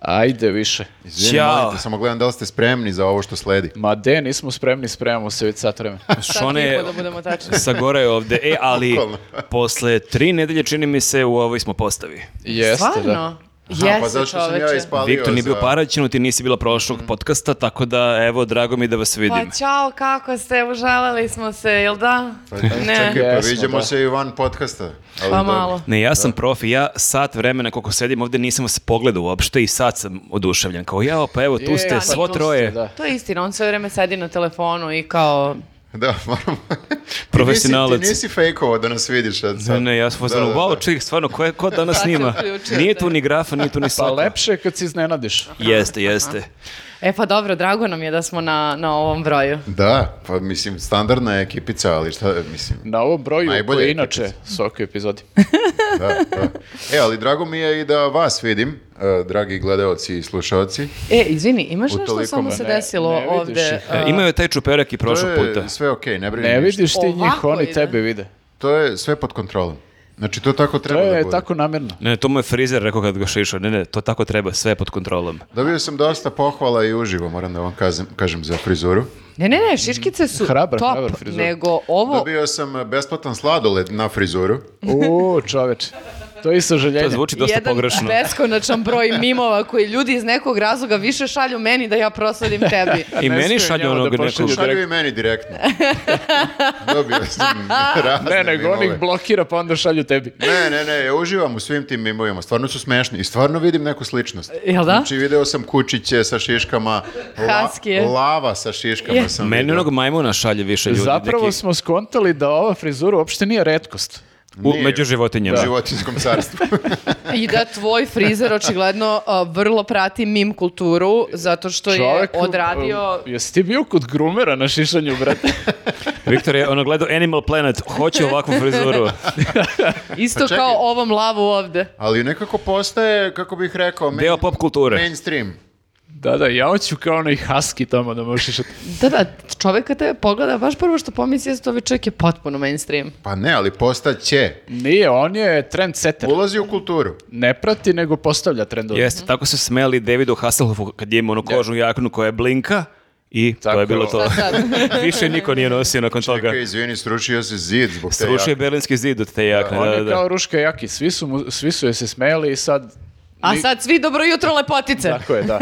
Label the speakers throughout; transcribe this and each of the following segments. Speaker 1: Ajde više.
Speaker 2: Izvini,
Speaker 3: Ćao.
Speaker 2: molim te, samo gledam da li ste spremni za ovo što sledi.
Speaker 1: Ma de, nismo spremni, spremamo se već sat vremena.
Speaker 3: Šone
Speaker 4: Sad
Speaker 3: je
Speaker 4: lijepo da budemo tačni.
Speaker 3: sa gore je ovde. E, ali
Speaker 2: Bukvalno.
Speaker 3: posle tri nedelje čini mi se u ovoj smo postavi.
Speaker 1: Jeste, da.
Speaker 4: Stvarno?
Speaker 2: A, pa
Speaker 4: Jeste,
Speaker 2: zato što sam ja
Speaker 4: čoveče.
Speaker 2: ispalio
Speaker 3: Viktor nije bio
Speaker 2: za- Mm.
Speaker 3: paraćen, ti nisi bila prošlog podcasta, tako da evo, drago mi je da vas vidim.
Speaker 4: Pa čao, kako ste, užalili smo se, jel da?
Speaker 2: Pa,
Speaker 4: Ne.
Speaker 2: Čekaj, pa
Speaker 1: Jesmo,
Speaker 2: viđemo
Speaker 1: da.
Speaker 2: se i van podcasta. ali
Speaker 4: Pa
Speaker 2: dobro.
Speaker 4: malo.
Speaker 3: Ne, ja sam profi, ja sat vremena koliko sedim ovde nisam vas pogledao uopšte i sad sam oduševljen. Kao jao, pa evo, tu
Speaker 1: Je,
Speaker 3: ste,
Speaker 1: pa
Speaker 3: svo
Speaker 4: tu
Speaker 3: troje.
Speaker 1: Da.
Speaker 4: To je istina, on sve vreme sedi na telefonu i kao...
Speaker 2: Da, moramo. Ti nisi-
Speaker 3: Profesionalac.
Speaker 2: Ti nisi fejkovao da nas vidiš sad.
Speaker 3: Ne, ne, ja sam
Speaker 2: Da,
Speaker 3: fazonu,
Speaker 2: da, da.
Speaker 3: wow, čekaj, stvarno, ko, je, ko danas
Speaker 4: Sad se
Speaker 3: snima?
Speaker 4: uključio,
Speaker 3: Nije
Speaker 4: da.
Speaker 3: tu ni grafa, nije tu ni
Speaker 1: Pa
Speaker 3: svaka.
Speaker 1: lepše je kad se iznenadiš.
Speaker 3: Jeste, jeste.
Speaker 4: E pa dobro, drago nam je da smo na, na ovom broju.
Speaker 2: Da, pa mislim, standardna je ekipica, ali šta, mislim,
Speaker 1: Na ovom broju
Speaker 2: Najbolje
Speaker 1: koji je
Speaker 2: je
Speaker 1: inače
Speaker 2: ekipica.
Speaker 1: svakoj epizodi.
Speaker 2: da, da. E, ali drago mi je i da vas vidim, eh, dragi gledaoci i slušaoci.
Speaker 4: E, izvini, imaš nešto
Speaker 2: Utoliko
Speaker 4: samo
Speaker 2: me-
Speaker 4: se
Speaker 1: ne-
Speaker 4: desilo
Speaker 1: ne vidiš
Speaker 4: ovde?
Speaker 1: ih.
Speaker 3: E, Imao je taj čuperak i
Speaker 2: To
Speaker 3: prošlog
Speaker 2: je
Speaker 3: puta.
Speaker 2: sve okej, ne brini
Speaker 1: Ne
Speaker 2: ništa.
Speaker 1: vidiš ti
Speaker 4: Ovako
Speaker 1: njih, oni
Speaker 4: ide.
Speaker 1: tebe vide.
Speaker 2: To je sve pod kontrolom. Znači, to
Speaker 1: To
Speaker 2: tako treba da
Speaker 1: je
Speaker 2: bude.
Speaker 1: tako namjerno.
Speaker 3: Ne, ne, to mu je frizer rekao kad ga šišao. Ne, ne, to tako treba, sve je pod kontrolom.
Speaker 2: Dobio sam dosta pohvala i uživo, moram da vam kažem, kažem za frizuru.
Speaker 4: Ne, ne, ne, šiškice su
Speaker 1: Hrabar,
Speaker 4: top,
Speaker 1: hrabar frizura.
Speaker 4: nego ovo...
Speaker 2: Dobio sam eh, besplatan sladoled na frizuru.
Speaker 1: U, čoveče. To je isto
Speaker 3: To
Speaker 1: željenje.
Speaker 3: zvuči dosta
Speaker 4: jedan
Speaker 3: pogrešno.
Speaker 4: beskonačan broj mimova koji ljudi iz nekog razloga više šalju meni da ja prosladim tebi.
Speaker 1: Ne
Speaker 3: I meni
Speaker 1: smijem ja
Speaker 3: šalju
Speaker 1: da
Speaker 3: onog nekog...
Speaker 1: pošaljem.
Speaker 2: Šalju
Speaker 1: direkt-
Speaker 2: i meni direktno. Dobio sam razne
Speaker 1: Ne, nego on
Speaker 2: mimove.
Speaker 1: ih blokira pa onda šalju tebi.
Speaker 2: Ne, ne, ne, ja uživam u svim tim mimovima, stvarno su smešni i stvarno vidim neku sličnost.
Speaker 4: Jel da?
Speaker 2: Znači video sam kučiće sa šiškama,
Speaker 4: Haskije.
Speaker 2: lava sa šiškama
Speaker 4: Je.
Speaker 2: sam
Speaker 3: Meni
Speaker 2: vidio.
Speaker 3: onog majmuna šalje više ljudi.
Speaker 1: Zapravo
Speaker 3: neki-
Speaker 1: smo skontali da ova frizura uopšte nije retkost.
Speaker 3: u,
Speaker 2: Nije.
Speaker 3: među životinjama.
Speaker 2: U životinskom carstvu.
Speaker 4: I da tvoj frizer očigledno a, vrlo prati mim kulturu zato što je
Speaker 1: Čovek,
Speaker 4: odradio...
Speaker 1: um, Jesi ti bio kod grumera na šišanju, brate?
Speaker 3: Viktor je ono gledao Animal Planet, hoće ovakvu frizuru.
Speaker 1: Pa
Speaker 4: Isto kao ovom lavu ovde.
Speaker 2: Ali nekako postaje, kako bih rekao, main-
Speaker 3: Deo pop kulture.
Speaker 2: mainstream.
Speaker 1: da, da, ja hoću kao onaj husky tamo da me ušišate.
Speaker 4: Da, da, čovek kad tebe pogleda, baš prvo što pomisli je to ovaj čovjek je potpuno mainstream.
Speaker 2: Pa ne, ali postaće.
Speaker 1: Nije, on je trendsetter.
Speaker 2: Ulazi u kulturu.
Speaker 1: Ne prati, nego postavlja trendove.
Speaker 3: Jeste, tako su smeli Davidu Hasselhoffu kad je imao onu kožnu jaknu koja je blinka i to je
Speaker 1: Tako.
Speaker 3: bilo to.
Speaker 4: Šta sad?
Speaker 3: više niko nije nosio nakon toga.
Speaker 2: Čekaj, izvini, strušio se zid zbog te
Speaker 3: Srušio je
Speaker 2: jakne.
Speaker 3: berlinski zid od te jakne.
Speaker 1: On
Speaker 3: da,
Speaker 1: je
Speaker 3: da.
Speaker 1: kao Ruška Jaki, svi su, mu- svi su je se smejali i sad...
Speaker 4: A
Speaker 1: ni-
Speaker 4: sad svi dobro jutro lepotice.
Speaker 1: Tako je, da.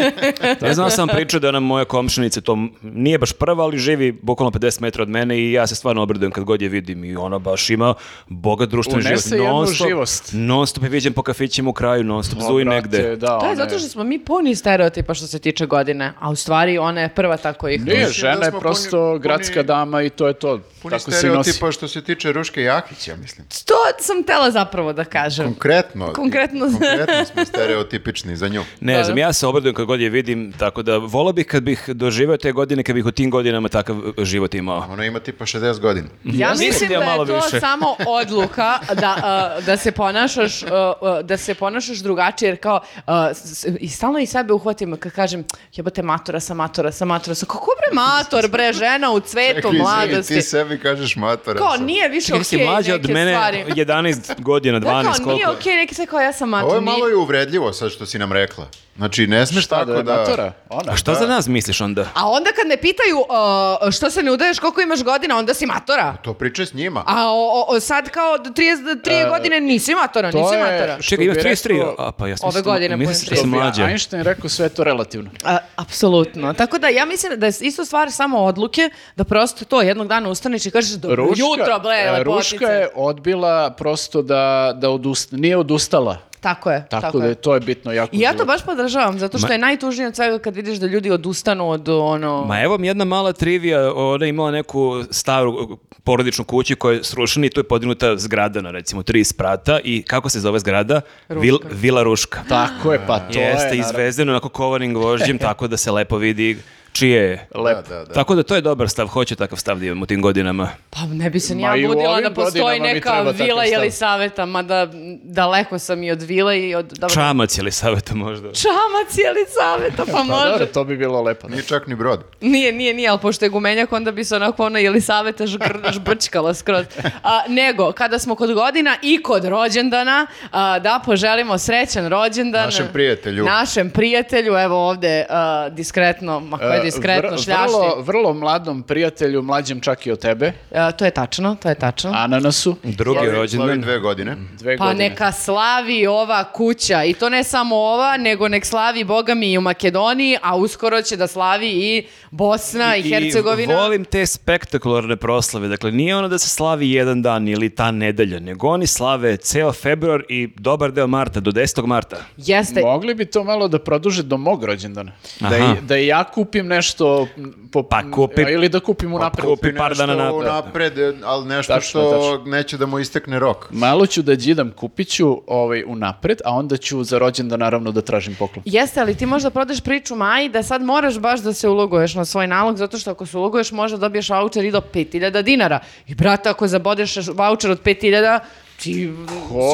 Speaker 3: Ja znam sam pričao da nam moja komšinica to m- nije baš prva, ali živi bukvalno 50 metra od mene i ja se stvarno obradujem kad god je vidim i ona baš ima boga društveni život.
Speaker 1: Unese jednu
Speaker 3: Non-stop-
Speaker 1: živost.
Speaker 3: Non-stop je viđen po kafićima u kraju, non-stop
Speaker 1: O,
Speaker 3: zuji
Speaker 1: brate,
Speaker 3: negde.
Speaker 1: Da,
Speaker 4: To
Speaker 1: ona
Speaker 4: je zato što smo mi puni stereotipa što se tiče godine, a u stvari ona je prva tako ih
Speaker 1: Nije,
Speaker 2: Mislim da
Speaker 1: žena je
Speaker 2: smo
Speaker 1: prosto
Speaker 2: puni-
Speaker 1: gradska
Speaker 2: puni-
Speaker 1: dama i to je to.
Speaker 2: Puni
Speaker 1: Tako se i nosi.
Speaker 2: stereotipa što se tiče Ruške Jakića, mislim.
Speaker 4: To sam tela zapravo da kažem.
Speaker 2: Konkretno.
Speaker 4: Konkretno.
Speaker 2: Konkretno smo stereotipični za nju.
Speaker 3: Ne znam, ja se obradujem kad god je vidim, tako da volao bih kad bih doživeo te godine, kad bih u tim godinama takav e, život imao.
Speaker 2: Ona ima tipa 60 godina.
Speaker 4: Ja
Speaker 3: Mislim
Speaker 4: mislim
Speaker 3: da
Speaker 4: da
Speaker 3: je malo
Speaker 4: je to
Speaker 3: više.
Speaker 4: samo odluka da, a, da se ponašaš a, a, da se ponašaš drugačije jer kao a, s- i stalno i sebe uhvatim kad kažem jebote matora sam matora sam matora sam kako bre mator bre žena u cvetu
Speaker 2: Čekaj, izvini,
Speaker 4: mladosti
Speaker 2: Ti sebi kažeš matora.
Speaker 4: kao
Speaker 2: sam.
Speaker 4: nije više
Speaker 3: Čekaj,
Speaker 4: okej
Speaker 3: si mlađa od
Speaker 4: neke
Speaker 3: mene
Speaker 4: stvari
Speaker 3: 11 godina, 12,
Speaker 4: da kao
Speaker 3: koliko?
Speaker 4: nije okej neke stvari kao ja sam mator
Speaker 2: Ovo je
Speaker 4: nije-
Speaker 2: malo i uvredljivo sad što si nam rekla. Znači, ne smeš
Speaker 1: Šta da
Speaker 2: tako
Speaker 1: je
Speaker 2: da...
Speaker 1: matora? Ona.
Speaker 3: A šta za nas misliš onda?
Speaker 4: a onda kad me pitaju a, što se ne udaješ koliko imaš godina onda si matora
Speaker 2: To pričaj s njima.
Speaker 4: a o, o- sad kao do
Speaker 2: E,
Speaker 4: 33 godine nisi matora
Speaker 1: to
Speaker 4: nisi
Speaker 1: je-
Speaker 4: matora
Speaker 1: Što
Speaker 3: Čekaj, imaš
Speaker 1: bi
Speaker 3: 33,
Speaker 1: rekao-
Speaker 3: a pa ja sam
Speaker 4: Ove
Speaker 3: mislio-
Speaker 4: godine
Speaker 3: mislio
Speaker 4: punim
Speaker 3: sam da
Speaker 1: Što
Speaker 3: sam
Speaker 1: bi
Speaker 3: mlađa.
Speaker 1: Einstein rekao sve je to relativno.
Speaker 4: A, apsolutno. Tako da ja mislim da je isto stvar samo odluke, da prosto to jednog dana ustaneš i kažeš dobro jutro, ble,
Speaker 1: e,
Speaker 4: lepotice.
Speaker 1: Ruška je odbila prosto da, da odust, nije odustala.
Speaker 4: Tako je,
Speaker 1: Tako, da je, to je bitno jako.
Speaker 4: I ja
Speaker 1: u
Speaker 4: to
Speaker 1: životu.
Speaker 4: baš podržavam, zato što
Speaker 3: Ma-
Speaker 4: je najtužnije od svega kad vidiš da ljudi odustanu od ono...
Speaker 3: Ma evo mi jedna mala trivija, ona je imala neku staru e, porodičnu kuću koja je srušena i tu je podignuta zgrada na recimo tri sprata i kako se zove zgrada? Vil, Vila Ruška.
Speaker 1: Tako je, pa to je.
Speaker 3: Jeste
Speaker 1: naravno.
Speaker 3: izvezeno onako kovanim gvožđem tako da se lepo vidi čije je.
Speaker 2: Lep. Da, da, da.
Speaker 3: Tako da to je dobar stav, hoće takav stav da imam u tim godinama.
Speaker 4: Pa ne bi se ni
Speaker 1: Ma i
Speaker 4: ja
Speaker 1: u
Speaker 4: budila
Speaker 1: ovim
Speaker 4: da postoji
Speaker 1: godinama mi
Speaker 4: neka
Speaker 1: treba takav
Speaker 4: vila
Speaker 1: stav.
Speaker 4: Jelisaveta, mada daleko sam i od vile i od... Dobro,
Speaker 3: Čamac ili saveta možda.
Speaker 4: Čamac Jelisaveta, pa
Speaker 1: Pa dobro,
Speaker 4: može.
Speaker 1: to bi bilo lepo. da.
Speaker 2: Nije čak ni brod.
Speaker 4: Nije, nije, nije, ali pošto je gumenjak, onda bi se onako ona Jelisaveta žgr, žbrčkala skroz. A, nego, kada smo kod godina i kod rođendana, a, da poželimo srećan rođendan.
Speaker 2: Našem prijatelju.
Speaker 4: Našem prijatelju, evo ovde a, diskretno, ma koje
Speaker 1: E,
Speaker 4: diskretno,
Speaker 1: vr-
Speaker 4: šljašti.
Speaker 1: Vrlo, vrlo mladom prijatelju, mlađem čak i od tebe,
Speaker 4: A, E, to je tačno, to je tačno.
Speaker 1: Ananasu,
Speaker 3: Drugi
Speaker 2: Slavi- slavi
Speaker 3: rođendan. Mhm.
Speaker 2: dve godine.
Speaker 1: dve
Speaker 4: Pa
Speaker 1: godine.
Speaker 4: neka slavi ova kuća i to ne samo ova, nego nek slavi Boga mi i u Makedoniji, a uskoro će da slavi i Bosna i, Hercegovina.
Speaker 3: I volim te spektakularne proslave. Dakle, nije ono da se slavi jedan dan ili ta nedelja, nego oni slave ceo februar i dobar deo marta, do 10. marta.
Speaker 4: Jeste.
Speaker 1: Mogli bi to malo da produže do mog rođendana. Da,
Speaker 3: Aha.
Speaker 1: i, da i ja kupim nešto po,
Speaker 3: Pa kupi- pa
Speaker 1: ili da kupim unapred.
Speaker 3: kupi
Speaker 1: Kupim
Speaker 3: par
Speaker 1: nešto.
Speaker 3: dana
Speaker 2: Što
Speaker 3: napred.
Speaker 2: napred, ali nešto
Speaker 1: Tačno,
Speaker 2: što
Speaker 1: tačno.
Speaker 2: neće da mu istekne rok.
Speaker 1: Malo ću da džidam, kupit ću ovaj, unapred, a onda ću za rođendan naravno da tražim poklon.
Speaker 4: Jeste, ali ti možda prodaš priču Maji da sad moraš baš da se uloguješ na svoj nalog, zato što ako se uloguješ možda dobiješ voucher i do 5000 dinara. I brate, ako zabodeš voucher od 5000, ti si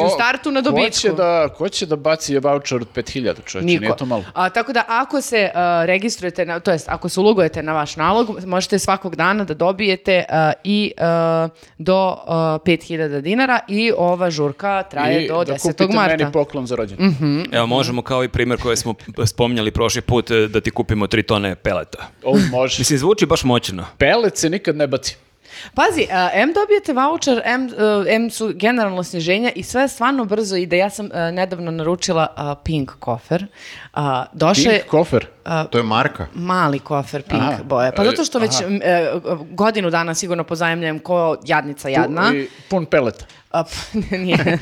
Speaker 4: u startu na
Speaker 1: Ko će
Speaker 4: dobičku.
Speaker 1: da, ko će da baci voucher od 5000 čovječe, nije to malo.
Speaker 4: A, tako da ako se uh, registrujete, na, to jest ako se ulogujete na vaš nalog, možete svakog dana da dobijete uh, i uh, do uh, 5000 dinara i ova žurka traje
Speaker 1: I
Speaker 4: do
Speaker 1: da
Speaker 4: 10.
Speaker 1: kupite
Speaker 4: marta. Mm.
Speaker 1: meni poklon za rođendan.
Speaker 4: Mhm.
Speaker 3: Evo, možemo kao i primjer koje smo spominjali prošli put, e, da ti kupimo tri tone peleta.
Speaker 1: O, može.
Speaker 3: Mislim, zvuči baš moćno.
Speaker 1: Pelet se nikad ne baci.
Speaker 4: Pazi, a, em dobijete voucher, em, uh, em su generalno sniženja i sve stvarno brzo ide. Ja sam uh, nedavno naručila a, pink kofer. A, došao je
Speaker 1: Pink kofer.
Speaker 2: To je Marka.
Speaker 4: mali kofer pink
Speaker 1: Aha.
Speaker 4: boje. Pa zato što
Speaker 1: Aha.
Speaker 4: već m, e, godinu dana sigurno pozajemljem ko jadnica jadna.
Speaker 1: Tu- i Pun peleta.
Speaker 4: A, p- nije.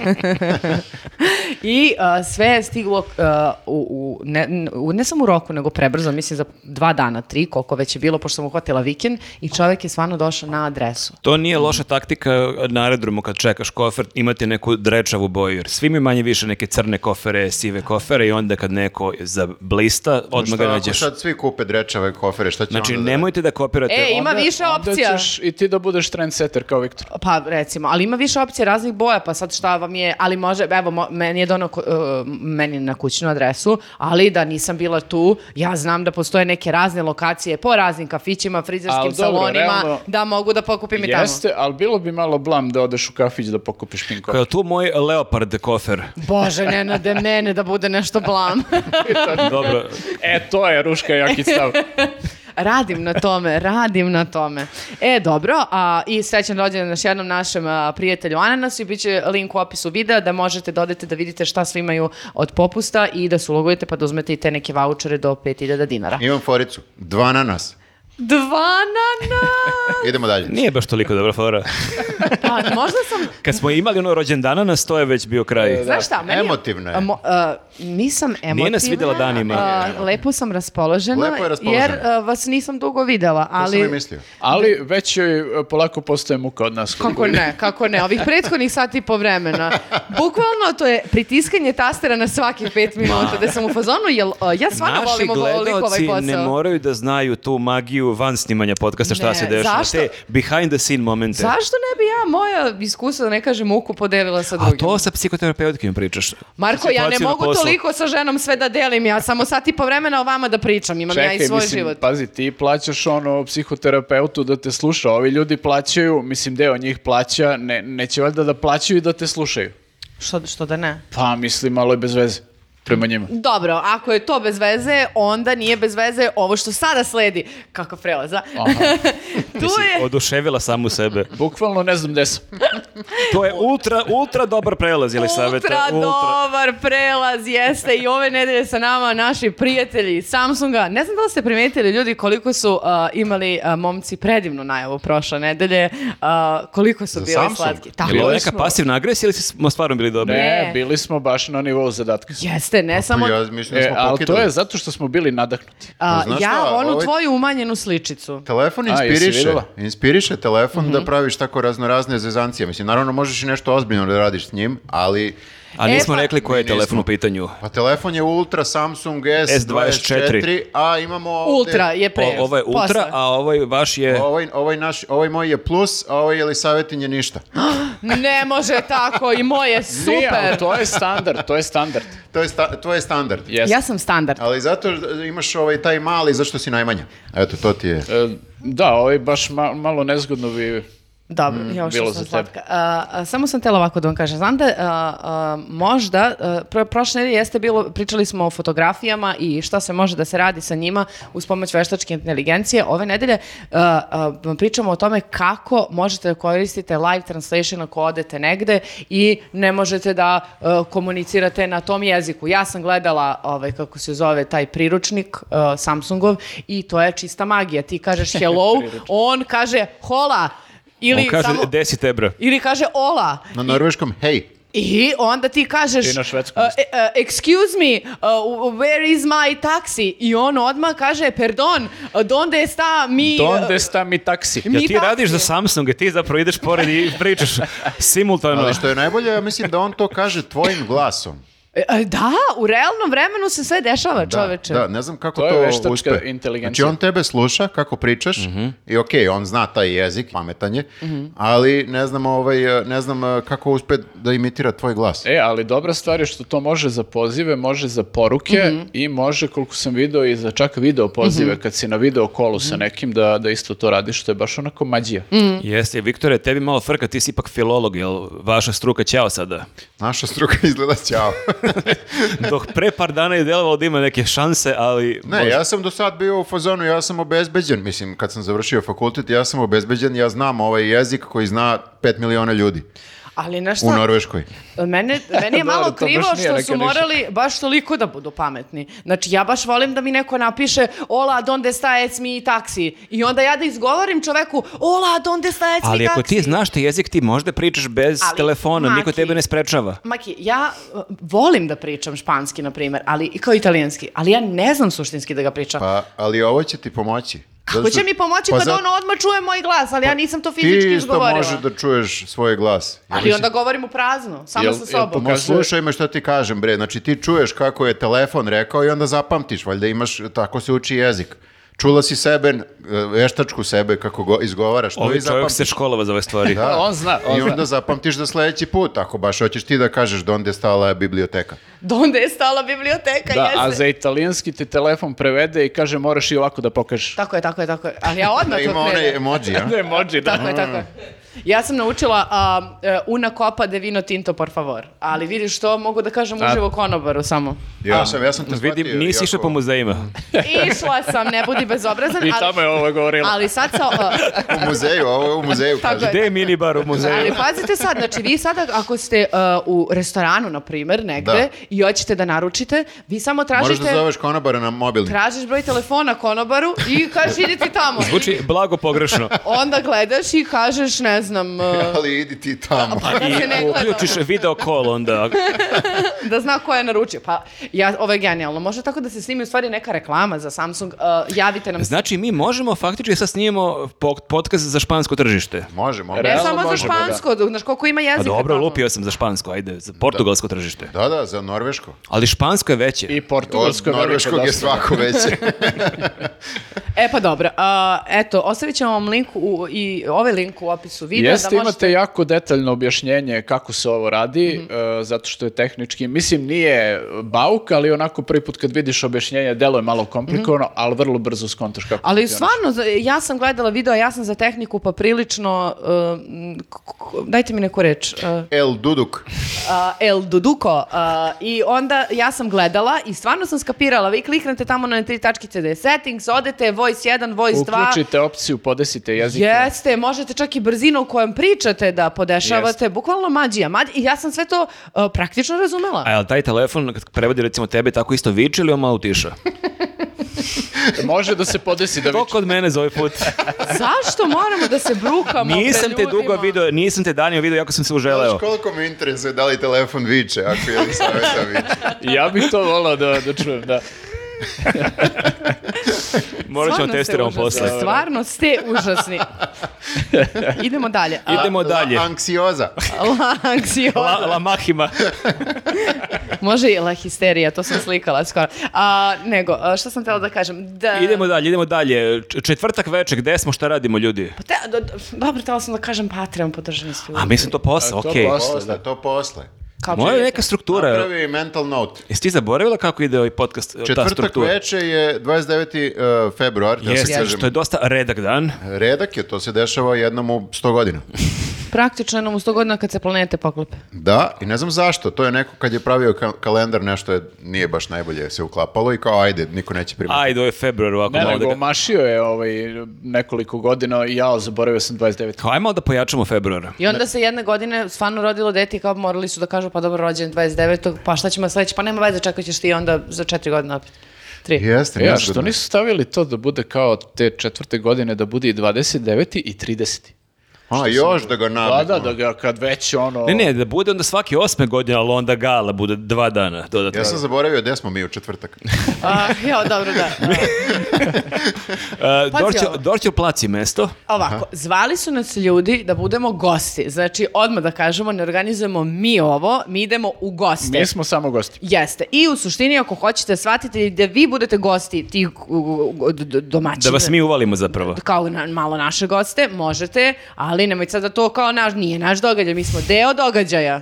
Speaker 4: I a, sve je stiglo a, u, u, ne, n- u- ne samo u roku, nego prebrzo, mislim za dva dana, tri, koliko već je bilo, pošto sam uhvatila vikend i čovjek je stvarno došao na adresu.
Speaker 3: To nije loša taktika eh, na aerodromu kad čekaš kofer, imati neku drečavu boju, jer svi mi manje više neke crne kofere, sive kofere i onda kad neko zablista, odmah ga
Speaker 2: Šta ako
Speaker 3: nađeš.
Speaker 2: sad svi kupe drečave kofere, šta će
Speaker 3: Znači,
Speaker 2: onda da-
Speaker 3: nemojte da kopirate.
Speaker 4: E, ima
Speaker 1: Onda-
Speaker 4: više
Speaker 1: onda
Speaker 4: opcija.
Speaker 1: ćeš i ti da budeš trendsetter kao Viktor.
Speaker 4: Pa recimo, ali ima više opcija raznih boja, pa sad šta vam je, ali može, evo, mo- meni je dono ko- e, meni na kućnu adresu, ali da nisam bila tu, ja znam da postoje neke razne lokacije po raznim kafićima, frizerskim
Speaker 1: Ali dobro,
Speaker 4: salonima,
Speaker 1: realno-
Speaker 4: da mogu da pokupim i tamo.
Speaker 1: Jeste, ali bilo bi malo blam da odeš u kafić da pokupiš pink kofer.
Speaker 3: Kao tu moj leopard kofer.
Speaker 4: Bože, Nenade, mene da bude nešto blam.
Speaker 3: Dobro,
Speaker 1: E, to je Ruška Jakić stav.
Speaker 4: radim na tome, radim na tome. E, dobro, a, i srećan rođendan još jednom našem a, prijatelju Ananasu i bit će link u opisu videa da možete da odete da vidite šta svi imaju od popusta i da se ulogujete pa da uzmete i te neke vouchere do 5000 dinara.
Speaker 2: Imam foricu. Dva na nas.
Speaker 4: Dva nana!
Speaker 2: Idemo dalje.
Speaker 3: nije baš toliko dobra fora.
Speaker 4: Pa, možda sam...
Speaker 3: Kad smo imali ono rođendana, nas to je već bio kraj.
Speaker 4: Znaš šta, meni...
Speaker 2: Emotivna je.
Speaker 4: a, mo- a, nisam emotivna.
Speaker 3: nas videla danima.
Speaker 4: a, lepo sam raspoložena.
Speaker 2: Lepo je raspoložena.
Speaker 4: Jer a, vas nisam dugo videla,
Speaker 2: To
Speaker 4: ali...
Speaker 2: sam i mislio.
Speaker 1: Ali već joj e, polako postaje muka od nas.
Speaker 4: Kako ne, kako ne, ovih prethodnih sati i po vremena. Bukvalno to je pritiskanje tastera na svakih pet minuta, da sam u fazonu, jel, a, ja stvarno
Speaker 3: Naši
Speaker 4: volim ovo- ovoliko ovaj
Speaker 3: gledaoci
Speaker 4: posao.
Speaker 3: ne moraju da znaju tu magiju van snimanja podcasta šta
Speaker 4: Ne,
Speaker 3: se dešava.
Speaker 4: zašto?
Speaker 3: Te behind the scene momente.
Speaker 4: Zašto ne bi ja moja iskustva, da ne kažem, uku podelila sa
Speaker 3: A
Speaker 4: drugim?
Speaker 3: to sa psihoterapeutkim pričaš.
Speaker 4: Marko, ja ne
Speaker 3: Situaciju na
Speaker 4: mogu
Speaker 3: poslu.
Speaker 4: toliko sa ženom sve da delim, ja samo sat i po vremena o vama da pričam, imam ja i svoj
Speaker 1: mislim, pa-
Speaker 4: život.
Speaker 1: pazi, ti plaćaš ono psihoterapeutu da te sluša. Ovi ljudi plaćaju, mislim, deo njih plaća, ne, neće valjda da plaćaju i da te slušaju.
Speaker 4: Što, što da ne?
Speaker 1: Pa, mislim, malo je bez veze prema njima.
Speaker 4: Dobro, ako je to bez veze, onda nije bez veze ovo što sada sledi. Kako prelaza.
Speaker 3: Ti
Speaker 4: tu
Speaker 3: si
Speaker 4: je...
Speaker 3: oduševila samu sebe.
Speaker 1: Bukvalno ne znam gde sam.
Speaker 3: To je ultra, ultra dobar prelaz, ili saveta?
Speaker 4: Ultra dobar prelaz jeste i ove nedelje sa nama naši prijatelji iz Samsunga. Ne znam da li ste primetili ljudi koliko su uh, imali uh, momci predivnu najavu prošle nedelje, uh, koliko su
Speaker 2: Za
Speaker 4: bili
Speaker 2: Samsung?
Speaker 4: slatki.
Speaker 3: Je li
Speaker 4: je,
Speaker 3: neka pa-
Speaker 4: smo-
Speaker 3: pasivna agresija ili smo stvarno bili dobri?
Speaker 1: Ne,
Speaker 4: Ne.
Speaker 1: bili smo E, baš na nivou zadatka.
Speaker 4: Jeste, Jeste, ne samo...
Speaker 2: Ja mislim da
Speaker 1: E,
Speaker 2: smo
Speaker 1: ali to
Speaker 2: pokidali.
Speaker 1: je zato što smo bili nadahnuti.
Speaker 4: A,
Speaker 2: znaš
Speaker 4: ja,
Speaker 2: šta,
Speaker 4: onu
Speaker 2: ovaj-
Speaker 4: tvoju umanjenu sličicu.
Speaker 2: Telefon
Speaker 1: A, jesi Mhm.
Speaker 2: inspiriše,
Speaker 1: videla?
Speaker 2: inspiriše telefon da praviš tako raznorazne zezancije. Mislim, naravno možeš i nešto ozbiljno da radiš s njim, ali
Speaker 3: A
Speaker 4: E,
Speaker 3: nismo
Speaker 4: pa-
Speaker 3: rekli koji
Speaker 2: Mi
Speaker 3: je
Speaker 2: nismo.
Speaker 3: telefon u pitanju.
Speaker 2: pa telefon je Ultra Samsung S24,
Speaker 3: S24.
Speaker 2: a imamo ovde-
Speaker 4: Ultra je pre.
Speaker 3: O, ovo je ultra,
Speaker 4: posle.
Speaker 3: a ovaj vaš je...
Speaker 2: Ovaj, ovaj, naš, ovaj moj je plus, a ovaj Elisavetin je ništa.
Speaker 4: Ne može tako i moje
Speaker 1: Nije, E, ali
Speaker 4: super.
Speaker 1: to je standard, to je standard.
Speaker 2: To je, sta, to je standard.
Speaker 1: Jeste.
Speaker 4: Ja sam standard.
Speaker 2: Ali zato imaš ovaj taj mali, zašto si najmanja? Eto, to ti je.
Speaker 1: E, Da, ovaj baš ma- malo nezgodno bi...
Speaker 4: e, Dobro, ja što
Speaker 1: bilo
Speaker 4: sam
Speaker 1: za tebe.
Speaker 4: slatka. A, a, samo sam tela ovako da vam kažem. Znam da a, a, možda, a, pro, prošle nedelje jeste bilo, pričali smo o fotografijama i šta se može da se radi sa njima uz pomoć veštačke inteligencije. Ove nedelje a, a, pričamo o tome kako možete da koristite live translation ako odete negde i ne možete da a, komunicirate na tom jeziku. Ja sam gledala ovaj, kako se zove taj priručnik a, Samsungov i to je čista magija. Ti kažeš hello, on kaže hola, ili
Speaker 3: on kaže
Speaker 4: samo-
Speaker 3: 10 ebra.
Speaker 4: ili kaže ola.
Speaker 2: Na norveškom, hej,
Speaker 4: I onda ti kažeš...
Speaker 1: I na švedskom
Speaker 4: "Uh, e, uh, excuse me, uh, where is my taxi? I on odmah kaže, perdon, uh, donde está mi... uh,
Speaker 1: Donde sta mi taksi?
Speaker 4: Mi
Speaker 3: Ja ti
Speaker 4: taksi.
Speaker 3: radiš za Samsung, ti zapravo ideš pored i pričaš simultano.
Speaker 1: Ono-
Speaker 2: ali što je najbolje, ja mislim da on to kaže tvojim glasom.
Speaker 4: E, e, Da, u realnom vremenu se sve dešava, čoveče.
Speaker 2: Da, ne znam kako
Speaker 1: To
Speaker 2: to,
Speaker 1: je veštačka
Speaker 2: uspe.
Speaker 1: inteligencija. Mhm.
Speaker 2: Znači on tebe sluša kako pričaš i okej, on zna taj jezik, pametan je, ali ne znam, ovaj, ne znam eh, kako uspe da imitira tvoj glas.
Speaker 1: E, ali dobra stvar je što to može za pozive, može za poruke
Speaker 4: Mhm.
Speaker 1: i može, koliko sam video, i za čak video pozive, kad si na video kolu
Speaker 4: Mhm.
Speaker 1: sa nekim, da, da isto to radiš, što je baš onako mađija.
Speaker 4: Mm.
Speaker 3: Jeste, Viktore, tebi malo frka, ti si ipak filolog, jel vaša struka ćao sada?
Speaker 2: Naša struka izgleda ćao.
Speaker 3: Dok pre par dana je delovalo da ima neke šanse, ali...
Speaker 2: ne, ja sam do sad bio u fazonu, ja sam obezbeđen, mislim, kad sam završio fakultet, ja sam obezbeđen, ja znam ovaj jezik koji zna 5 miliona ljudi
Speaker 4: Ali znaš
Speaker 2: u
Speaker 4: šta,
Speaker 2: Norveškoj.
Speaker 4: mene, meni je
Speaker 1: Dobro,
Speaker 4: malo
Speaker 1: to baš
Speaker 4: krivo
Speaker 1: nije
Speaker 4: što
Speaker 1: neka
Speaker 4: su
Speaker 1: niša.
Speaker 4: morali baš toliko da budu pametni. Znači, ja baš volim da mi neko napiše ola, donde está es mi taxi? I onda ja da izgovorim čoveku ola, donde está es mi taxi?
Speaker 3: Ali ako ti znaš te jezik, ti možda pričaš bez
Speaker 4: Ali,
Speaker 3: telefona, niko
Speaker 4: Maki,
Speaker 3: tebe ne sprečava.
Speaker 4: Maki, ja uh, volim da pričam španski, na primjer, ali i kao italijanski, ali ja ne znam suštinski da ga pričam.
Speaker 2: Pa, ali ovo će ti pomoći.
Speaker 4: Kako će mi pomoći kad
Speaker 2: zato- Pa,
Speaker 4: ono odmah čuje moj glas, ali ja nisam to
Speaker 2: Ti
Speaker 4: fizički
Speaker 2: isto
Speaker 4: izgovorila.
Speaker 2: možeš da čuješ svoj glas. Ja
Speaker 4: Ali
Speaker 2: mislim-
Speaker 4: onda govorim u prazno, samo
Speaker 1: Jel-
Speaker 4: sa
Speaker 1: jel
Speaker 4: sobom.
Speaker 1: pokazuje-
Speaker 2: Ma slušaj me šta ti kažem bre, znači ti čuješ kako je telefon rekao i onda zapamtiš, valjda imaš, tako se uči jezik. Čula si sebe, e, veštačku sebe kako go, izgovaraš, to
Speaker 3: Ovi
Speaker 2: i
Speaker 3: čovjek se
Speaker 2: zapamtiš.
Speaker 3: školova za ove stvari.
Speaker 2: Da.
Speaker 1: On zna, on
Speaker 2: I
Speaker 1: zna.
Speaker 2: onda zapamtiš da sledeći put, ako baš hoćeš ti da kažeš donde je stala biblioteka.
Speaker 4: Donde je stala biblioteka,
Speaker 1: Da, a
Speaker 4: jeste.
Speaker 1: za italijanski ti telefon prevede i kaže moraš i ovako da pokažeš.
Speaker 4: Tako je, tako je, tako je. Ali ja
Speaker 2: Da
Speaker 4: odmah
Speaker 2: ima
Speaker 4: to
Speaker 2: onaj
Speaker 4: krenem.
Speaker 2: emoji, a?
Speaker 1: Da, emoji, da.
Speaker 4: Tako je, tako je. Ja sam naučila a, e, una copa de vino tinto, por favor. Ali vidiš to, mogu da kažem
Speaker 1: A-
Speaker 4: uživo konobaru samo.
Speaker 2: Ja sam, ja sam te shvatio.
Speaker 3: Vidim, nisi išao po muzejima.
Speaker 4: Išla sam, ne budi bezobrazan,
Speaker 1: I tamo
Speaker 4: ali,
Speaker 1: je ovo govorila.
Speaker 4: ali sad sa... a,
Speaker 2: u muzeju, ovo je u muzeju,
Speaker 4: Tako
Speaker 2: kaže.
Speaker 4: je.
Speaker 3: Gde je minibar u
Speaker 4: Ali
Speaker 3: muzeju?
Speaker 4: pazite sad, znači vi sada ako ste uh, u restoranu, na primjer, negde
Speaker 2: Da.
Speaker 4: i hoćete da naručite, vi samo
Speaker 2: Možeš
Speaker 4: tražite...
Speaker 2: da zoveš konobara na mobilni.
Speaker 4: Tražiš broj telefona konobaru i kažeš idi ti tamo.
Speaker 3: Zvuči blago pogrešno.
Speaker 4: Onda gledaš i kažeš, ne znam, uh,
Speaker 2: Ali idi ti tamo.
Speaker 4: da se ne
Speaker 3: I
Speaker 4: gleda,
Speaker 3: uključiš video call onda.
Speaker 4: da zna ko je naručio. Pa, ja, ovo je genijalno. Može tako da se snimi u stvari neka reklama za Samsung. uh, javite nam se.
Speaker 3: Znači, mi možemo faktički sad snimamo po- podcast za špansko tržište.
Speaker 2: Možemo.
Speaker 4: Ne
Speaker 1: realno
Speaker 4: samo za
Speaker 1: možemo, da.
Speaker 4: špansko, da. znaš koliko ima jezika.
Speaker 3: Pa dobro,
Speaker 4: tamo.
Speaker 3: lupio sam za špansko, ajde, za portugalsko tržište.
Speaker 2: Da, da, za Norveško.
Speaker 3: Ali špansko je veće.
Speaker 1: I
Speaker 2: Od
Speaker 1: portugalsko je veliko
Speaker 2: Norveškog je
Speaker 1: dosta.
Speaker 2: svako veće.
Speaker 4: E pa dobro, uh, eto, ostavit ćemo vam link u, i ovaj link u opisu videa.
Speaker 1: Jeste,
Speaker 4: da možete... Mhm.
Speaker 1: imate jako detaljno objašnjenje kako se ovo radi, e, zato što je tehnički, mislim, nije bauk, ali onako prvi put kad vidiš objašnjenje, delo je malo komplikovano, ali vrlo brzo skontaš kako
Speaker 4: Mhm. Ali
Speaker 1: funkcioniš.
Speaker 4: stvarno, za- ja sam gledala video, ja sam za tehniku pa prilično, uh, m, k- k- dajte mi neku reč, uh, uh,
Speaker 2: El Duduk.
Speaker 4: El Duduko, uh, i onda ja sam gledala i stvarno sam skapirala, vi kliknete tamo na tri tačkice da je settings, odete voice 1, voice 2,
Speaker 1: Uključite opciju, podesite jezike.
Speaker 4: Jeste, možete čak i brzinu u kojom pričate da podešavate, bukvalno mađija, mađija. I ja sam sve to uh, praktično razumela.
Speaker 3: A jel taj telefon, kad prevodi recimo tebe, tako isto viče ili on malo utiša?
Speaker 1: Može da se podesi da
Speaker 3: To
Speaker 1: viče.
Speaker 3: kod mene za ovaj put.
Speaker 4: Zašto moramo da se brukamo
Speaker 3: Nisam te
Speaker 4: pred
Speaker 3: dugo
Speaker 4: ljudima?
Speaker 3: video, nisam te danio video, jako sam se
Speaker 2: Znaš
Speaker 3: uželeo.
Speaker 2: koliko me interesuje da li telefon viče, ako je Elisaveta viče.
Speaker 1: Ja bih to volao da, da čujem, da.
Speaker 3: Morat ćemo
Speaker 4: Stvarno ste
Speaker 3: testiramo
Speaker 4: užasni,
Speaker 3: posle.
Speaker 4: Stvarno ste užasni. Idemo dalje. A,
Speaker 3: Idemo dalje.
Speaker 2: La- Anksioza.
Speaker 4: Lanksio-
Speaker 3: La, la Mahima.
Speaker 4: Može i la histerija, to sam slikala skoro. A, nego, a, šta sam htjela da kažem? Da,
Speaker 3: Idemo dalje, idemo dalje. Č- Četvrtak večer, gde smo, šta radimo ljudi?
Speaker 4: Pa te- do- do- dobro, htjela sam da kažem Patreon podržani su.
Speaker 3: A mislim to posle,
Speaker 1: A, to
Speaker 3: okej.
Speaker 1: posle.
Speaker 2: Posle, to posle.
Speaker 4: Kao
Speaker 3: Moja je
Speaker 4: prijatelj.
Speaker 3: neka struktura.
Speaker 2: Napravi mental note.
Speaker 3: Jesi ti zaboravila kako ide ovaj podcast, ta
Speaker 2: Četvrtak
Speaker 3: struktura?
Speaker 2: veče je 29. uh, februar, da se
Speaker 3: Jeste,
Speaker 2: kažem.
Speaker 3: što je dosta redak dan.
Speaker 2: Redak je, to se dešava jednom u 100 godina.
Speaker 4: Praktično jednom u 100 godina kad se planete poklope.
Speaker 2: Da, i ne znam zašto, to je neko kad je pravio ka- kalendar nešto je, nije baš najbolje se uklapalo i kao ajde, niko neće primati.
Speaker 3: Ajde, ovo je februar ovako
Speaker 1: Ne,
Speaker 3: malo da
Speaker 1: nego
Speaker 3: ga...
Speaker 1: mašio je ovaj nekoliko godina i jao, zaboravio sam 29.
Speaker 3: Kao, Ajmo malo da pojačamo februar.
Speaker 4: I onda se jedne godine stvarno rodilo deti kao morali su da kažu pa dobro rođen 29. pa šta ćemo sledeći, pa nema veze čekat ćeš ti onda za 4 godine opet. 3.
Speaker 2: Jeste,
Speaker 1: Ja,
Speaker 2: nezgodno.
Speaker 1: što nisu stavili to da bude kao te četvrte godine, da bude i 29. i 30.
Speaker 2: A, još da ga nametnu.
Speaker 1: Da, da, da ga kad već ono...
Speaker 3: Ne, ne, da bude onda svaki osme godine, ali onda gala bude dva dana dodatno.
Speaker 2: Ja sam zaboravio gde smo mi u četvrtak.
Speaker 4: A, jo, dobro, da.
Speaker 3: E,
Speaker 4: Pazi
Speaker 3: Dorćol-
Speaker 4: ovo.
Speaker 3: Dorćol placi mesto.
Speaker 4: Ovako, zvali su nas ljudi da budemo gosti. Znači, odmah da kažemo, ne organizujemo mi ovo, mi idemo u goste.
Speaker 1: Mi smo samo gosti.
Speaker 4: Jeste. I u suštini, ako hoćete, shvatite da vi budete gosti tih u, u, d- domaćina.
Speaker 3: Da vas mi uvalimo zapravo.
Speaker 4: kao na- malo naše goste, možete, ali nemojte sad da to kao naš, nije naš događaj, mi smo deo događaja.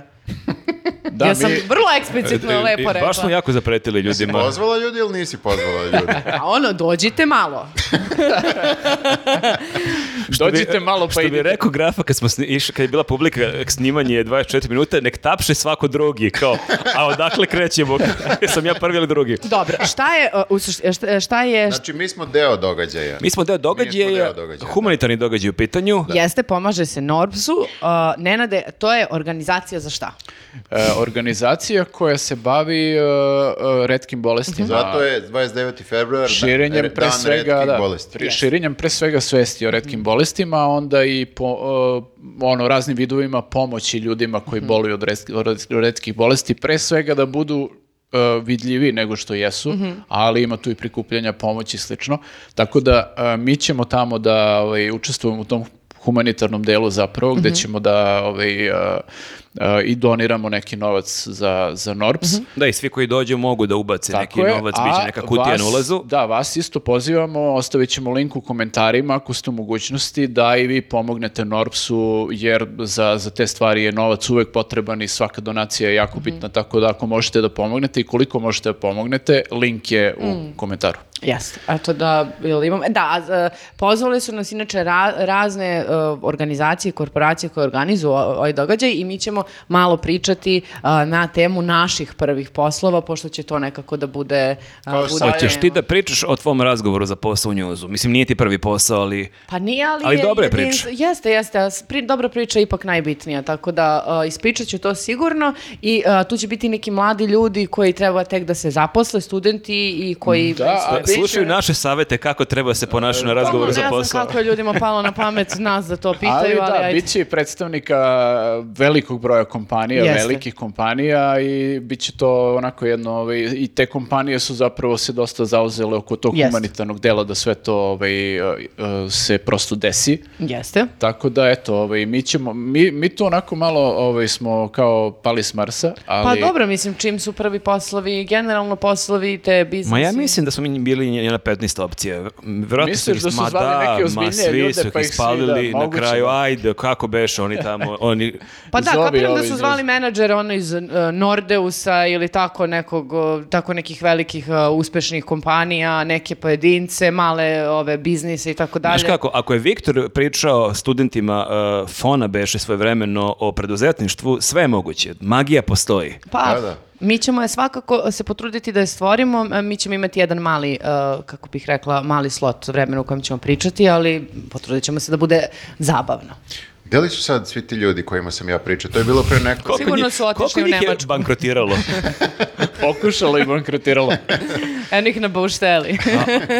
Speaker 1: Da,
Speaker 4: ja sam
Speaker 1: mi-
Speaker 4: vrlo eksplicitno
Speaker 3: E,
Speaker 4: lepo
Speaker 3: i-
Speaker 4: rekla.
Speaker 3: Baš smo jako zapretili ljudima.
Speaker 2: Pozvala ljudi ili nisi pozvala ljudi?
Speaker 4: A ono, dođite malo.
Speaker 1: dođite malo pa
Speaker 3: Što bi
Speaker 1: idite.
Speaker 3: rekao grafa kad, smo sni- išli- kad je bila publika, snimanje je 24 minuta, nek tapše svako drugi, kao, a odakle krećemo? Sam ja prvi ili drugi?
Speaker 4: Dobro, šta je, uh, u sušt- šta- šta je,
Speaker 2: Znači, mi smo deo događaja.
Speaker 3: Mi smo deo događaja,
Speaker 2: deo događaja, da.
Speaker 3: humanitarni događaj u pitanju.
Speaker 4: jeste, pomaže se Norbsu, uh, Nenade, to je organizacija za šta?
Speaker 1: E, organizacija koja se bavi e, e, retkim bolestima.
Speaker 2: Zato je 29. februar
Speaker 1: širenjem
Speaker 2: dan,
Speaker 1: pre
Speaker 2: dan
Speaker 1: svega
Speaker 2: retkih
Speaker 1: da,
Speaker 2: bolesti. Mhm.
Speaker 1: pri- širenjem pre svega svesti o retkim bolestima a onda i po e, ono raznim vidovima pomoći ljudima koji
Speaker 2: Mhm.
Speaker 1: boluju od res- od retkih bolesti pre svega da budu e, vidljivi nego što jesu,
Speaker 2: Mhm.
Speaker 1: ali ima tu i prikupljanja pomoći i slično. Tako da e, mi ćemo tamo da ovaj, učestvujemo u tom humanitarnom delu zapravo, gde
Speaker 2: Mhm.
Speaker 1: ćemo da ovaj, e, e, i doniramo neki novac za, za NORPS.
Speaker 2: Mhm.
Speaker 3: Da, i svi koji dođu mogu da ubace
Speaker 1: Tako
Speaker 3: neki
Speaker 1: je,
Speaker 3: novac,
Speaker 1: a
Speaker 3: biće neka kutija
Speaker 1: vas-
Speaker 3: na ulazu.
Speaker 1: Da, vas isto pozivamo, ostavit ćemo link u komentarima ako ste u mogućnosti da i vi pomognete Norpsu jer za, za te stvari je novac uvek potreban i svaka donacija je jako bitna, tako da ako možete da pomognete i koliko možete da pomognete, link je u komentaru.
Speaker 4: Jeste. Eto da, jel imam, da, a, e, pozvali su nas inače ra- razne e, organizacije, korporacije koje organizuju o- ovaj događaj i mi ćemo malo pričati a, na temu naših prvih poslova, pošto će to nekako da bude... a,
Speaker 2: Kao
Speaker 4: bude
Speaker 2: savjet.
Speaker 3: Hoćeš ti da pričaš o tvom razgovoru za posao u njuzu? Mislim, nije ti prvi posao, ali...
Speaker 4: Pa nije, ali,
Speaker 3: Ali dobra je
Speaker 4: jedinst-
Speaker 3: priča.
Speaker 4: Jeste, jeste. a s- pri- dobra priča je ipak najbitnija, tako da a, ispričat ću to sigurno i a, tu će biti neki mladi ljudi koji treba tek da se zaposle, studenti i koji...
Speaker 1: Da, a E,
Speaker 3: Da, Slušaju naše savete kako treba da se ponašati na razgovoru
Speaker 4: Ono,
Speaker 3: za
Speaker 4: Ne znam
Speaker 3: posao.
Speaker 4: kako je ljudima palo na pamet nas da to
Speaker 1: Ali
Speaker 4: pitaju, ali,
Speaker 1: da,
Speaker 4: ajde.
Speaker 1: bit će i predstavnika velikog broja kompanija,
Speaker 4: Jeste.
Speaker 1: velikih kompanija i bit će to onako jedno, ovaj, i te kompanije su zapravo se dosta zauzele oko tog
Speaker 4: Jeste.
Speaker 1: humanitarnog dela da sve to ovaj, eh, eh, se prosto desi.
Speaker 4: Jeste.
Speaker 1: Tako da, eto, ovaj, mi, ćemo, mi, mi tu onako malo ovaj, smo kao pali s Marsa, ali...
Speaker 4: Pa dobro, mislim, čim su prvi poslovi, generalno poslovi, te biznisi.
Speaker 3: Ma ja mislim da su mi bili njena 15 opcija. Vjerojatno su
Speaker 1: Misliš
Speaker 3: ih-
Speaker 1: da su
Speaker 3: ma
Speaker 1: zvali
Speaker 3: da,
Speaker 1: neke
Speaker 3: ma
Speaker 1: ozbiljnije
Speaker 3: svi
Speaker 1: ljude,
Speaker 3: su
Speaker 1: pa ih svi,
Speaker 3: ispalili
Speaker 1: da,
Speaker 3: na
Speaker 1: moguće
Speaker 3: kraju,
Speaker 1: da.
Speaker 3: ajde, kako beše oni tamo, oni...
Speaker 4: Pa da,
Speaker 1: zovi
Speaker 4: kapiram
Speaker 2: ovaj
Speaker 4: da
Speaker 1: ovi
Speaker 4: su
Speaker 1: iz-
Speaker 4: zvali menadžere ono iz e, Nordeusa ili tako nekog, e, tako nekih velikih e, uspešnih kompanija, neke pojedince, male ove biznise i tako dalje.
Speaker 3: Znaš kako, ako je Viktor pričao studentima uh, Fona Beše svojevremeno o preduzetništvu, sve je moguće, magija postoji.
Speaker 4: Pa,
Speaker 2: Da, da.
Speaker 4: mi ćemo je svakako se potruditi da je stvorimo, e, mi ćemo imati jedan mali, e, kako bih rekla, mali slot vremena u kojem ćemo pričati, ali potrudit ćemo se da bude zabavno.
Speaker 2: Gde li su sad svi ti ljudi kojima sam ja pričao? To je bilo pre neko...
Speaker 4: Sigurno
Speaker 3: njih-
Speaker 4: su otišli
Speaker 3: koliko
Speaker 4: u
Speaker 3: njih je
Speaker 4: Nemačku.
Speaker 3: bankrotiralo?
Speaker 1: pokušalo i bankrotiralo.
Speaker 4: Eno ih na baušteli.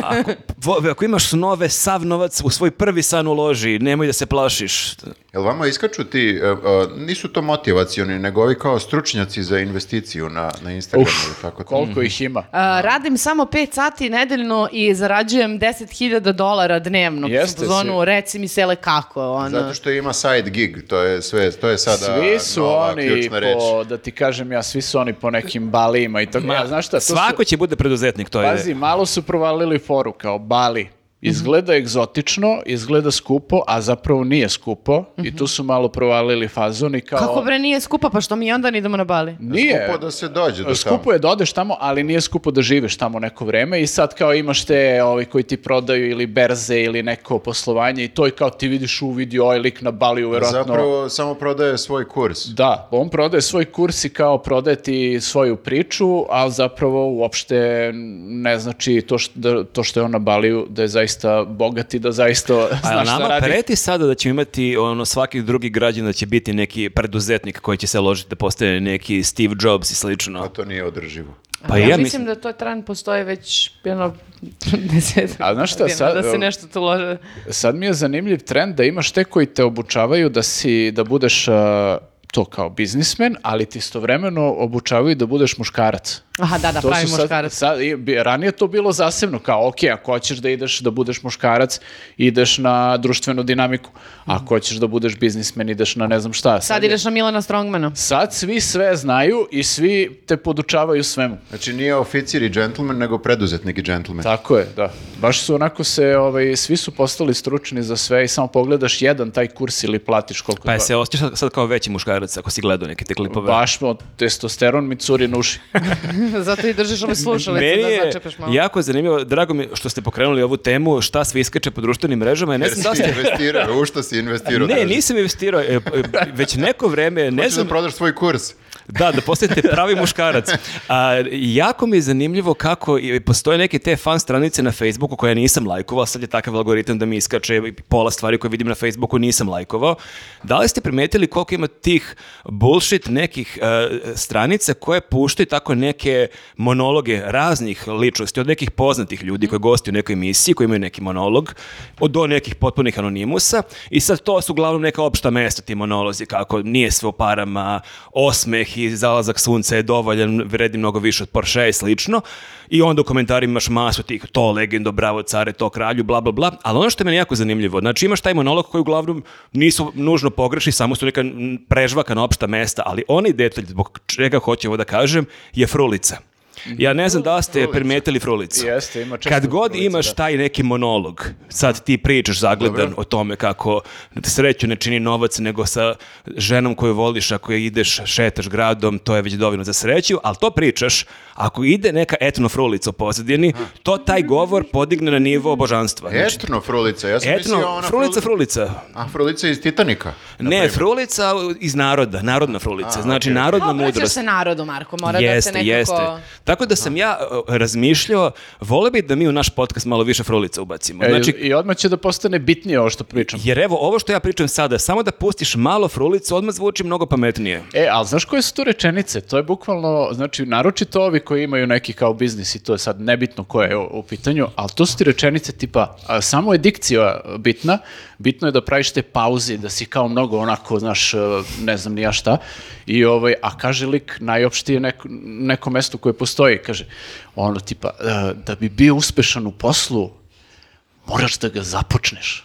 Speaker 3: Ako, vo- ako imaš snove, sav novac u svoj prvi san uloži, nemoj da se plašiš.
Speaker 2: Jel vama iskaču ti, e, e, nisu to motivacioni, nego ovi kao stručnjaci za investiciju na, na Instagramu ili tako to.
Speaker 1: Koliko ih ima?
Speaker 4: A, E, radim samo 5 sati nedeljno i zarađujem 10.000 dolara dnevno.
Speaker 1: Jeste,
Speaker 4: Jeste
Speaker 1: svi-
Speaker 4: zonu, reci mi sele kako. Ono.
Speaker 2: Zato što ima side gig, to je sve, to je sada
Speaker 1: Svi su
Speaker 2: nova
Speaker 1: oni
Speaker 2: ključna reč.
Speaker 1: po, da ti kažem ja, svi su oni po nekim balima i tako. Ja, znaš šta, to su-
Speaker 3: Svako će bude preduzetnik, to Pa je.
Speaker 1: Pazi, malo su provalili foru kao Bali. Izgleda egzotično, izgleda skupo, a zapravo nije skupo i tu su malo provalili fazon i kao...
Speaker 4: Kako bre nije skupa, pa što mi onda ne idemo na Bali?
Speaker 1: Nije.
Speaker 2: Skupo da se dođe do
Speaker 1: Skupo je da odeš tamo, ali nije skupo da živiš tamo neko vreme i sad kao imaš te ovi koji ti prodaju ili berze ili neko poslovanje i to je kao ti vidiš u video ovaj lik na Baliju,
Speaker 2: tamo.
Speaker 1: verovatno...
Speaker 2: Zapravo samo prodaje svoj kurs.
Speaker 1: Da, on prodaje svoj kurs i kao prodaje ti svoju priču, ali zapravo uopšte ne znači to što, da, to što je on na Baliju, da je zaista bogat i da zaista
Speaker 3: A jel
Speaker 1: zna šta
Speaker 3: nama
Speaker 1: radi.
Speaker 3: preti sada da ćemo imati ono svaki drugi građan da će biti neki preduzetnik koji će se ložiti da postane neki Steve Jobs i
Speaker 2: A
Speaker 3: slično.
Speaker 2: to nije održivo.
Speaker 3: Pa
Speaker 4: ja,
Speaker 3: ja
Speaker 4: mislim,
Speaker 3: mislim
Speaker 4: da to trend postoji već jedno deset
Speaker 1: A znaš šta,
Speaker 4: godina,
Speaker 1: sad,
Speaker 4: da se
Speaker 1: evo-
Speaker 4: nešto tu lože.
Speaker 1: Sad mi je zanimljiv trend da imaš te koji te obučavaju da si, da budeš uh, to kao biznismen, ali ti istovremeno obučavaju da budeš muškarac.
Speaker 4: Aha, da, da,
Speaker 1: To
Speaker 4: pravi
Speaker 1: su sad-
Speaker 4: muškarac.
Speaker 1: sad i- bi- ranije je to bilo zasebno, kao ok, ako hoćeš da ideš da budeš muškarac, ideš na društvenu dinamiku. Ako hoćeš da budeš biznismen, ideš na ne znam šta.
Speaker 4: Sad
Speaker 1: je-
Speaker 4: ideš na Milana Strongmana.
Speaker 1: Sad svi sve znaju i svi te podučavaju svemu.
Speaker 2: Znači nije oficir i džentlmen, nego preduzetnik i džentlmen.
Speaker 1: Tako je, da. Baš su onako se, ovaj, svi su postali stručni za sve i samo pogledaš jedan taj kurs ili platiš koliko
Speaker 3: Pa
Speaker 1: je
Speaker 3: je se osjećaš sad- sad kao veći muškarac ako si gledao neke te klipove.
Speaker 1: Baš mu testosteron mi curi na uši.
Speaker 4: Zato i držiš ove slušalice
Speaker 3: Meni
Speaker 4: da
Speaker 3: je
Speaker 4: začepaš malo.
Speaker 3: jako zanimljivo, drago mi je što ste pokrenuli ovu temu, šta sve iskače po društvenim mrežama. Ja ne
Speaker 2: Jer
Speaker 3: znam da li
Speaker 2: si
Speaker 3: ste...
Speaker 2: investirao, u što si investirao?
Speaker 3: Ne,
Speaker 2: Dražen?
Speaker 3: nisam investirao. e, e, Već neko vreme, ne
Speaker 2: Hoćeš
Speaker 3: znam... Znači-
Speaker 2: da prodaš svoj kurs.
Speaker 3: Da, da postanete pravi muškarac. A, jako mi je zanimljivo kako i- postoje neke te fan stranice na Facebooku koje ja nisam lajkovao, sad je takav algoritam da mi iskače pola stvari koje vidim na Facebooku nisam lajkovao. Da li ste primetili koliko ima tih bullshit nekih e, stranica koje puštaju tako neke monologe raznih ličnosti, od nekih poznatih ljudi koji gostuju u nekoj emisiji, koji imaju neki monolog, od do nekih potpunih anonimusa i sad to su uglavnom neka opšta mesta ti monolozi, kako nije sve u parama, osmeh i zalazak sunca je dovoljan, vredi mnogo više od Porsche i slično. I onda u komentarima imaš masu tih to legendo, bravo care, to kralju, bla bla bla. Ali ono što je meni jako zanimljivo, znači imaš taj monolog koji uglavnom nisu nužno pogrešni, samo su neka mm, prežvakana opšta mesta, ali onaj detalj zbog čega hoću ovo da kažem je frulica. Ja ne znam da li ste primetili frulicu.
Speaker 1: Jeste, ima često
Speaker 3: Kad god
Speaker 1: frulica,
Speaker 3: imaš taj neki monolog, sad ti pričaš zagledan o tome kako sreću ne čini novac, nego sa ženom koju voliš, ako je ideš, šetaš gradom, to je već dovoljno za sreću, ali to pričaš, ako ide neka etno frulica u pozadini, to taj govor podigne na nivo božanstva. Znači,
Speaker 2: Etno frulica, ja sam mislio ono
Speaker 3: etno,
Speaker 2: ona
Speaker 3: frulica,
Speaker 2: fruli-
Speaker 3: frulica.
Speaker 2: A frulica iz Titanika.
Speaker 3: Ne, frulica iz naroda, narodna frulica, znači narodna
Speaker 4: Obraćaš
Speaker 3: mudrost.
Speaker 4: se narodu, Marko, mora
Speaker 3: jeste,
Speaker 4: da se nekako...
Speaker 3: jeste. Tako da sam ja e, razmišljao, vole bi da mi u naš podcast malo više frulica ubacimo.
Speaker 1: E,
Speaker 3: Znači,
Speaker 1: I odmah će da postane bitnije ovo što pričam.
Speaker 3: jer evo, ovo što ja pričam sada, samo da pustiš malo frulicu, odmah zvuči mnogo pametnije.
Speaker 1: E, ali znaš koje su tu rečenice? To je bukvalno, znači, naročito ovi koji imaju neki kao biznis i to je sad nebitno koje je u, u pitanju, ali to su ti rečenice tipa, a, samo je dikcija bitna, bitno je da praviš te pauze, i da si kao mnogo onako, znaš, e, ne znam ni ja šta, i ovaj, a kaže lik, najopštije neko, neko mesto koje postoji, kaže, ono tipa, e, da bi bio uspešan u poslu, moraš da ga započneš.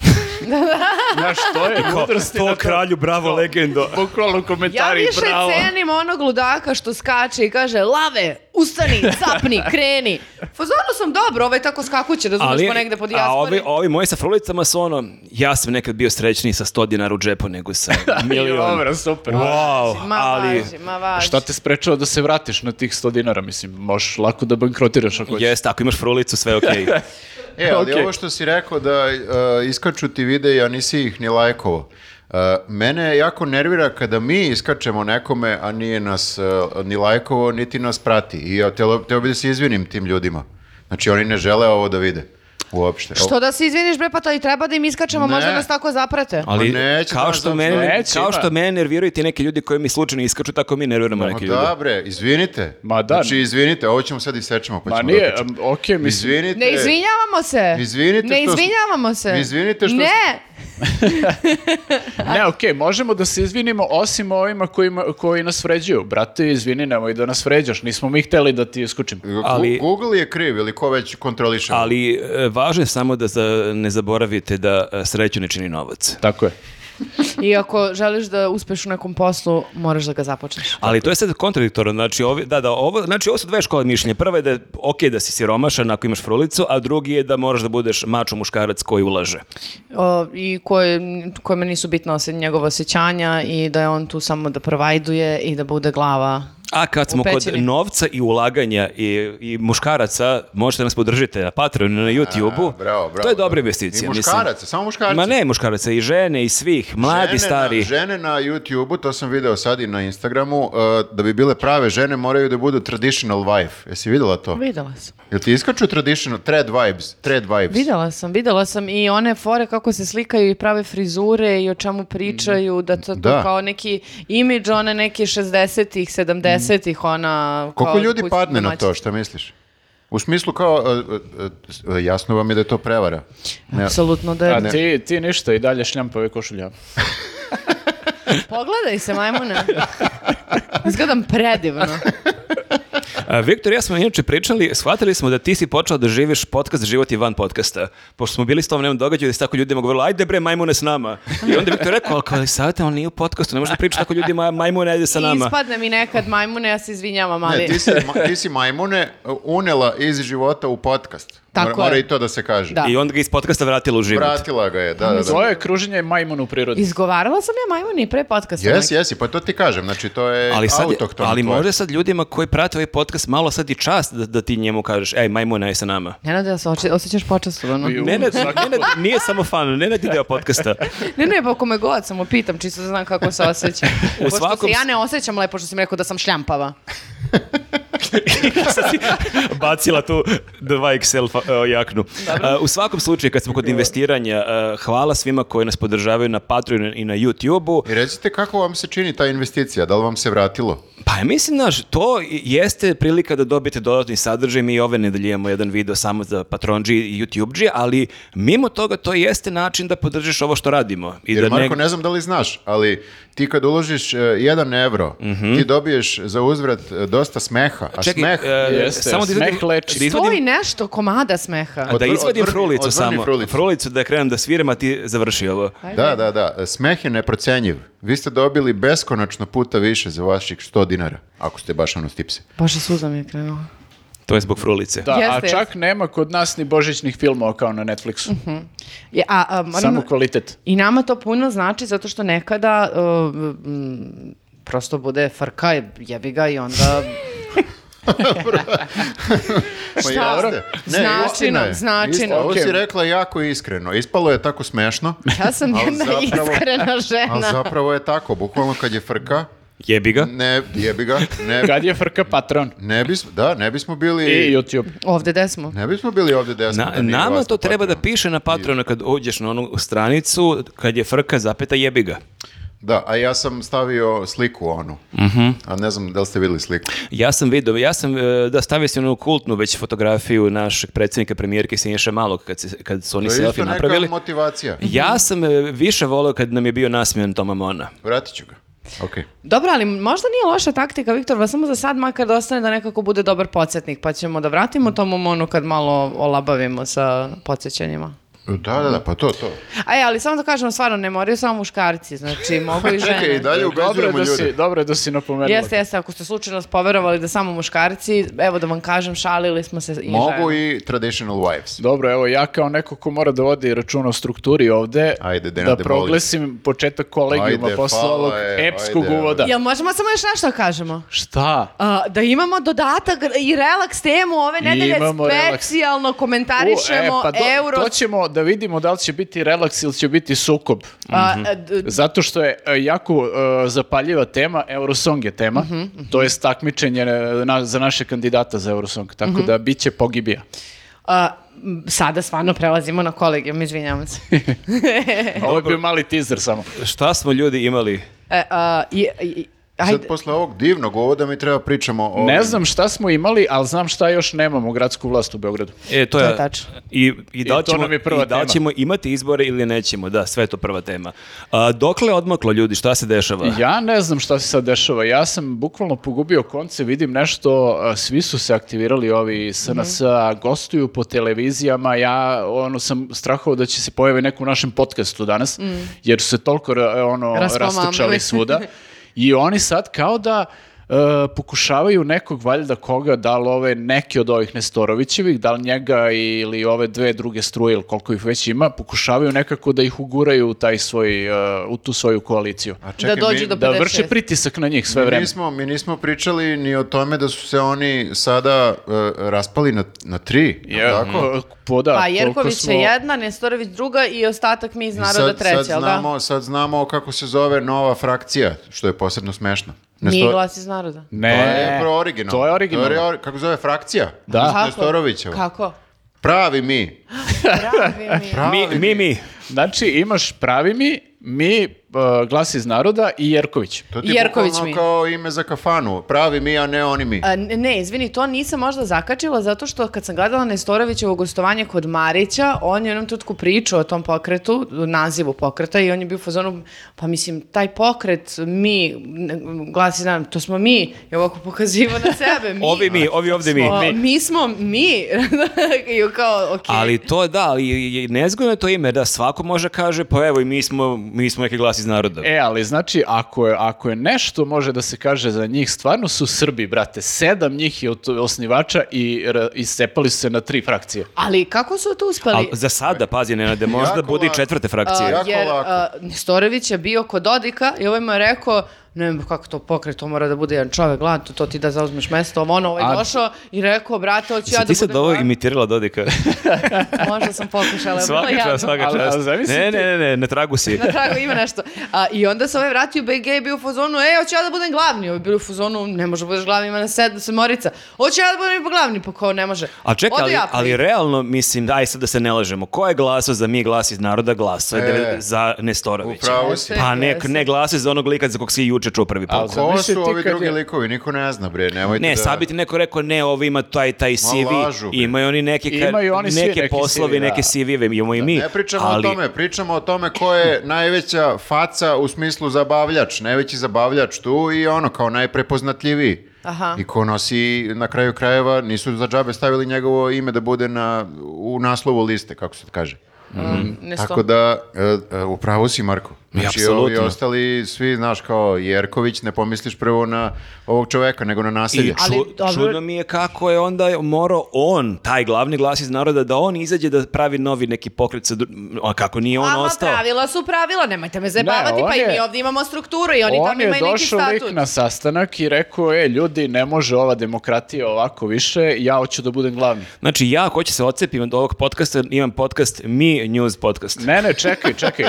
Speaker 1: Znaš, to je mudrosti na to-
Speaker 3: bravo, legendo.
Speaker 1: Bukvalno
Speaker 4: Ja
Speaker 1: komentari,
Speaker 4: više
Speaker 1: bravo.
Speaker 4: cenim onog ludaka što skače i kaže lave, ustani, capni, kreni. Fazonu sam dobro, ovaj tako skakuće, razumiješ
Speaker 3: Ali,
Speaker 4: ponegde negde po
Speaker 3: a
Speaker 4: dijaspori.
Speaker 3: ovi, ovi moji sa frulicama su ono, ja sam nekad bio srećniji sa 100 dinara u džepu nego sa milion.
Speaker 1: Dobro, super.
Speaker 3: wow,
Speaker 4: Znači, Ma
Speaker 3: ali...
Speaker 4: važi, ma važi.
Speaker 1: Šta te sprečava da se vratiš na tih 100 dinara? Mislim, možeš lako da bankrotiraš ako hoćeš.
Speaker 3: Jeste, ako imaš frulicu, sve je okej.
Speaker 2: E, ali
Speaker 1: Okej.
Speaker 2: ovo što si rekao da uh, iskaču ti videi, a nisi ih ni lajkovo. Uh, mene jako nervira kada mi iskačemo nekome, a nije nas uh, ni lajkovo, niti nas prati. I ja telo, teo bi da se izvinim tim ljudima. Znači, oni ne žele ovo da vide. uopšte.
Speaker 4: Što da se izviniš bre, pa to i treba da im iskačemo,
Speaker 2: Ne.
Speaker 4: možda nas tako zaprate.
Speaker 3: Ali
Speaker 2: Pa neće,
Speaker 3: kao,
Speaker 2: znaš
Speaker 3: što
Speaker 2: da-
Speaker 3: mene,
Speaker 1: Neće,
Speaker 3: kao
Speaker 1: ima.
Speaker 3: što mene nerviraju ti neki ljudi koji mi slučajno iskaču, tako mi nerviramo
Speaker 2: Ma
Speaker 3: neki ljudi.
Speaker 2: da bre, izvinite.
Speaker 1: Ma da.
Speaker 2: Znači, izvinite, ovo ćemo sad isečemo. Pa
Speaker 1: Ma
Speaker 2: ćemo
Speaker 1: nije,
Speaker 2: dokačiti.
Speaker 1: ok, mislim,
Speaker 2: Izvinite.
Speaker 4: Ne izvinjavamo se.
Speaker 2: e, Izvinite
Speaker 4: Ne
Speaker 2: što-
Speaker 4: izvinjavamo se.
Speaker 2: Izvinite što-
Speaker 4: Ne,
Speaker 1: ne, ok, možemo da se izvinimo osim ovima koji, koji nas vređuju. Brate, izvini, nemoj da nas vređaš, nismo mi hteli da ti iskučimo.
Speaker 2: Gu-
Speaker 3: Ali-
Speaker 2: Google je kriv ili ko već kontroliše.
Speaker 3: Ali e, važno je samo da za- ne zaboravite da e, sreću ne čini novac.
Speaker 1: Tako je.
Speaker 4: I ako želiš da uspeš u nekom poslu, moraš da ga započneš.
Speaker 3: Ali to je sad kontradiktorno, znači ovi, da, da, ovo, znači ovo su dve škole mišljenja. Prva je da je ok da si siromašan ako imaš frulicu, a drugi je da moraš da budeš mačo muškarac koji ulaže.
Speaker 4: O, I koje, kojima nisu bitna osje, njegova osjećanja i da je on tu samo da provajduje i da bude glava.
Speaker 3: A kad smo kod
Speaker 4: pećini.
Speaker 3: novca i ulaganja i, i muškaraca, možete da nas podržite na Patreonu, na YouTubeu.
Speaker 2: A, bravo, bravo.
Speaker 3: to je dobra
Speaker 2: bravo.
Speaker 3: investicija.
Speaker 2: I
Speaker 3: mislim.
Speaker 2: muškaraca, samo muškarci.
Speaker 3: Ma ne, muškaraca i žene i svih, mladi,
Speaker 2: Žene na-
Speaker 3: stari.
Speaker 2: žene na YouTube-u, to sam video sad i na Instagramu, uh, da bi bile prave žene moraju da budu traditional wife. Jesi vidjela to?
Speaker 4: Videla sam.
Speaker 2: Jel ti iskaču traditional, thread vibes, thread vibes?
Speaker 4: Videla sam, videla sam i one fore kako se slikaju i prave frizure i o čemu pričaju, da to, to
Speaker 2: Da.
Speaker 4: kao neki imidž, one neke 60-ih, 70-ih, ona...
Speaker 2: Mm. Koliko
Speaker 4: kao
Speaker 2: ljudi
Speaker 4: kućna
Speaker 2: padne na
Speaker 4: domaćica.
Speaker 2: to, šta misliš? U smislu kao, uh, uh, uh, jasno vam je da je to prevara. Ne.
Speaker 4: Apsolutno da je.
Speaker 1: A ti, ti ništa i dalje šljampave košulja.
Speaker 4: Pogledaj se, majmune. Izgledam predivno.
Speaker 3: A, Viktor, ja smo inače pričali, shvatili smo da ti si počeo da živiš podcast život i van podcasta. Pošto smo bili s tom nemam događaju da si tako ljudima govorili, ajde bre, majmune s nama. I onda je Viktor rekao, ali kao savjeta, on nije u podcastu, ne može da priča tako ljudima, majmune, ajde sa
Speaker 4: I
Speaker 3: nama.
Speaker 4: ispadne mi nekad majmune, ja se izvinjavam, ali...
Speaker 2: Ne, ti si, ma- ti si majmune uh, unela iz života u podcast.
Speaker 4: Tako
Speaker 2: mora, mora
Speaker 4: je.
Speaker 2: i to da se kaže.
Speaker 4: Da.
Speaker 3: I onda ga iz podcasta vratila u život.
Speaker 2: Vratila ga je, da, da, da.
Speaker 1: To je kruženje majmun u prirodi.
Speaker 4: Izgovarala sam ja majmune i pre podcasta.
Speaker 2: Jesi, jesi, pa to ti kažem, znači to je
Speaker 3: Ali, sad,
Speaker 2: autohtona
Speaker 3: ali
Speaker 2: tvar.
Speaker 3: možda sad ljudima koji prate ovaj podcast malo sad i čast da, da ti njemu kažeš, ej, majmune, aj sa nama.
Speaker 4: Nenade, ja se oči- osjećaš počastvovano.
Speaker 1: Ju,
Speaker 3: Ne, ne,
Speaker 1: svakako.
Speaker 3: nije samo fan, ne, ne, ti deo podcasta.
Speaker 4: Ne, ne, pa kome god samo pitam, čisto da znam kako se osjećam.
Speaker 3: U
Speaker 4: Pošto
Speaker 3: svakom
Speaker 4: se ja
Speaker 3: s-
Speaker 4: ne osjećam lepo što sam rekao da sam šljampava.
Speaker 3: Sad si bacila tu 2XL fa- e, jaknu. E, u svakom slučaju, kad smo kod investiranja, e, hvala svima koji nas podržavaju na Patreonu i na YouTubeu.
Speaker 2: I recite kako vam se čini ta investicija, da li vam se vratilo?
Speaker 3: Pa ja mislim, znaš, to i- jeste prilika da dobijete dodatni sadržaj. Mi i ove nedelje imamo jedan video samo za Patronđi i YouTubeđi, ali mimo toga to jeste način da podržiš ovo što radimo. I
Speaker 2: Jer
Speaker 3: da
Speaker 2: Marko,
Speaker 3: ne-
Speaker 2: ne znam da li znaš, ali ti kad uložiš e, jedan evro, ti dobiješ za uzvrat e, dosta smeha, a
Speaker 3: Čekaj,
Speaker 2: smeh...
Speaker 3: e,
Speaker 1: Jeste,
Speaker 3: samo da izvadim,
Speaker 1: smeh leči.
Speaker 3: da izvadim-
Speaker 4: Stoji nešto, komada smeha.
Speaker 3: da
Speaker 2: Odvrni-
Speaker 3: izvadim
Speaker 2: odvrni-
Speaker 3: frulicu
Speaker 2: odvrni
Speaker 3: samo.
Speaker 2: frulicu.
Speaker 3: Frulicu da krenem da sviram, a ti završi ovo.
Speaker 2: Da, da, da, e, smeh je neprocenjiv. Vi ste dobili beskonačno puta više za vaših 100 dinara, ako ste baš ono stipse.
Speaker 4: Paša suza mi je krenula.
Speaker 3: To je zbog frulice.
Speaker 1: Da,
Speaker 4: Jeste,
Speaker 1: a čak nema kod nas ni božićnih filmova kao na Netflixu.
Speaker 4: Je, a, a, moram-
Speaker 1: Samo kvalitet.
Speaker 4: I nama to puno znači zato što nekada uh, mm, prosto bude frka, jebi ga i onda...
Speaker 2: Pa
Speaker 4: Šta?
Speaker 2: jeste.
Speaker 4: Znači
Speaker 2: istina
Speaker 4: nam,
Speaker 2: je.
Speaker 4: znači
Speaker 2: Istina,
Speaker 4: nam.
Speaker 2: Ovo si
Speaker 1: Okej.
Speaker 2: rekla jako iskreno. Ispalo je tako smešno,
Speaker 4: Ja sam
Speaker 2: Ali
Speaker 4: jedna
Speaker 2: zapravo-
Speaker 4: iskrena
Speaker 2: ali
Speaker 4: žena.
Speaker 2: zapravo je tako. Bukvalno kad je frka,
Speaker 3: Jebi ga.
Speaker 2: ne, jebi ga, ne,
Speaker 1: Kad je frka patron
Speaker 2: ne bismo, da, ne bismo bili...
Speaker 1: i YouTube.
Speaker 4: Ovde gde smo?
Speaker 2: Ne bismo bili ovdje desno.
Speaker 3: Na,
Speaker 2: da nije
Speaker 3: nama
Speaker 2: vas
Speaker 3: to treba da
Speaker 2: Patreonu.
Speaker 3: piše na Patreonu kad uđeš na onu stranicu, kad je frka zapeta jebi ga.
Speaker 2: Da, a ja sam stavio sliku onu. A ne znam da li ste vidjeli sliku.
Speaker 3: Ja sam vidio, ja sam, e, da stavio si onu kultnu već fotografiju našeg predsjednika premijerke Sinješa Malog kad, se- kad su oni
Speaker 2: To je isto
Speaker 3: selfie
Speaker 2: neka
Speaker 3: napravili.
Speaker 2: motivacija.
Speaker 3: Ja sam e, više volio kad nam je bio nasmijan Toma Mona.
Speaker 2: Vratit ću ga. Ok.
Speaker 4: Dobro, ali možda nije loša taktika, Viktor, ba samo za sad makar da ostane da nekako bude dobar podsjetnik, pa ćemo da vratimo tomu monu kad malo olabavimo sa podsjećanjima.
Speaker 2: Da, da, da, pa to, to.
Speaker 4: A je, ali samo da kažem, stvarno, ne moraju samo muškarci, znači mogu i žene.
Speaker 2: Čekaj, i dalje
Speaker 1: Dobro je
Speaker 2: ubeđujemo
Speaker 1: da si,
Speaker 2: ljude.
Speaker 1: dobro je da si napomenula.
Speaker 4: Jeste, jeste, ako ste slučajno poverovali da samo muškarci, evo da vam kažem, šalili smo se i
Speaker 2: Mogu
Speaker 4: žene.
Speaker 2: i traditional wives.
Speaker 1: Dobro, evo, ja kao neko ko mora da vodi računa o strukturi ovde,
Speaker 2: Ajde,
Speaker 1: da
Speaker 2: Nenade,
Speaker 1: proglasim početak kolegijuma
Speaker 2: Ajde,
Speaker 1: posle
Speaker 2: hvala
Speaker 1: ovog
Speaker 2: je,
Speaker 1: epskog
Speaker 2: ajde,
Speaker 1: uvoda.
Speaker 4: Jel možemo samo još nešto da kažemo?
Speaker 1: Šta? e,
Speaker 4: A, da imamo dodatak i relaks temu ove nedelje,
Speaker 1: Imamo relaks.
Speaker 4: specijalno komentarišemo
Speaker 1: U, e, pa do-
Speaker 4: euro.
Speaker 1: To ćemo da vidimo da li će biti relaks ili će biti sukob.
Speaker 4: A,
Speaker 1: Mhm.
Speaker 4: d-
Speaker 1: Zato što je e, jako e, zapaljiva tema, Eurosong je tema,
Speaker 4: Mhm, Mhm.
Speaker 1: to je takmičenje e, na- za naše kandidata za Eurosong, tako da bit će pogibija.
Speaker 4: A, m, sada stvarno prelazimo na kolegijum, izvinjavam se.
Speaker 1: Ovo je bio mali teaser samo.
Speaker 3: Šta smo ljudi imali?
Speaker 4: E, a, i, i-
Speaker 2: Sad
Speaker 4: ajde,
Speaker 2: posle ovog divnog uvoda mi treba pričamo o...
Speaker 1: Ne znam šta smo imali, ali znam šta još nemamo gradsku vlast u Beogradu.
Speaker 3: E, to,
Speaker 4: To
Speaker 3: je,
Speaker 4: je tačno.
Speaker 3: I, i, da li
Speaker 1: I to
Speaker 3: ćemo,
Speaker 1: nam je prva
Speaker 3: i da li
Speaker 1: tema.
Speaker 3: ćemo imati izbore ili nećemo, da, sve je to prva tema. A, dokle je odmaklo ljudi, šta se dešava?
Speaker 1: Ja ne znam šta se sad dešava. Ja sam bukvalno pogubio konce, vidim nešto, a, svi su se aktivirali ovi iz SNS, a gostuju po televizijama. Ja ono sam strahovao da će se pojave neko u našem podcastu danas, jer su se toliko ra- ono
Speaker 4: Raspomamili.
Speaker 1: rastrčali svuda. I oni sad kao da e, pokušavaju nekog valjda koga, da li ove neke od ovih Nestorovićevih, da li njega ili ove dve druge struje ili koliko ih već ima, pokušavaju nekako da ih uguraju u, taj svoj, e, u tu svoju koaliciju
Speaker 2: A
Speaker 4: da dođe
Speaker 2: mi-
Speaker 4: do
Speaker 1: da vrše
Speaker 4: 56.
Speaker 1: pritisak na njih sve
Speaker 2: Mi
Speaker 1: vreme.
Speaker 2: nismo, mi nismo pričali ni o tome da su se oni sada e, raspali na, na tri.
Speaker 1: Je,
Speaker 2: jel' tako?
Speaker 1: e, po da,
Speaker 4: pa
Speaker 1: koliko
Speaker 4: Jerković
Speaker 1: smo-
Speaker 4: je jedna, Nestorović druga i ostatak mi iz
Speaker 2: I
Speaker 4: naroda
Speaker 2: sad- sad,
Speaker 4: treća, jel da?
Speaker 2: znamo, sad znamo kako se zove nova frakcija, što je posebno smešno. Ne
Speaker 4: Mi
Speaker 2: sto-
Speaker 4: glas iz naroda.
Speaker 1: Ne,
Speaker 2: To je pro originalno.
Speaker 1: To je originalno.
Speaker 2: To ori- kako se zove frakcija?
Speaker 1: Da.
Speaker 2: Mislim je
Speaker 4: Kako?
Speaker 2: Storovićeva.
Speaker 4: Kako?
Speaker 2: Pravi mi.
Speaker 4: Pravi mi.
Speaker 2: Pravi
Speaker 3: Mi, mi, mi.
Speaker 1: Znači, imaš pravi mi, mi, e, glas iz naroda i Jerković.
Speaker 2: To ti
Speaker 4: Jerković
Speaker 2: Jerković
Speaker 4: mi. E,
Speaker 2: kao ime za kafanu. Pravi mi, a ne oni mi.
Speaker 4: A, ne, ne, izvini, to nisam možda zakačila zato što kad sam gledala Nestorovićevo gostovanje kod Marića, on je u jednom tutku pričao o tom pokretu, o nazivu pokreta i on je bio u fazonu, pa mislim, taj pokret, mi, ne, glas iz naroda, to smo mi, je ovako pokazivo na sebe, mi.
Speaker 3: Ovi mi, ovi ovde mi.
Speaker 4: O, mi. smo mi. I kao, okej.
Speaker 3: Ali to da, ali je- je nezgodno je to ime, da svako može kaže, pa evo i mi smo, mi smo neki glas iz naroda.
Speaker 1: E, ali znači, ako je, ako je nešto može da se kaže za njih, stvarno su Srbi, brate. Sedam njih je od osnivača i ra- iscepali su se na tri frakcije.
Speaker 4: Ali kako su to uspeli?
Speaker 3: Ali za sada, pazi, Nenade, možda
Speaker 2: Jako
Speaker 3: bude i
Speaker 2: lako.
Speaker 3: četvrte frakcije.
Speaker 2: Jako
Speaker 4: jer
Speaker 2: lako.
Speaker 4: pa a, Nestorović je bio kod Dodika i ovaj mu je rekao, ne znam kako to pokret, to mora da bude jedan čovek glan, to, to ti da zauzmeš mesto, ovo ono, ovaj
Speaker 1: A-
Speaker 4: došao i rekao, brate, hoću ja
Speaker 3: Si
Speaker 4: da
Speaker 3: ti sad
Speaker 4: budem
Speaker 3: ovo
Speaker 4: glavni."
Speaker 3: imitirala Dodika?
Speaker 4: Možda sam pokušala, je bilo
Speaker 3: svaka
Speaker 4: jadno.
Speaker 3: čast, svaka
Speaker 1: Ali-
Speaker 3: čast.
Speaker 1: ali zamisli
Speaker 3: Ne,
Speaker 1: ti-
Speaker 3: ne, ne, ne, na tragu si.
Speaker 4: Na tragu ima nešto. A, I onda se ovaj vratio u BG i bio u fazonu, e, hoću ja da budem glavni. Ovo je bio u fazonu, ne može da budeš glavni, ima na sedam morica. Hoću ja da budem glavni, pa kao ne može.
Speaker 3: A čekaj,
Speaker 4: Odu
Speaker 3: ali,
Speaker 4: ja prvi.
Speaker 3: ali realno, mislim, daj sad da se ne lažemo. Ko je glasao za mi glas iz naroda glasa
Speaker 2: E.
Speaker 3: za Nestorovića?
Speaker 2: Upravo
Speaker 4: Jeste.
Speaker 2: si.
Speaker 3: Pa ne,
Speaker 4: Jeste.
Speaker 3: ne glasa za onog lika za kog si juče čuo prvi put.
Speaker 1: Ali
Speaker 2: Ko
Speaker 1: zamisli
Speaker 2: su
Speaker 1: ti
Speaker 2: ovi
Speaker 1: kad
Speaker 2: drugi
Speaker 1: je-
Speaker 2: likovi? Niko ne zna, bre. Nemojte
Speaker 3: Ne,
Speaker 2: da...
Speaker 3: sad bi ti neko rekao, ne, ovo ima taj, taj CV,
Speaker 2: lažu, bre.
Speaker 3: imaju oni neke, kar-
Speaker 1: Imaju oni svi
Speaker 3: neke
Speaker 1: neki
Speaker 3: poslove,
Speaker 1: CV, da.
Speaker 3: neke CV-ve, imamo i mi.
Speaker 2: Ne pričamo
Speaker 3: ali,
Speaker 2: o tome, pričamo o tome ko je najveća faca u smislu zabavljač, najveći zabavljač tu i ono kao najprepoznatljiviji.
Speaker 4: Aha.
Speaker 2: I ko nosi na kraju krajeva, nisu za džabe stavili njegovo ime da bude na, u naslovu liste, kako se kaže.
Speaker 3: Mhm.
Speaker 4: Ne
Speaker 2: Tako da, e, e, upravo si Marko. Znači, ovi
Speaker 3: apsolutno.
Speaker 2: ostali, svi, znaš, kao Jerković, ne pomisliš prvo na ovog čoveka, nego na nasilje.
Speaker 3: I
Speaker 4: Ali,
Speaker 3: ču-
Speaker 4: dobro-
Speaker 3: čudno mi je kako je onda morao on, taj glavni glas iz naroda, da on izađe da pravi novi neki pokret sa... dru- A kako nije on
Speaker 4: Ama
Speaker 3: ostao?
Speaker 4: pravila su pravila, nemojte me zajebavati,
Speaker 1: on
Speaker 4: pa i
Speaker 1: je-
Speaker 4: mi ovdje imamo strukturu i oni
Speaker 1: on
Speaker 4: tamo
Speaker 1: je
Speaker 4: imaju neki
Speaker 1: došao
Speaker 4: statut.
Speaker 1: lik na sastanak i rekao, e, ljudi, ne može ova demokratija ovako više, ja hoću da budem glavni.
Speaker 3: Znači, ja ko će se ocepim od ovog podcasta, imam podcast Mi News podcast.
Speaker 1: Ne, ne, čekaj, čekaj.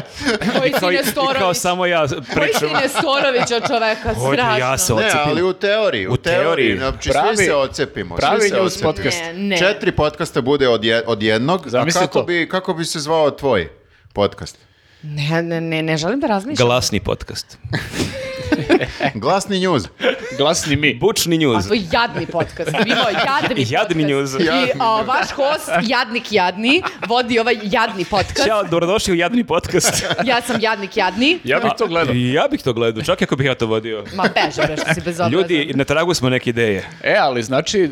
Speaker 4: Koji si
Speaker 3: Kao-
Speaker 4: Nestorović?
Speaker 3: Kao samo ja
Speaker 4: Koji si
Speaker 3: pričam.
Speaker 4: Nestorović od čoveka,
Speaker 3: Hoću
Speaker 4: strašno.
Speaker 3: ja se
Speaker 2: Ne,
Speaker 3: ocepim.
Speaker 2: ali u teoriji, u,
Speaker 3: U teoriji.
Speaker 2: teoriji, znači
Speaker 1: Pravi-
Speaker 2: svi se ocepimo. svi
Speaker 1: pravi
Speaker 2: se
Speaker 1: news
Speaker 2: ocepimo.
Speaker 1: podcast.
Speaker 4: Ne, ne.
Speaker 2: Četiri podcasta bude od, je- od jednog,
Speaker 1: Zamisli
Speaker 2: a kako
Speaker 1: to.
Speaker 2: bi, kako bi se zvao tvoj podcast?
Speaker 4: Ne, ne, ne, ne želim da razmišljam.
Speaker 3: Glasni podcast.
Speaker 1: E.
Speaker 2: Glasni news.
Speaker 1: Glasni mi.
Speaker 3: Bučni news.
Speaker 4: A to je jadni podcast. Bilo je jadni
Speaker 3: Jadni
Speaker 4: podcast.
Speaker 3: news.
Speaker 4: I
Speaker 2: Jadni
Speaker 4: a, vaš host, jadnik jadni, vodi ovaj jadni podcast.
Speaker 3: Ćao, dobrodošli u Jadni podcast.
Speaker 4: Ja sam jadnik jadni.
Speaker 1: Ja bih to gledao.
Speaker 3: Ja bih to gledao, čak i ako bih ja to vodio.
Speaker 4: Ma beže, bre, što si bez
Speaker 3: Ljudi, na tragu smo neke ideje.
Speaker 1: E, ali znači, e,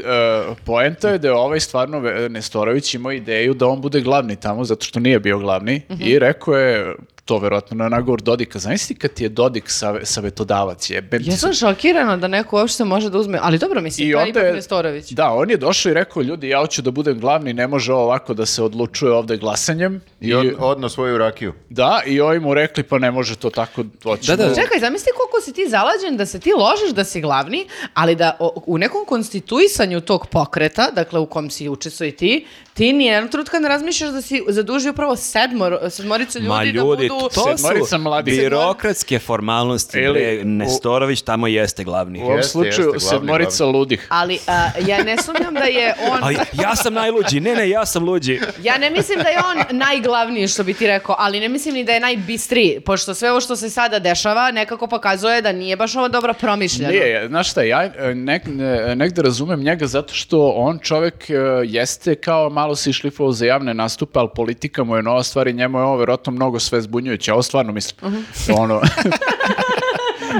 Speaker 1: poenta je da je ovaj stvarno ve- Nestorović imao ideju da on bude glavni tamo, zato što nije bio glavni, i rekao je, to verovatno na nagovor Dodika, znaš ti kad ti je Dodik save, savjetodavac, je,
Speaker 4: Ja sam šokirana da neko uopšte može da uzme, ali dobro mislim, to je ipak Nestorović.
Speaker 1: da, on je došao i rekao, ljudi, ja hoću da budem glavni, ne može ovo ovako da se odlučuje ovde glasanjem,
Speaker 2: I od, odno svoju rakiju.
Speaker 1: Da, i ovi mu rekli pa ne može to tako doći.
Speaker 3: Da, da.
Speaker 4: Čekaj, zamisli koliko si ti zalađen da se ti ložiš da si glavni, ali da o- u nekom konstituisanju tog pokreta, dakle u kom si učestvo i ti, ti ni jednog trenutka ne razmišljaš da si zadužio pravo sedmor, sedmoricu ljudi,
Speaker 3: Ma ljudi,
Speaker 4: da budu...
Speaker 3: to
Speaker 1: Sedmorica
Speaker 3: su
Speaker 1: mladih.
Speaker 3: birokratske formalnosti. Bre,
Speaker 1: Ili-
Speaker 3: Nestorović tamo jeste glavni.
Speaker 1: U ovom
Speaker 2: Jeste,
Speaker 1: slučaju
Speaker 2: jeste, glavni,
Speaker 1: sedmorica ludih.
Speaker 4: Ali a, ja ne sumnjam da je on...
Speaker 3: Ali ja sam najluđi, ne, ne, ja sam luđi.
Speaker 4: Ja ne mislim da je on najglavniji što bi ti rekao, ali ne mislim ni da je najbistriji, pošto sve ovo što se sada dešava nekako pokazuje da nije baš ovo dobro promišljeno.
Speaker 1: Nije, znaš šta, ja e, nek, ne- negde razumem njega zato što on čovek e, jeste kao malo se išlifovao za javne nastupe, ali politika mu je nova stvar i njemu je ovo verovatno mnogo sve zbunjujuće, a ovo stvarno mislim.
Speaker 3: Mhm.
Speaker 1: Ono,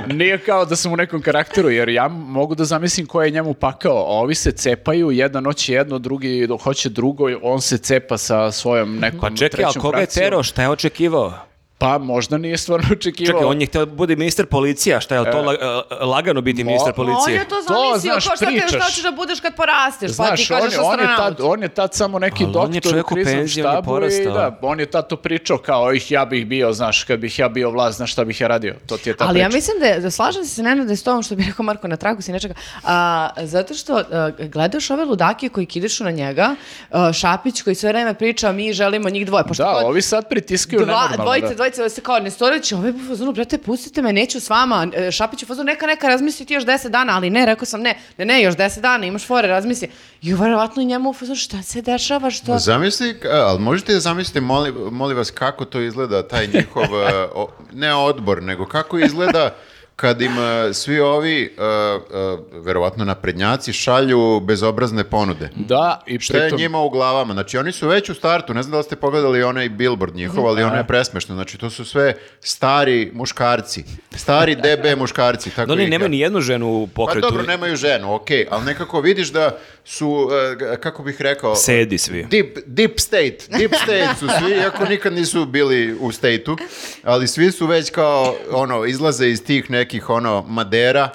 Speaker 1: Nije kao da sam u nekom karakteru, jer ja mogu da zamislim ko je njemu pakao. a Ovi se cepaju, jedan hoće jedno, drugi hoće drugo, on se cepa sa svojom nekom
Speaker 3: Pa čekaj, a
Speaker 1: trećom
Speaker 3: koga je
Speaker 1: frakcijom.
Speaker 3: terao, šta je očekivao?
Speaker 1: Pa možda nije stvarno očekivao.
Speaker 3: Čekaj, on je htio da bude ministar policija, šta je li to la- e, lagano biti ministar
Speaker 4: Ma, On
Speaker 3: policije?
Speaker 4: je to
Speaker 1: To,
Speaker 4: zamislio,
Speaker 1: znaš,
Speaker 4: kao šta te šta
Speaker 1: pričaš.
Speaker 4: ćeš da budeš kad porasteš, pa ti
Speaker 1: Znaš, on,
Speaker 4: kažeš
Speaker 1: je, on, je tad,
Speaker 4: astronaut.
Speaker 1: on je tad samo neki
Speaker 3: Ali on je
Speaker 1: doktor u
Speaker 3: čovjek u
Speaker 1: kriznom
Speaker 3: penziji, on je
Speaker 1: štabu i
Speaker 3: porastao.
Speaker 1: da, on je tad to pričao kao, ih, ja bih bio, znaš, kad bih ja bio vlast, znaš šta bih ja radio, to ti je ta
Speaker 4: Ali
Speaker 1: priča.
Speaker 4: ja mislim da, je- da slažem se Nenade s tom što bi rekao Marko na tragu si nečega. A, zato što a, gledaš ove ludake koji kidišu na njega, a, Šapić koji sve vreme priča mi želimo njih dvoje. Pošto
Speaker 1: Da,
Speaker 4: god-
Speaker 1: ovi sad pritiskaju
Speaker 4: Dva,
Speaker 1: nenormalno.
Speaker 4: dvojica,
Speaker 1: da.
Speaker 4: dvojica, se kao Nestorović, ovaj bu fazonu, brate, pustite me, neću s vama. E, Šapić je u fazonu, neka, neka, razmisli ti još deset dana, ali ne, rekao sam ne, ne, ne, još deset dana, imaš fore, razmisli. I verovatno njemu u fazonu, šta se dešava, što...
Speaker 2: Zamisli, k- ali možete da zamislite, molim, molim vas, kako to izgleda, taj njihov, e, o- ne odbor, nego kako izgleda kad im e, svi ovi, e, e, verovatno naprednjaci, šalju bezobrazne ponude.
Speaker 1: Da, i
Speaker 2: Šta je
Speaker 1: pritom,
Speaker 2: njima u glavama? Znači, oni su već u startu, ne znam da li ste pogledali onaj billboard njihov, ali ono je presmešno. Znači, to su sve stari muškarci, stari DB muškarci. Tako
Speaker 3: Da oni
Speaker 2: ih-
Speaker 3: nemaju ni jednu ženu u
Speaker 2: Pa
Speaker 3: pokretu.
Speaker 2: dobro, nemaju ženu, okej, ali nekako vidiš da su, e, g- kako bih rekao...
Speaker 3: Sedi svi.
Speaker 2: Deep, deep state, deep state su svi, iako nikad nisu bili u state-u, ali svi su već kao, ono, izlaze iz tih nekih, ono, madera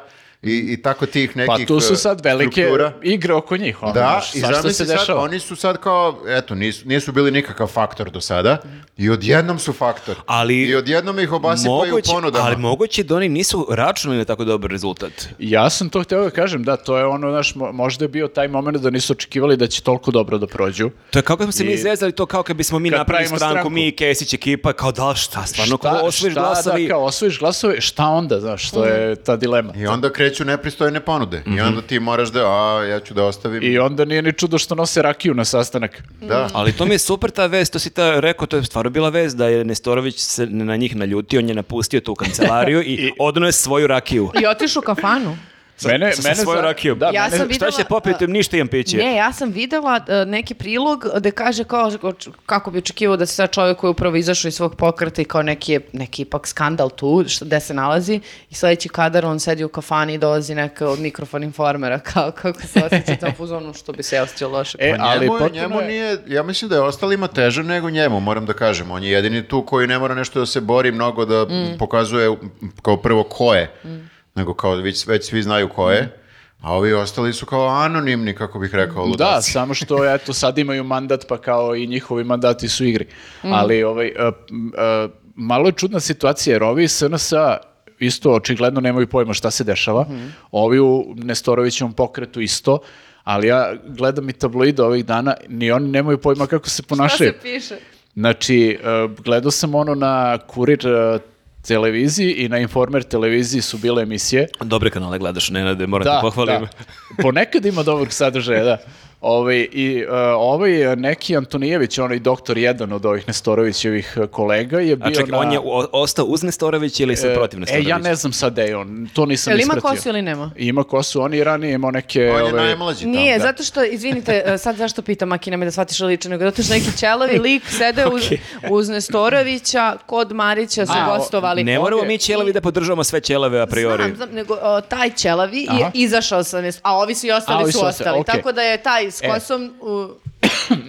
Speaker 2: i, i tako tih
Speaker 1: pa
Speaker 2: nekih
Speaker 1: tu su
Speaker 2: e,
Speaker 1: sad velike
Speaker 2: struktura.
Speaker 1: igre oko njih. Ono,
Speaker 2: Da,
Speaker 1: znaš,
Speaker 2: i
Speaker 1: svašta
Speaker 2: zamisli
Speaker 1: se
Speaker 2: sad,
Speaker 1: dešava.
Speaker 2: oni su sad kao, eto, nisu, nisu bili nikakav faktor do sada i odjednom su faktor.
Speaker 3: Ali-
Speaker 2: I odjednom ih obasipaju
Speaker 3: Moguće,
Speaker 2: ponudama.
Speaker 3: ali moguće da oni nisu računali na tako dobar rezultat.
Speaker 1: Ja sam to htio da kažem, da, to je ono, znaš, mo- možda je bio taj moment da nisu očekivali da će toliko dobro da prođu.
Speaker 3: To je kako smo se mi
Speaker 1: I-
Speaker 3: zezali to kao kad bismo mi
Speaker 1: Kad
Speaker 3: napravili
Speaker 1: pravimo
Speaker 3: stranku,
Speaker 1: stranku.
Speaker 3: mi i Kesić ekipa, kao da šta, stvarno Pa kao osvojiš
Speaker 1: šta
Speaker 3: glasovi.
Speaker 1: Da, kao osvojiš glasove, šta onda, znaš, to je ta dilema.
Speaker 2: Mm. I onda kreću nepristojne ponude. I onda ti moraš da, a, ja ću da ostavim.
Speaker 1: I onda nije ni čudo što nose rakiju na sastanak.
Speaker 2: Da.
Speaker 3: Ali to mi je super ta vez, to si ta rekao, to je stvarno bila vez da je Nestorović se na njih naljutio, on je napustio tu kancelariju i, odneo je svoju rakiju.
Speaker 4: I otišu u kafanu.
Speaker 1: mene,
Speaker 3: Sa svojom
Speaker 1: za-
Speaker 3: rakijom.
Speaker 1: Da,
Speaker 4: Ja
Speaker 1: mene-
Speaker 4: sam
Speaker 3: Šta
Speaker 4: videla,
Speaker 3: će popiti, ništa imam piće.
Speaker 4: Ne, ja sam videla e, neki prilog da kaže kao oč- kako bi očekivao da se sad čovjek koji je upravo izašao iz svog pokreta i kao neki, je- neki ipak skandal tu, što, gde se nalazi i sledeći kadar on sedi u kafani i dolazi neka od mikrofon informera kao kako se osjeća tom fuzonu što bi se ja osjećao loše.
Speaker 3: Pa
Speaker 1: E,
Speaker 2: Ali
Speaker 1: ali
Speaker 2: njemu,
Speaker 1: potpuno
Speaker 2: njemu
Speaker 1: je-
Speaker 2: nije, ja mislim da je ostalima teže nego njemu, moram da kažem. On je jedini tu koji ne mora nešto da se bori mnogo da pokazuje m, kao prvo ko je, nego kao već, već svi znaju ko je. A ovi ostali su kao anonimni, kako bih rekao, ludaci.
Speaker 1: Da, samo što eto sad imaju mandat pa kao i njihovi mandati su u igri.
Speaker 4: Mhm.
Speaker 1: Ali ovaj e, m, e, malo je čudna situacija jer ovi iz SNS-a isto očigledno nemaju pojma šta se dešava.
Speaker 4: Mhm.
Speaker 1: Ovi u Nestorovićevom pokretu isto, ali ja gledam i tabloide ovih dana, ni oni nemaju pojma kako se ponašaju.
Speaker 4: piše?
Speaker 1: Znači, e, gledao sam ono na Kurir e, televiziji i na Informer televiziji su bile emisije.
Speaker 3: Dobre kanale gledaš, Nenade, moram da,
Speaker 1: Da,
Speaker 3: te pohvalim.
Speaker 1: da. Ponekad ima dobrog sadržaja, da. Ovaj, i e, ovaj neki Antonijević, onaj doktor jedan od ovih Nestorovićevih e, kolega je bio
Speaker 3: A čekaj,
Speaker 1: na...
Speaker 3: on je o- ostao uz Nestorović ili se
Speaker 1: e,
Speaker 3: protiv
Speaker 1: E,
Speaker 3: Nestorovića?
Speaker 1: ja ne znam sad gde je on, to nisam
Speaker 4: Jel ima
Speaker 1: ispratio.
Speaker 4: kosu ili nema?
Speaker 1: Ima kosu, on je ranije imao neke...
Speaker 2: On je
Speaker 1: ovaj,
Speaker 2: najmlađi tamo.
Speaker 4: Nije,
Speaker 2: da.
Speaker 4: zato što, izvinite, e, sad zašto pitam Akina me da shvatiš lično, nego zato što neki ćelavi lik sede uz, uz Nestorovića, kod Marića su
Speaker 1: A, o-
Speaker 4: gostovali.
Speaker 3: Ne moramo
Speaker 1: Ok.
Speaker 3: mi ćelavi da podržavamo sve ćelave a priori.
Speaker 4: Znam, znam, nego o, taj ćelavi je
Speaker 1: Aha.
Speaker 4: izašao sa nes... a ovi svi
Speaker 1: A,
Speaker 4: ostali
Speaker 1: ovi
Speaker 4: su
Speaker 1: su ostali,
Speaker 4: ostali.
Speaker 1: okej.
Speaker 4: Tako da je taj s
Speaker 1: E.
Speaker 4: kosom... u-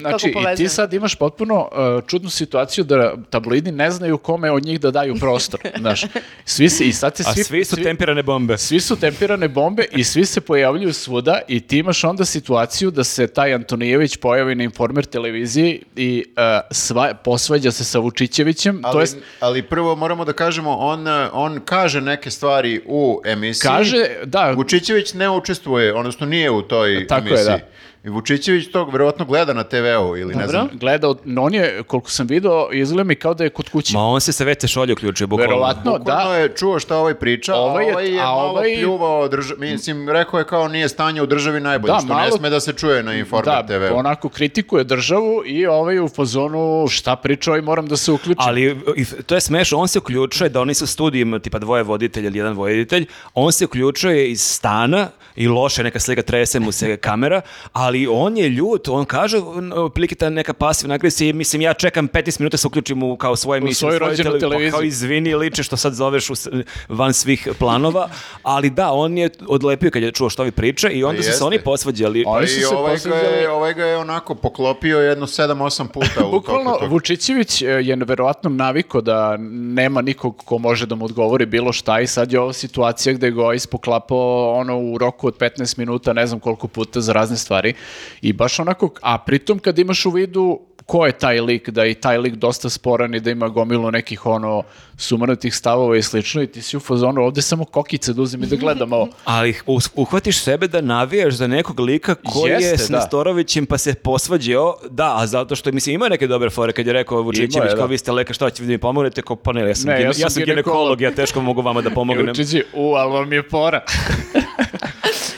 Speaker 1: Znači, i ti
Speaker 4: povezujem?
Speaker 1: sad imaš potpuno uh, čudnu situaciju da tabloidi ne znaju kome od njih da daju prostor, znaš. Svi se, i sad se
Speaker 3: A
Speaker 1: svi...
Speaker 3: svi su temperane bombe.
Speaker 1: svi su tempirane bombe i svi se pojavljuju svuda i ti imaš onda situaciju da se taj Antonijević pojavi na Informer televiziji i e, sva, posvađa se sa Vučićevićem, to
Speaker 2: Ali,
Speaker 1: jest
Speaker 2: ali prvo moramo da kažemo, on, eh, on kaže neke stvari u emisiji.
Speaker 1: kaže, da,
Speaker 2: Vučićević ne učestvuje, odnosno nije u toj
Speaker 1: E, Tako je,
Speaker 2: emisiji.
Speaker 1: da.
Speaker 2: I Vučićević to verovatno gleda na TV-u ili ne znam.
Speaker 1: gleda, od- no on je, koliko sam video, izgleda mi kao da je kod kuće.
Speaker 3: Ma on se sa vete šolje uključio, bukvalno.
Speaker 1: Verovatno,
Speaker 2: Bukvalno
Speaker 1: da.
Speaker 2: je čuo šta ovaj priča,
Speaker 1: Ovaj
Speaker 2: a
Speaker 1: je-
Speaker 2: ovaj je
Speaker 1: a
Speaker 2: malo
Speaker 1: ovaj-
Speaker 2: pljuvao, drža- mislim, rekao je kao nije stanje u državi najbolje,
Speaker 1: Da,
Speaker 2: što ne
Speaker 1: malo-
Speaker 2: sme da se čuje na Informer
Speaker 1: Da,
Speaker 2: TV-u.
Speaker 1: onako kritikuje državu i ovaj u fazonu šta priča, ovaj moram da se uključim.
Speaker 3: Ali i f- to je smešno, on se uključuje da oni su studijima, tipa dvoje voditelja ili jedan voditelj, on se uključuje iz stana i loše neka slika, trese mu se kamera, ali on je ljut, on kaže, n- otprilike ta neka pasivna agresija, i mislim ja čekam 15 minuta se uključim u kao svoje emisiju,
Speaker 1: svoju rođenu
Speaker 3: pa
Speaker 1: televiziju.
Speaker 3: Kao izvini liče što sad zoveš u s- van svih planova, ali da, on je odlepio kad je čuo što vi priča i onda su se
Speaker 2: jeste.
Speaker 3: oni posvađali.
Speaker 1: Oni
Speaker 2: Pa
Speaker 1: su
Speaker 2: I
Speaker 1: se
Speaker 2: ovaj ga,
Speaker 1: posvađali-
Speaker 2: je, ovaj ga je onako poklopio jedno 7-8 puta u
Speaker 1: Bukvalno,
Speaker 2: toku toga.
Speaker 1: Vučićević e, je verovatno naviko da nema nikog ko može da mu odgovori bilo šta i sad je ovo situacija gde ga je ispoklapao ono u roku od 15 minuta, ne znam koliko puta za razne stvari i baš onako, a pritom kad imaš u vidu ko je taj lik, da je i taj lik dosta sporan i da ima gomilu nekih ono sumrnutih stavova i slično i ti si u fazonu ovde samo kokice da uzim i da gledam ovo.
Speaker 3: Ali ih us- uhvatiš sebe da navijaš za nekog lika koji je
Speaker 1: Jeste,
Speaker 3: s
Speaker 1: da.
Speaker 3: Nestorovićem pa se posvađao, da, a zato što mislim ima neke dobre fore kad je rekao
Speaker 1: Imao
Speaker 3: Vučićević
Speaker 1: je, da.
Speaker 3: kao vi ste lekar, šta ćete da mi pomognete, kao pa ne, ja sam,
Speaker 1: Ne,
Speaker 3: gine-
Speaker 1: ja sam
Speaker 3: ja sam
Speaker 1: ginekolog.
Speaker 3: ginekolog, ja teško mogu vama da
Speaker 1: I
Speaker 3: pomognem.
Speaker 1: Vučić je, u, ali vam je pora.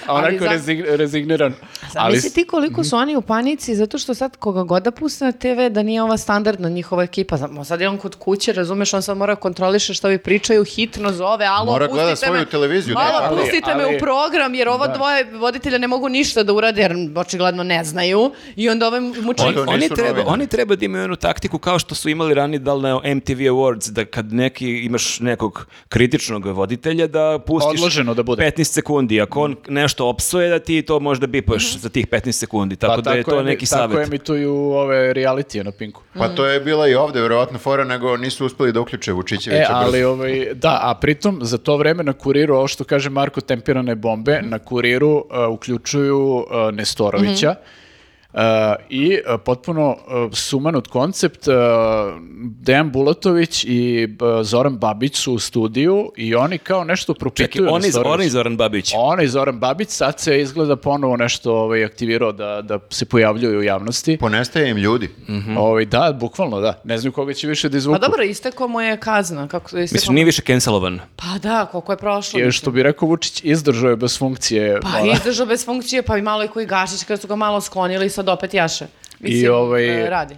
Speaker 1: a
Speaker 4: Ali
Speaker 1: onako
Speaker 4: za-
Speaker 1: rezig- rezigniran.
Speaker 4: Zamisli ti koliko su oni u panici, zato što sad koga god da puste na TV, da nije ova standardna njihova ekipa. Znam, Sad je on kod kuće, razumeš, on sad mora kontroliše što vi pričaju, hitno zove, alo,
Speaker 2: Mora
Speaker 4: pustite
Speaker 2: gleda
Speaker 4: me.
Speaker 2: svoju televiziju, ne,
Speaker 4: Malo,
Speaker 1: ali-
Speaker 4: pustite me
Speaker 1: ali-
Speaker 4: u program, jer ova dvoje voditelja ne mogu ništa da urade, jer očigledno ne znaju. I onda ovaj muči...
Speaker 2: Oni- to nisu
Speaker 3: oni, treba,
Speaker 2: novinari.
Speaker 3: oni treba da imaju onu taktiku kao što su imali rani da li na MTV Awards, da kad neki imaš nekog kritičnog voditelja da pustiš
Speaker 1: Odloženo da bude.
Speaker 3: 15 sekundi. Ako on nešto opsuje da ti to možda bipaš za tih 15 sekundi. Tako da je to
Speaker 1: mi-
Speaker 3: neki
Speaker 1: Mhm. Pa tako
Speaker 3: savjet.
Speaker 1: emituju ove realitije na Pinku.
Speaker 2: Pa to je bila i ovde, verovatno, fora, nego nisu uspeli da uključe Vučićevića.
Speaker 1: E,
Speaker 2: brzo.
Speaker 1: ali ovaj, da, a pritom za to vreme na kuriru, ovo što kaže Marko, tempirane bombe,
Speaker 3: Mhm.
Speaker 1: na kuriru uh, uključuju uh, Nestorovića
Speaker 3: Mhm.
Speaker 1: uh, i uh, potpuno uh, sumanut koncept, uh, Dejan Bulatović i uh, Zoran Babić su u studiju i oni kao nešto
Speaker 3: Čekaj,
Speaker 1: propituju
Speaker 3: on je
Speaker 1: Nestorovića.
Speaker 3: on je Zoran Babić.
Speaker 1: Onaj Zoran Babić sad se izgleda ponovo nešto ovaj, aktivirao da, da se pojavljuju u javnosti.
Speaker 2: Ponestaje im ljudi.
Speaker 1: Ovaj, da, bukvalno da. Ne znam koga će više da izvuku.
Speaker 4: Mhm. Pa dobro, istekao mu je kazna. Kako, istekao
Speaker 3: Mislim,
Speaker 4: mu-
Speaker 3: nije više cancelovan.
Speaker 4: Pa da, koliko je prošlo.
Speaker 1: Je, što bi rekao Vučić, izdržao je bez funkcije. ono.
Speaker 4: Pa
Speaker 1: Ona-
Speaker 4: izdržao bez funkcije, pa i malo i koji gašić kada su ga malo sklonili, sad opet jaše. Mislim,
Speaker 1: ovaj-
Speaker 4: e, radi.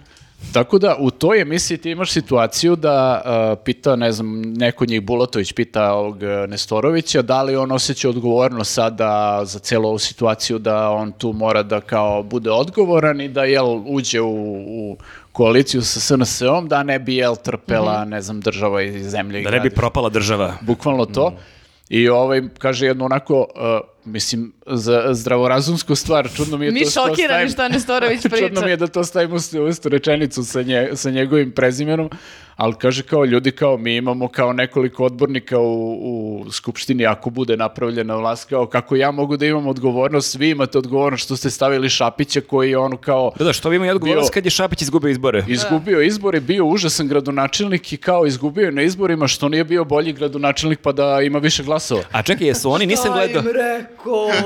Speaker 1: Tako da, u toj emisiji ti imaš situaciju da uh, pita, ne znam, neko od njih Bulatović pita ovog uh, Nestorovića, da li on osjeća odgovornost sada za celu ovu situaciju, da on tu mora da kao bude odgovoran i da jel uđe u, u koaliciju sa SNS-om, da ne bi jel
Speaker 4: Mhm.
Speaker 1: trpela, ne znam, država i zemlja i
Speaker 3: Da ne bi
Speaker 1: grad.
Speaker 3: propala država.
Speaker 1: bukvalno to. I ovaj kaže jednu onako, uh, mislim, za zdravorazumsku stvar, čudno mi je
Speaker 4: Mi
Speaker 1: to što
Speaker 4: šokirani
Speaker 1: stavim-
Speaker 4: što Nestorović
Speaker 1: Čudno mi je
Speaker 4: priča.
Speaker 1: da to stavimo u istu rečenicu sa, nje, sa njegovim prezimenom, ali kaže kao ljudi kao mi imamo kao nekoliko odbornika u, u skupštini ako bude napravljena vlast, kao kako ja mogu da imam odgovornost, vi imate odgovornost što ste stavili Šapića koji je ono kao
Speaker 3: Da, da, što vi imamo odgovornost
Speaker 1: Bio-
Speaker 3: kad je Šapić izgubio izbore?
Speaker 1: izgubio izbore, bio užasan gradonačelnik i kao izgubio je na izborima što nije bio bolji gradonačelnik pa da ima više glasova.
Speaker 3: A čekaj, jesu oni, nisam gledao.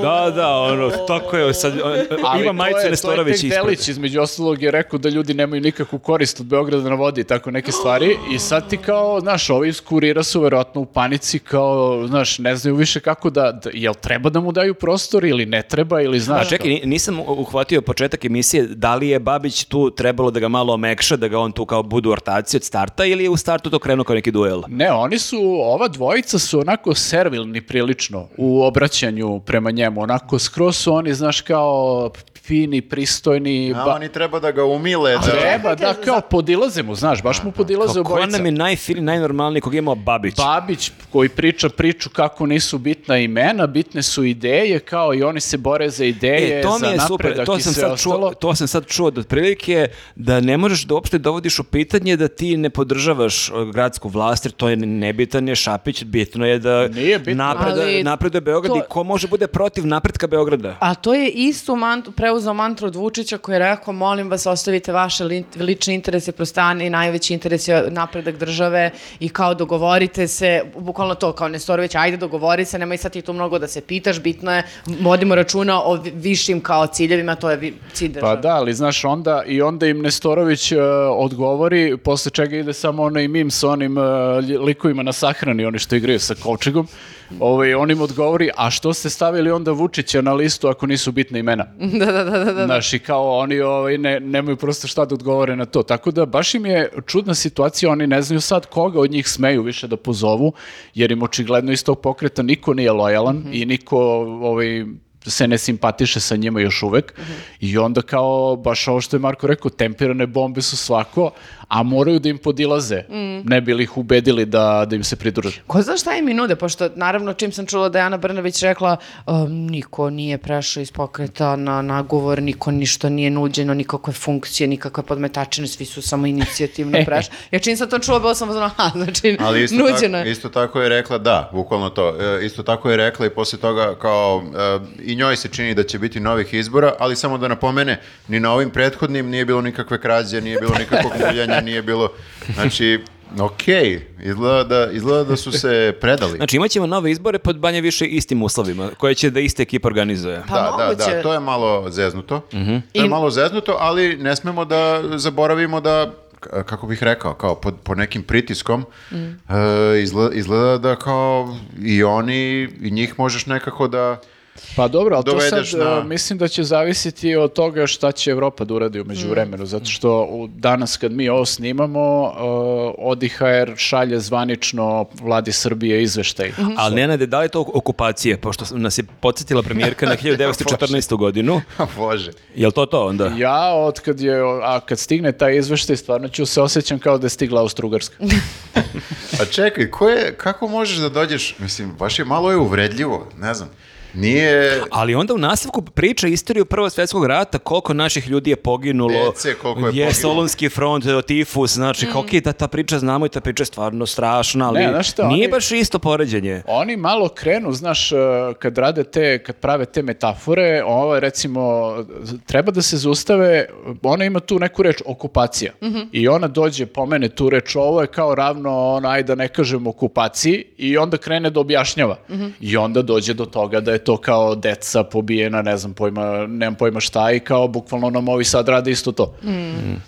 Speaker 3: Da, da, ono, tako je, sad, on-
Speaker 1: Ali
Speaker 3: ima
Speaker 1: to je-
Speaker 3: majicu Nestorović
Speaker 1: To je tek
Speaker 3: ispred.
Speaker 1: Delić, između ostalog, je rekao da ljudi nemaju nikakvu korist od Beograda na vodi i tako neke stvari. I sad ti kao, znaš, ovi iz kurira su verovatno u panici kao, znaš, ne znaju više kako da, da- jel treba da mu daju prostor ili ne treba ili
Speaker 3: A
Speaker 1: znaš.
Speaker 3: čekaj, ni- nisam u- uhvatio početak emisije, da li je Babić tu trebalo da ga malo omekša, da ga on tu kao budu ortaci od starta ili je u startu to krenuo kao neki duel?
Speaker 1: Ne, oni su, ova dvojica su onako servilni prilično u obraćanju ponašanju prema njemu. Onako, skroz su oni, znaš, kao fini, pristojni.
Speaker 2: A
Speaker 1: ba-
Speaker 2: oni treba da ga umile. Da...
Speaker 1: Treba, da, kao podilaze mu, znaš, baš mu podilaze
Speaker 3: Ko
Speaker 1: obojica.
Speaker 3: nam je najfini, najnormalniji kog je imao Babić?
Speaker 1: Babić koji priča priču kako nisu bitna imena, bitne su ideje, kao i oni se bore za ideje,
Speaker 3: E, to mi
Speaker 1: za
Speaker 3: je
Speaker 1: napredak
Speaker 3: super, to
Speaker 1: i
Speaker 3: sam,
Speaker 1: sve
Speaker 3: sad
Speaker 1: ostalo.
Speaker 3: čuo, to sam sad čuo od otprilike da ne možeš da uopšte dovodiš u pitanje da ti ne podržavaš e, gradsku vlast, jer to je nebitan je Šapić, bitno je da
Speaker 1: Nije bitno.
Speaker 3: napreda-
Speaker 4: Ali
Speaker 3: napreduje Beograd
Speaker 4: to-
Speaker 3: i ko može bude protiv napretka Beograda.
Speaker 4: A to je istu mantru, preuzeo mantru od Vučića koji je rekao, molim vas, ostavite vaše li- lične interese po strani, najveći interes je napredak države i kao dogovorite se, bukvalno to, kao Nestorović, ajde dogovori se, nemoj sad ti tu mnogo da se pitaš, bitno je, vodimo računa o vi- višim kao ciljevima, to je vi- cilj države.
Speaker 1: Pa da, ali znaš, onda, i onda im Nestorović e, odgovori, posle čega ide samo onaj mim sa onim e, lj- likovima na sahrani, oni što igraju sa kovčegom, ovaj, on im odgovori, a što ste stavili onda Vučića na listu ako nisu bitna imena?
Speaker 4: da, da, da, da, da.
Speaker 1: Znaš, i kao oni ovaj, ne, nemaju prosto šta da odgovore na to. Tako da baš im je čudna situacija, oni ne znaju sad koga od njih smeju više da pozovu, jer im očigledno iz tog pokreta niko nije lojalan
Speaker 4: Mhm.
Speaker 1: i niko ovaj, se ne simpatiše sa njima još uvek.
Speaker 4: Mhm.
Speaker 1: I onda kao, baš ovo što je Marko rekao, temperane bombe su svako, a moraju da im podilaze.
Speaker 4: Mm.
Speaker 1: Ne bi li ih ubedili da, da im se pridruže.
Speaker 4: Ko zna šta im i nude, pošto naravno čim sam čula da je Ana Brnabić rekla "Um, niko nije prešao iz pokreta na nagovor, niko ništa nije nuđeno, nikakve funkcije, nikakve podmetačine, svi su samo inicijativno prešli. Ja čim sam to čula, bila sam uzmano, aha, znači
Speaker 2: Ali isto,
Speaker 4: nuđeno
Speaker 2: tako,
Speaker 4: je.
Speaker 2: isto tako je rekla, da, bukvalno to. E, isto tako je rekla i poslije toga kao e, i njoj se čini da će biti novih izbora, ali samo da napomene, ni na ovim prethodnim nije bilo nikakve krađe, nije bilo nikakvog muljanja, nije bilo, znači, okej, izgleda, da, izgleda da su se predali.
Speaker 3: Znači imat ćemo nove izbore pod banje više istim uslovima, koje će da iste ekipa organizuje.
Speaker 4: Pa
Speaker 2: da, da,
Speaker 4: moguće.
Speaker 2: da, to je malo zeznuto. To je
Speaker 4: I-
Speaker 2: malo zeznuto, ali ne smemo da zaboravimo da k- kako bih rekao, kao pod, pod nekim pritiskom
Speaker 4: Mm.
Speaker 2: e, izgleda, izgleda da kao i oni, i njih možeš nekako da...
Speaker 1: Pa dobro, ali to sad
Speaker 2: Dovedeš na-
Speaker 1: e, mislim da će zavisiti od toga šta će Evropa da uradi umeđu
Speaker 2: Mm.
Speaker 1: vremenu, zato što u, danas kad mi ovo snimamo, e, ODIHR šalje zvanično vladi Srbije izveštaj.
Speaker 3: Ali Nenade, da li je to okupacije, pošto nas je podsjetila premijerka na 1914. godinu?
Speaker 2: Bože.
Speaker 3: Je li to to onda?
Speaker 1: Ja, od kad je, a kad stigne taj izveštaj, stvarno ću se osjećam kao da je stigla Austrougarska.
Speaker 2: A čekaj, ko je, kako možeš da dođeš, mislim, baš je malo je uvredljivo, ne znam. Nije...
Speaker 3: Ali onda u nastavku priča istoriju Prvog svjetskog rata, koliko naših ljudi je poginulo.
Speaker 2: Dece, koliko je poginulo.
Speaker 3: Solunski front, e, tifus, znači, mm. da ta priča znamo i ta priča je stvarno strašna, ali
Speaker 1: Ne, znaš šta,
Speaker 3: nije
Speaker 1: oni-
Speaker 3: baš isto poređenje.
Speaker 1: Oni malo krenu, znaš, e, kad rade te, kad prave te metafore, ovo recimo, treba da se zaustave, ona ima tu neku reč okupacija. I ona dođe, pomene tu reč, ovo je kao ravno, ono, ajde da ne kažem okupaciji, i onda krene da objašnjava. I onda dođe do toga da je to kao deca pobijena, ne znam pojma, nemam pojma šta, i kao bukvalno nam ovi sad rade isto to.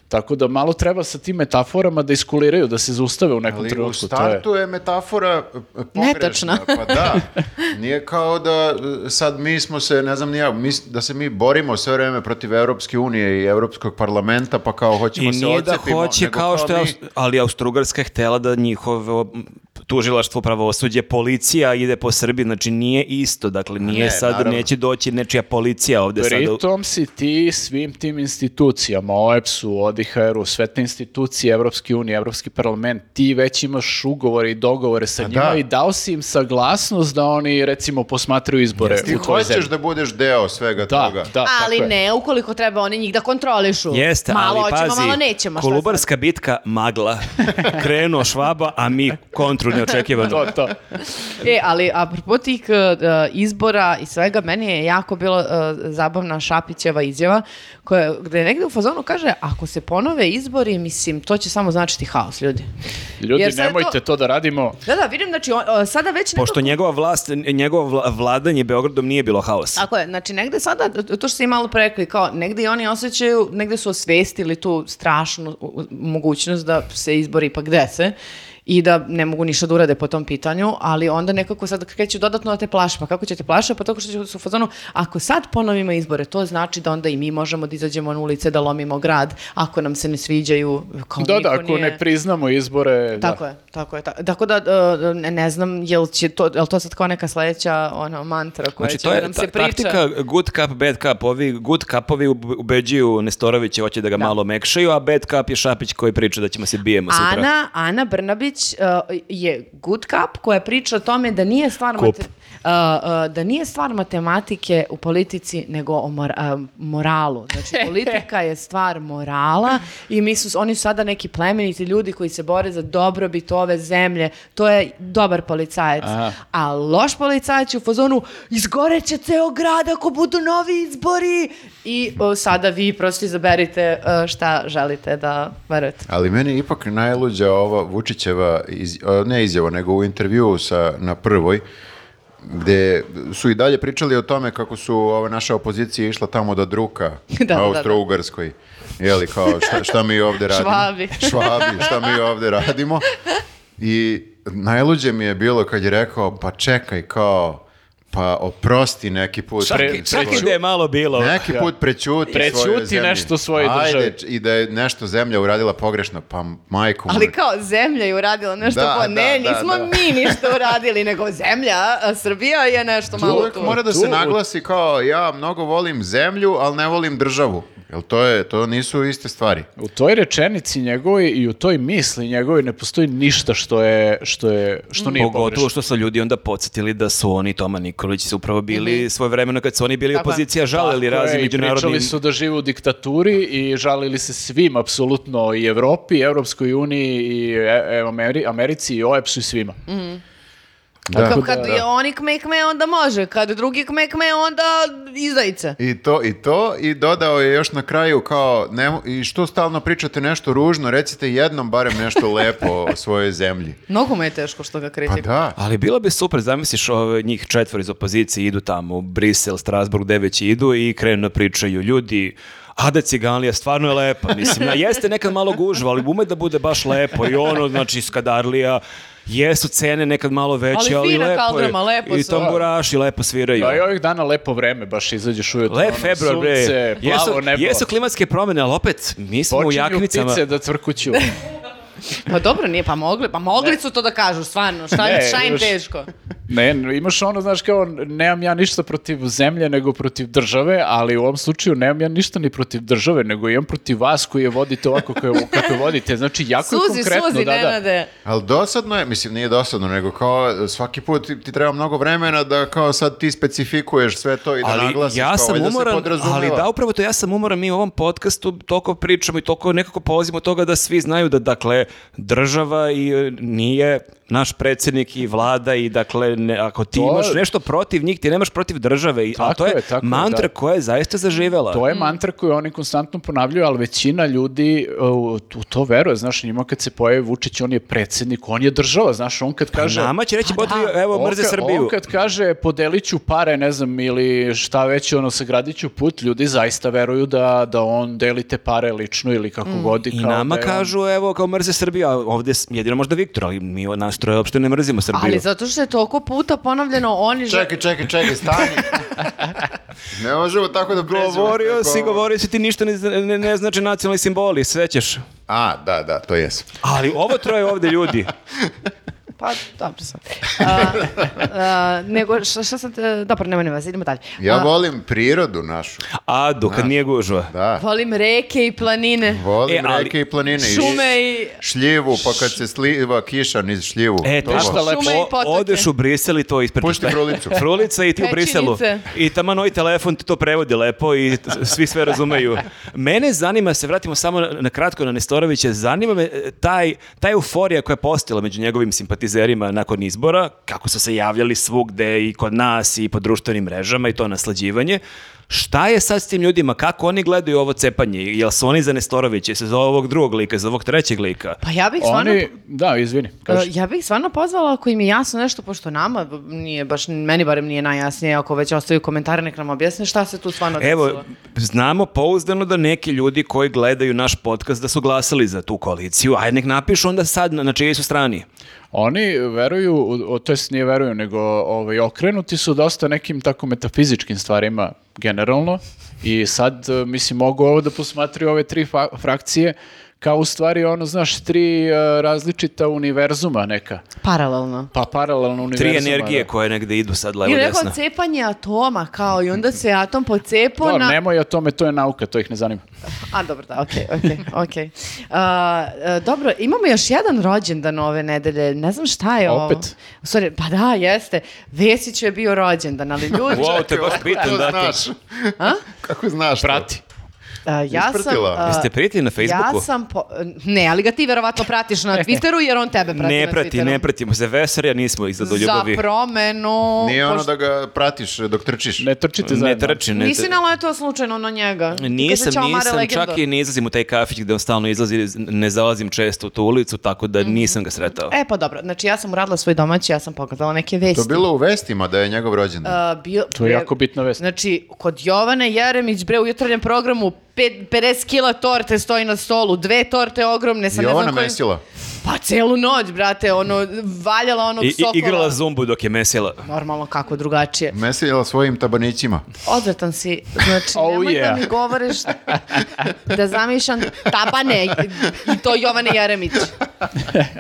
Speaker 1: Tako da malo treba sa tim metaforama da iskuliraju, da se zaustave u nekom
Speaker 2: Ali u
Speaker 1: trenutku. to je-
Speaker 2: startu je metafora e, pogrešna.
Speaker 4: Netačna.
Speaker 2: Pa da, nije kao da e, sad mi smo se, ne znam ni ja, mi, s- da se mi borimo sve vreme protiv Europske unije i Europskog parlamenta, pa kao hoćemo
Speaker 3: I
Speaker 2: se
Speaker 3: nije da
Speaker 2: odcepimo,
Speaker 3: hoće
Speaker 2: nego
Speaker 3: kao što je,
Speaker 2: mi-
Speaker 3: Aus- ali Austrugarska je htela da njihovo m, tužilaštvo pravosuđe, policija ide po Srbiji, znači nije isto, dakle nije
Speaker 2: Ne,
Speaker 3: sad,
Speaker 2: naravno.
Speaker 3: neće doći nečija policija ovde sada. u-
Speaker 1: Pritom si ti svim tim institucijama, OEPS-u, ODIHR-u, sve te institucije, Evropske unije, Evropski parlament, ti već imaš ugovore i dogovore sa
Speaker 2: A
Speaker 1: njima
Speaker 2: Pa da.
Speaker 1: i dao si im saglasnost da oni recimo posmatraju izbore
Speaker 2: Ti
Speaker 1: u tvojoj zemlji.
Speaker 2: hoćeš da budeš deo svega
Speaker 1: Da,
Speaker 2: toga.
Speaker 1: da, tako
Speaker 4: Ali
Speaker 1: je.
Speaker 4: ne, ukoliko treba oni njih da kontrolišu.
Speaker 3: Jeste,
Speaker 4: malo
Speaker 3: ali
Speaker 4: hoćemo,
Speaker 3: pazi,
Speaker 4: malo nećemo. šta sad?
Speaker 3: Kolubarska bitka magla. Krenuo švaba, a mi kontru neočekivano.
Speaker 1: To, to.
Speaker 4: E, ali apropo tih e, e, izbora i svega, meni je jako bilo e, zabavna Šapićeva izjava, koja, gde negde u fazonu kaže, ako se ponove izbori, mislim, to će samo značiti haos, ljudi.
Speaker 1: Ljudi,
Speaker 4: Jer sad je
Speaker 1: nemojte to... da radimo.
Speaker 4: Da, da, vidim, znači, on, e, sada već nekako...
Speaker 3: Pošto njegova vlast, njegovo vla- vladanje Beogradom nije bilo haos.
Speaker 4: Tako je, znači negde sada, to što ste i malo prekli, kao negde i oni osjećaju, negde su osvestili tu strašnu u- u- mogućnost da se izbori ipak dese i da ne mogu ništa da urade po tom pitanju, ali onda nekako sad kreću dodatno da te plaše. Pa kako će te plaše? Pa tako što će su u fazonu, ako sad ponovimo izbore, to znači da onda i mi možemo da izađemo na ulice, da lomimo grad, ako nam se ne sviđaju, kao
Speaker 1: Da, da,
Speaker 4: niko
Speaker 1: ako
Speaker 4: nije-
Speaker 1: ne priznamo izbore,
Speaker 4: Tako
Speaker 1: da.
Speaker 4: je, tako je. ta- Tako da, e, ne, ne znam, jel, će to, jel to sad kao neka sledeća ono, mantra koja
Speaker 3: Znači,
Speaker 4: će
Speaker 3: to
Speaker 4: da
Speaker 3: je
Speaker 4: nam
Speaker 3: ta-
Speaker 4: se priča.
Speaker 3: taktika good cup, bad cup. Ovi good cupovi ub- ubeđuju Nestorovića, hoće da ga malo mekšaju, a bad cup je Šapić koji priča da ćemo se bijemo sutra.
Speaker 4: Ana, Ana Brnabić uh, je good cup koja priča o tome da nije stvar
Speaker 3: Kup.
Speaker 4: mate- uh, uh, da nije stvar matematike u politici nego o mor- uh, moralu. Znači politika je stvar morala i mi su oni su sada neki plemeniti ljudi koji se bore za dobrobit ove zemlje. To je dobar policajac.
Speaker 1: Aha.
Speaker 4: A loš policajac je u fazonu izgoreće ceo grad ako budu novi izbori i uh, sada vi prosto izaberite uh, šta želite da verujete.
Speaker 2: Ali meni je ipak najluđa ova Vučićeva, iz, a, ne izjava, nego u intervjuu sa, na prvoj, gde su i dalje pričali o tome kako su ova naša opozicija išla tamo do druka
Speaker 4: Da, da,
Speaker 2: na
Speaker 4: da.
Speaker 2: Austro-Ugarskoj. Jeli, kao šta, šta mi ovde radimo?
Speaker 4: Švabi.
Speaker 2: Švabi, šta mi ovde radimo? I najluđe mi je bilo kad je rekao, pa čekaj, kao, pa oprosti neki put.
Speaker 1: Pre-
Speaker 3: Čak i- Čak i
Speaker 1: preću-
Speaker 3: da je malo bilo.
Speaker 2: Neki
Speaker 1: Da.
Speaker 2: put prećuti
Speaker 1: Pa, Prećuti
Speaker 2: svojoj zemlji.
Speaker 1: nešto svojoj
Speaker 2: Ajde,
Speaker 1: državi.
Speaker 2: č- i da je nešto zemlja uradila pogrešno, pa majku. mu.
Speaker 4: Ali kao zemlja je uradila nešto
Speaker 2: Da,
Speaker 4: po... Ne,
Speaker 2: da, da,
Speaker 4: nismo
Speaker 2: da.
Speaker 4: mi ništa uradili, nego zemlja, a Srbija je nešto malo
Speaker 2: Uvijek
Speaker 4: tu.
Speaker 2: mora da
Speaker 1: tu-
Speaker 2: se naglasi kao ja mnogo volim zemlju, ali ne volim državu. Jel to je, to nisu iste stvari.
Speaker 1: U toj rečenici njegovoj i u toj misli njegovoj ne postoji ništa što je što je što nije
Speaker 3: Pogotovo
Speaker 1: pogrešno.
Speaker 3: što su ljudi onda podsjetili da su oni, Toma Nikolić, su upravo bili svoje vremeno kad su oni bili
Speaker 4: Mhm. Tako je.
Speaker 3: opozicija, žalili
Speaker 1: Tako je,
Speaker 3: razni
Speaker 1: i
Speaker 3: međunarodni...
Speaker 1: Pričali su da žive u diktaturi i žalili se svim, apsolutno, i Evropi, i Evropskoj uniji, i e, e, Ameri- Americi, i OEPS-u i svima.
Speaker 3: Mm.
Speaker 2: Da.
Speaker 4: Kao kad je oni kme kme, onda može. Kad drugi kme kme, onda izdajice.
Speaker 2: I to, i to, i dodao je još na kraju kao, nemo- i što stalno pričate nešto ružno, recite jednom barem nešto lepo o svojoj zemlji.
Speaker 4: Mnogo mu je teško što ga
Speaker 2: Pa
Speaker 4: kritikuje.
Speaker 2: da.
Speaker 3: Ali bilo bi super, zamisliš ove, njih četvor iz opozicije idu tamo u Brisel, Strasburg, gde već idu i krenu da pričaju ljudi, Ada Ciganlija stvarno je lepa, mislim, na, jeste nekad malo gužva, ali ume da bude baš lepo i ono, znači, Skadarlija, jesu cene nekad malo veće, ali,
Speaker 4: Ali fina
Speaker 3: lepo je.
Speaker 4: kaldrma, lepo
Speaker 3: I
Speaker 4: su.
Speaker 3: tamburaši lepo sviraju.
Speaker 1: Da, Pa i ovih dana lepo vreme, baš izađeš ujutro.
Speaker 3: Lep
Speaker 1: ono,
Speaker 3: februar, bre.
Speaker 1: sunce,
Speaker 3: Jesu,
Speaker 1: plavo nebo.
Speaker 3: jesu klimatske promene, ali opet, mi smo u
Speaker 1: Počinju
Speaker 3: jaknicama.
Speaker 1: ptice da cvrkuću.
Speaker 4: Pa dobro, nije, pa mogli, pa mogli su to da kažu, stvarno. Šta,
Speaker 1: Ne,
Speaker 4: šta im
Speaker 1: još-
Speaker 4: teško?
Speaker 1: Ne, n- imaš ono, znaš, kao, nemam ja ništa protiv zemlje, nego protiv države, ali u ovom slučaju nemam ja ništa ni protiv države, nego imam protiv vas koji je vodite ovako kako, kako je vodite. Znači, jako je
Speaker 4: Suzi,
Speaker 1: konkretno,
Speaker 4: suzi,
Speaker 1: da, da.
Speaker 4: Nenade.
Speaker 2: Ali dosadno je, mislim nije dosadno, nego kao e, svaki put ti, ti treba mnogo vremena da kao sad ti specifikuješ sve to i da naglasiš kao,
Speaker 1: ovaj
Speaker 2: i da se podrazumeva.
Speaker 3: ali da upravo to ja sam umoran, mi u ovom podcastu toliko pričamo i toliko nekako polazimo od toga da svi znaju da dakle država i e, nije naš predsjednik i vlada i dakle ne- ako ti
Speaker 1: To-
Speaker 3: imaš nešto protiv njih, ti nemaš protiv države, i, a
Speaker 1: Tako
Speaker 3: to je,
Speaker 1: je, tako je,
Speaker 3: mantra
Speaker 1: da.
Speaker 3: koja je zaista zaživela.
Speaker 1: Pa, To je mantra koju oni konstantno ponavljaju, ali većina ljudi uh, u u to veruje. Znaš, njima kad se pojavi Vučić, on je predsjednik, on je država. Znaš, on kad kaže...
Speaker 3: Pa Nama će
Speaker 1: Pa
Speaker 3: reći botovi, evo,
Speaker 1: On
Speaker 3: mrze
Speaker 1: ka-
Speaker 3: Srbiju.
Speaker 1: On kad kaže podelit ću pare, ne znam, ili šta već, ono, sagradit ću put, ljudi zaista veruju da, da on deli te pare lično ili kako god.
Speaker 3: Mm. I
Speaker 1: kao
Speaker 3: nama
Speaker 1: da je on-
Speaker 3: kažu, evo, kao mrze Srbija, ovdje s- jedino možda Viktor, ali mi od nas troje uopšte ne mrzimo Srbiju.
Speaker 4: Ali zato što je toliko puta ponovljeno, oni žele...
Speaker 2: Čekaj, čekaj, čekaj, stani. ne možemo tako da pređemo.
Speaker 3: Govorio
Speaker 2: preko-
Speaker 3: si, govorio si ti ništa ne, zna- ne, ne znači nacionalni simboli, sve ćeš.
Speaker 2: A, da, da, to jesam.
Speaker 3: Ali ovo troje ovdje ljudi,
Speaker 4: Pa, dobro sam. A, a, nego, šta, šta sad, e, dobro, nema, nema, veze, idemo dalje.
Speaker 2: Ja
Speaker 4: A,
Speaker 2: volim prirodu našu.
Speaker 3: Adu, kad nije gužva.
Speaker 2: Da.
Speaker 4: Volim reke i planine.
Speaker 2: Volim
Speaker 3: E, ali-
Speaker 2: reke i planine. i
Speaker 4: Šume i...
Speaker 2: Šljivu, pa kad se sliva kiša niz šljivu.
Speaker 3: E,
Speaker 2: To
Speaker 3: to
Speaker 1: šta
Speaker 3: što
Speaker 1: lepo.
Speaker 4: Šume i potoke.
Speaker 3: Odeš u Brisel i to ispričaš.
Speaker 2: Pušti frulicu.
Speaker 3: Frulica i ti u Briselu.
Speaker 4: Pećinice.
Speaker 3: I tamo novi telefon ti to prevodi lepo i t- svi sve razumeju. Mene zanima, se vratimo samo na, na kratko na Nestorovića, zanima me e, taj, taj euforija koja je postojala među njegovim simpatizerima nakon izbora, kako su se javljali svugde i kod nas i po društvenim mrežama i to naslađivanje. Šta je sad s tim ljudima? Kako oni gledaju ovo cepanje? Jel su oni za Nestorovića? Jel se za ovog drugog lika? Za ovog trećeg lika?
Speaker 4: Pa ja bih stvarno...
Speaker 1: Oni, da, izvini.
Speaker 4: Uh,
Speaker 1: kaži.
Speaker 4: Ja bih stvarno pozvala ako im je jasno nešto, pošto nama b- nije baš, meni barem nije najjasnije, ako već ostaju komentare, nek nam objasne šta se tu stvarno
Speaker 3: Evo,
Speaker 4: desilo.
Speaker 3: znamo pouzdano da neki ljudi koji gledaju naš podcast da su glasali za tu koaliciju. Ajde, nek napišu onda sad na, na čijoj su strani.
Speaker 1: Oni veruju, u- o, to jest nije veruju, nego ovaj, okrenuti su dosta nekim tako metafizičkim stvarima generalno i sad, e, mislim, mogu ovo da posmatraju ove tri fa- frakcije kao u stvari, ono, znaš, tri e, različita univerzuma neka,
Speaker 4: Paralelno.
Speaker 1: pa paralelno univerzuma.
Speaker 3: Tri energije
Speaker 1: da.
Speaker 3: koje negde idu sad
Speaker 4: I
Speaker 3: levo
Speaker 4: rekao
Speaker 3: desno.
Speaker 4: cepanje atoma, kao, i onda se atom pocepao
Speaker 1: Dobro,
Speaker 4: na...
Speaker 1: nemoj o tome, to je nauka, to ih ne zanima.
Speaker 4: A, dobro, da, okej, okej, okej. A, e, dobro, imamo još jedan rođendan ove nedelje, ne znam šta je ovo.
Speaker 1: Opet?
Speaker 4: Sorry, pa da, jeste. Vesić je bio rođendan, ali ljudi...
Speaker 3: Wow, te baš pitam,
Speaker 2: Kako
Speaker 3: dati.
Speaker 2: znaš? Kako znaš? to?
Speaker 1: Prati.
Speaker 4: A, ja sam...
Speaker 2: Ispratila.
Speaker 4: a,
Speaker 3: Jeste prijatelji na Facebooku?
Speaker 4: Ja sam... po- Ne, ali ga ti verovatno pratiš na Twitteru, jer on tebe prati
Speaker 3: ne
Speaker 4: na
Speaker 3: prati,
Speaker 4: Twitteru.
Speaker 3: ne pratimo se. Vesarja nismo iza do ljubavi.
Speaker 4: Za promenu.
Speaker 2: Nije ono
Speaker 4: pošto-
Speaker 2: da ga pratiš dok trčiš.
Speaker 1: Ne trčite
Speaker 3: Ne
Speaker 1: zajedno.
Speaker 3: trči, ne
Speaker 4: Nisi
Speaker 3: trči.
Speaker 4: naletao slučajno na njega. Ti kaže, "Ćao,
Speaker 3: Nisam,
Speaker 4: Mare,
Speaker 3: nisam,
Speaker 4: legendo."
Speaker 3: čak i ne izlazim u taj kafić gde on stalno izlazi, ne zalazim često u tu ulicu, tako da nisam ga sretao.
Speaker 4: Mhm. E pa dobro, znači ja sam uradila svoj domaći, ja sam pogledala neke vesti.
Speaker 2: To je bilo u vestima da je njegov rođendan.
Speaker 4: Uh, bio-
Speaker 1: To je
Speaker 4: bre-
Speaker 1: jako bitna vest.
Speaker 4: Znači, kod Jovane Jeremić, bre, u jutarnjem programu pet- 50 kila torte stoji na stolu, dve torte ogromne, sad
Speaker 2: I
Speaker 4: ne
Speaker 2: ona
Speaker 4: znam kojim-
Speaker 2: mesila.
Speaker 4: Pa celu noć, brate, ono, valjala onog
Speaker 3: I, i-
Speaker 4: sokola.
Speaker 3: igrala zumbu dok je mesila.
Speaker 4: Normalno, kako drugačije.
Speaker 2: Mesila svojim tabanićima.
Speaker 4: Odvratan si. Znači,
Speaker 1: Oh,
Speaker 4: nemoj da
Speaker 1: yeah.
Speaker 4: mi govoriš da zamišljam tabane i to Jovane Jeremić.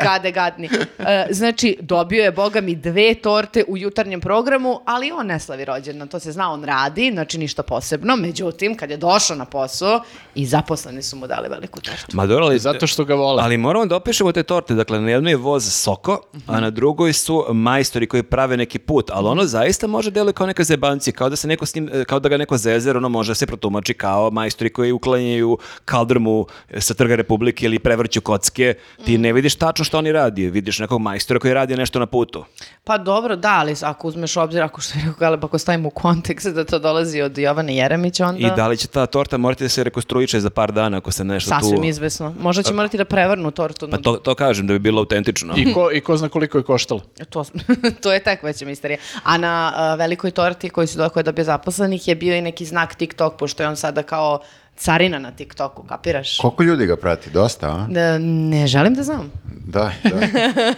Speaker 4: Gade, gadni. E, znači, dobio je, boga mi, dve torte u jutarnjem programu, ali on ne slavi rođendan. To se zna, on radi, znači ništa posebno. Međutim, kad je došao na posao i zaposleni su mu dali veliku tortu.
Speaker 3: Ma dobro, ali,
Speaker 1: Zato što ga vole.
Speaker 3: ali moramo da opišemo te torte. Dakle, na jednoj je voz soko, a na drugoj su majstori koji prave neki put. Ali ono zaista može deluje kao neka zebancija, kao da, se neko s njim, e, kao da ga neko zezer, ono može da se protumači kao majstori koji uklanjaju kaldrmu e, sa Trga Republike ili prevrću kocke. Ti ne vidiš tačno što oni radi, vidiš nekog majstora koji radi nešto na putu.
Speaker 4: Pa dobro, da, ali ako uzmeš u obzir, ako što je rekao Galeb, ako stavimo u kontekst da to dolazi od Jovane Jeremića, onda...
Speaker 3: I da li će ta torta morati da se rekonstruiče za par dana ako se nešto
Speaker 4: Sasvim
Speaker 3: tu...
Speaker 4: izvesno. Možda će morati da prevrnu tortu. na
Speaker 3: Pa to, to kažem da bi bilo autentično.
Speaker 1: I, ko, I ko zna koliko je koštalo.
Speaker 4: To, to je tek veća misterija. A na a, velikoj torti koji su koje je dobio zaposlenih je bio i neki znak TikTok, pošto je on sada kao carina na TikToku, kapiraš?
Speaker 2: Koliko ljudi ga prati? Dosta, a?
Speaker 4: Da, ne želim da znam.
Speaker 2: Da, da.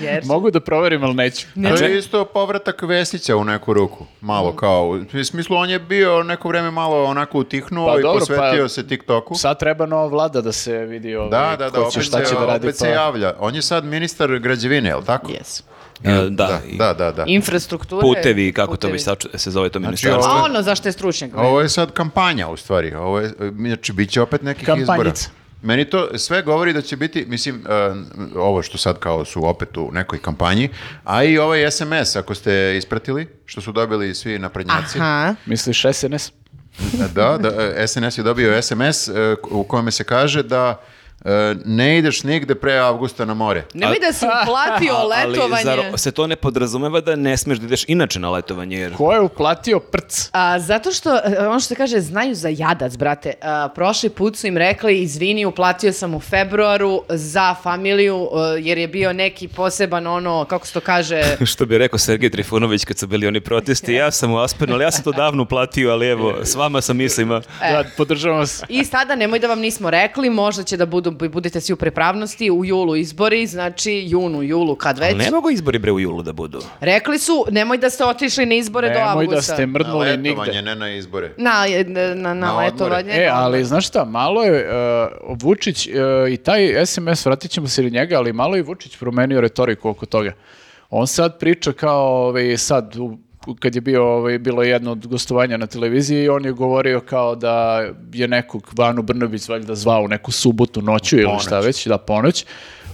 Speaker 4: Jer...
Speaker 1: Mogu da proverim, ali neću.
Speaker 2: To je isto povratak Vesića u neku ruku.
Speaker 4: Mm.
Speaker 2: Malo kao, u smislu on je bio neko vreme malo onako utihnuo
Speaker 1: Pa
Speaker 2: i
Speaker 1: dobro,
Speaker 2: posvetio
Speaker 1: pa-
Speaker 2: se TikToku.
Speaker 1: Sad treba nova vlada da se vidi ovaj,
Speaker 2: Da, da, da,
Speaker 1: ko će,
Speaker 2: opet,
Speaker 1: šta će
Speaker 2: se,
Speaker 1: da radi.
Speaker 2: opet se
Speaker 1: pa-
Speaker 2: javlja. On je sad ministar građevine, je li tako?
Speaker 4: Yes.
Speaker 3: E, da, i
Speaker 2: da, da, da.
Speaker 4: Infrastrukture.
Speaker 3: putevi, kako to već
Speaker 4: putevi.
Speaker 3: saču- se zove to ministarstvo.
Speaker 4: A ono zašto je stručnjak. bre.
Speaker 2: Ovo je sad kampanja u stvari. Ovo je, znači, bit će opet nekih izbora.
Speaker 1: Kampanjica.
Speaker 2: Meni to sve govori da će biti, mislim, e, ovo što sad kao su opet u nekoj kampanji, a i ovaj SMS, ako ste ispratili, što su dobili svi naprednjaci.
Speaker 4: Aha.
Speaker 1: Misliš SNS?
Speaker 2: Da, da, e, SNS je dobio SMS e, u kome se kaže da e, ne ideš nigde pre avgusta na more.
Speaker 4: Nemoj da si uplatio
Speaker 3: Ali
Speaker 4: letovanje.
Speaker 3: zar se to ne podrazumeva da ne smeš da ideš inače na letovanje? Jer...
Speaker 1: Ko je uplatio prc?
Speaker 4: A, zato što, e, ono što se kaže, znaju za jadac, brate. A, prošli put su im rekli, izvini, uplatio sam u februaru za familiju, e, jer je bio neki poseban ono, kako se to kaže,
Speaker 3: Što bi rekao Sergej Trifunović kad su bili oni protesti, ja sam u Aspenu, ali ja sam to davno platio, ali evo, s vama sam mislima.
Speaker 1: Da, podržavam vas.
Speaker 4: I sada nemoj da vam nismo rekli, možda će da budu, budete svi u prepravnosti, u julu izbori, znači junu, julu, kad već.
Speaker 3: Ali ne mogu izbori bre u julu da budu.
Speaker 4: Rekli su, nemoj da ste otišli na izbore do
Speaker 1: Nemoj
Speaker 4: avgusta.
Speaker 1: da ste
Speaker 2: Na
Speaker 1: mrnuli
Speaker 2: letovanje,
Speaker 1: nigde.
Speaker 2: ne na izbore.
Speaker 4: Na, e, na, na,
Speaker 2: Na
Speaker 4: letovanje.
Speaker 1: E, ali znaš šta, malo je uh, Vučić uh, i taj SMS, vratit ćemo se i njega, ali malo je Vučić promenio retoriku oko toga. On sad priča kao, ovaj, sad, u- kad je bio, ovaj, bilo jedno od gostovanja na televiziji, on je govorio kao da je nekog Vanu Brnović valjda zvao u neku subotu noću ili šta
Speaker 2: Ponoć.
Speaker 1: već, da ponoć,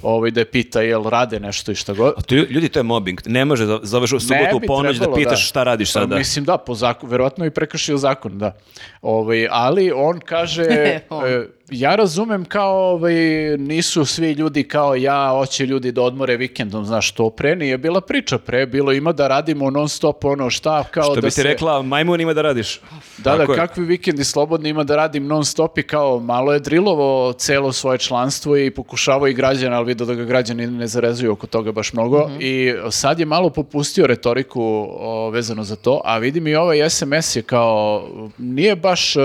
Speaker 1: ovaj, da je pita jel rade nešto i šta god.
Speaker 3: A to, lju- ljudi, to je mobbing. Ne može da zoveš u
Speaker 1: Ne
Speaker 3: subotu u
Speaker 1: bi
Speaker 3: ponoć da
Speaker 1: trebalo,
Speaker 3: pitaš šta radiš
Speaker 1: Pa,
Speaker 3: sada.
Speaker 1: Mislim da, po zakonu, verovatno je i prekršio zakon, da. Ovaj, ali on kaže,
Speaker 4: On.
Speaker 1: e, ja razumem kao ovaj, nisu svi ljudi kao ja, hoće ljudi da odmore vikendom, znaš, to pre nije bila priča, pre je bilo ima da radimo non stop ono šta, kao
Speaker 3: Što
Speaker 1: da
Speaker 3: bi ti
Speaker 1: se...
Speaker 3: rekla, majmun ima da radiš.
Speaker 1: Da, da,
Speaker 3: Tako je.
Speaker 1: kakvi vikendi slobodni ima da radim non stop i kao malo je drilovo celo svoje članstvo i pokušavao i građana, ali vidio da ga građani ne zarezuju oko toga baš mnogo
Speaker 3: Mhm.
Speaker 1: i sad je malo popustio retoriku o, vezano za to, a vidim i ovaj SMS je kao, nije baš, e,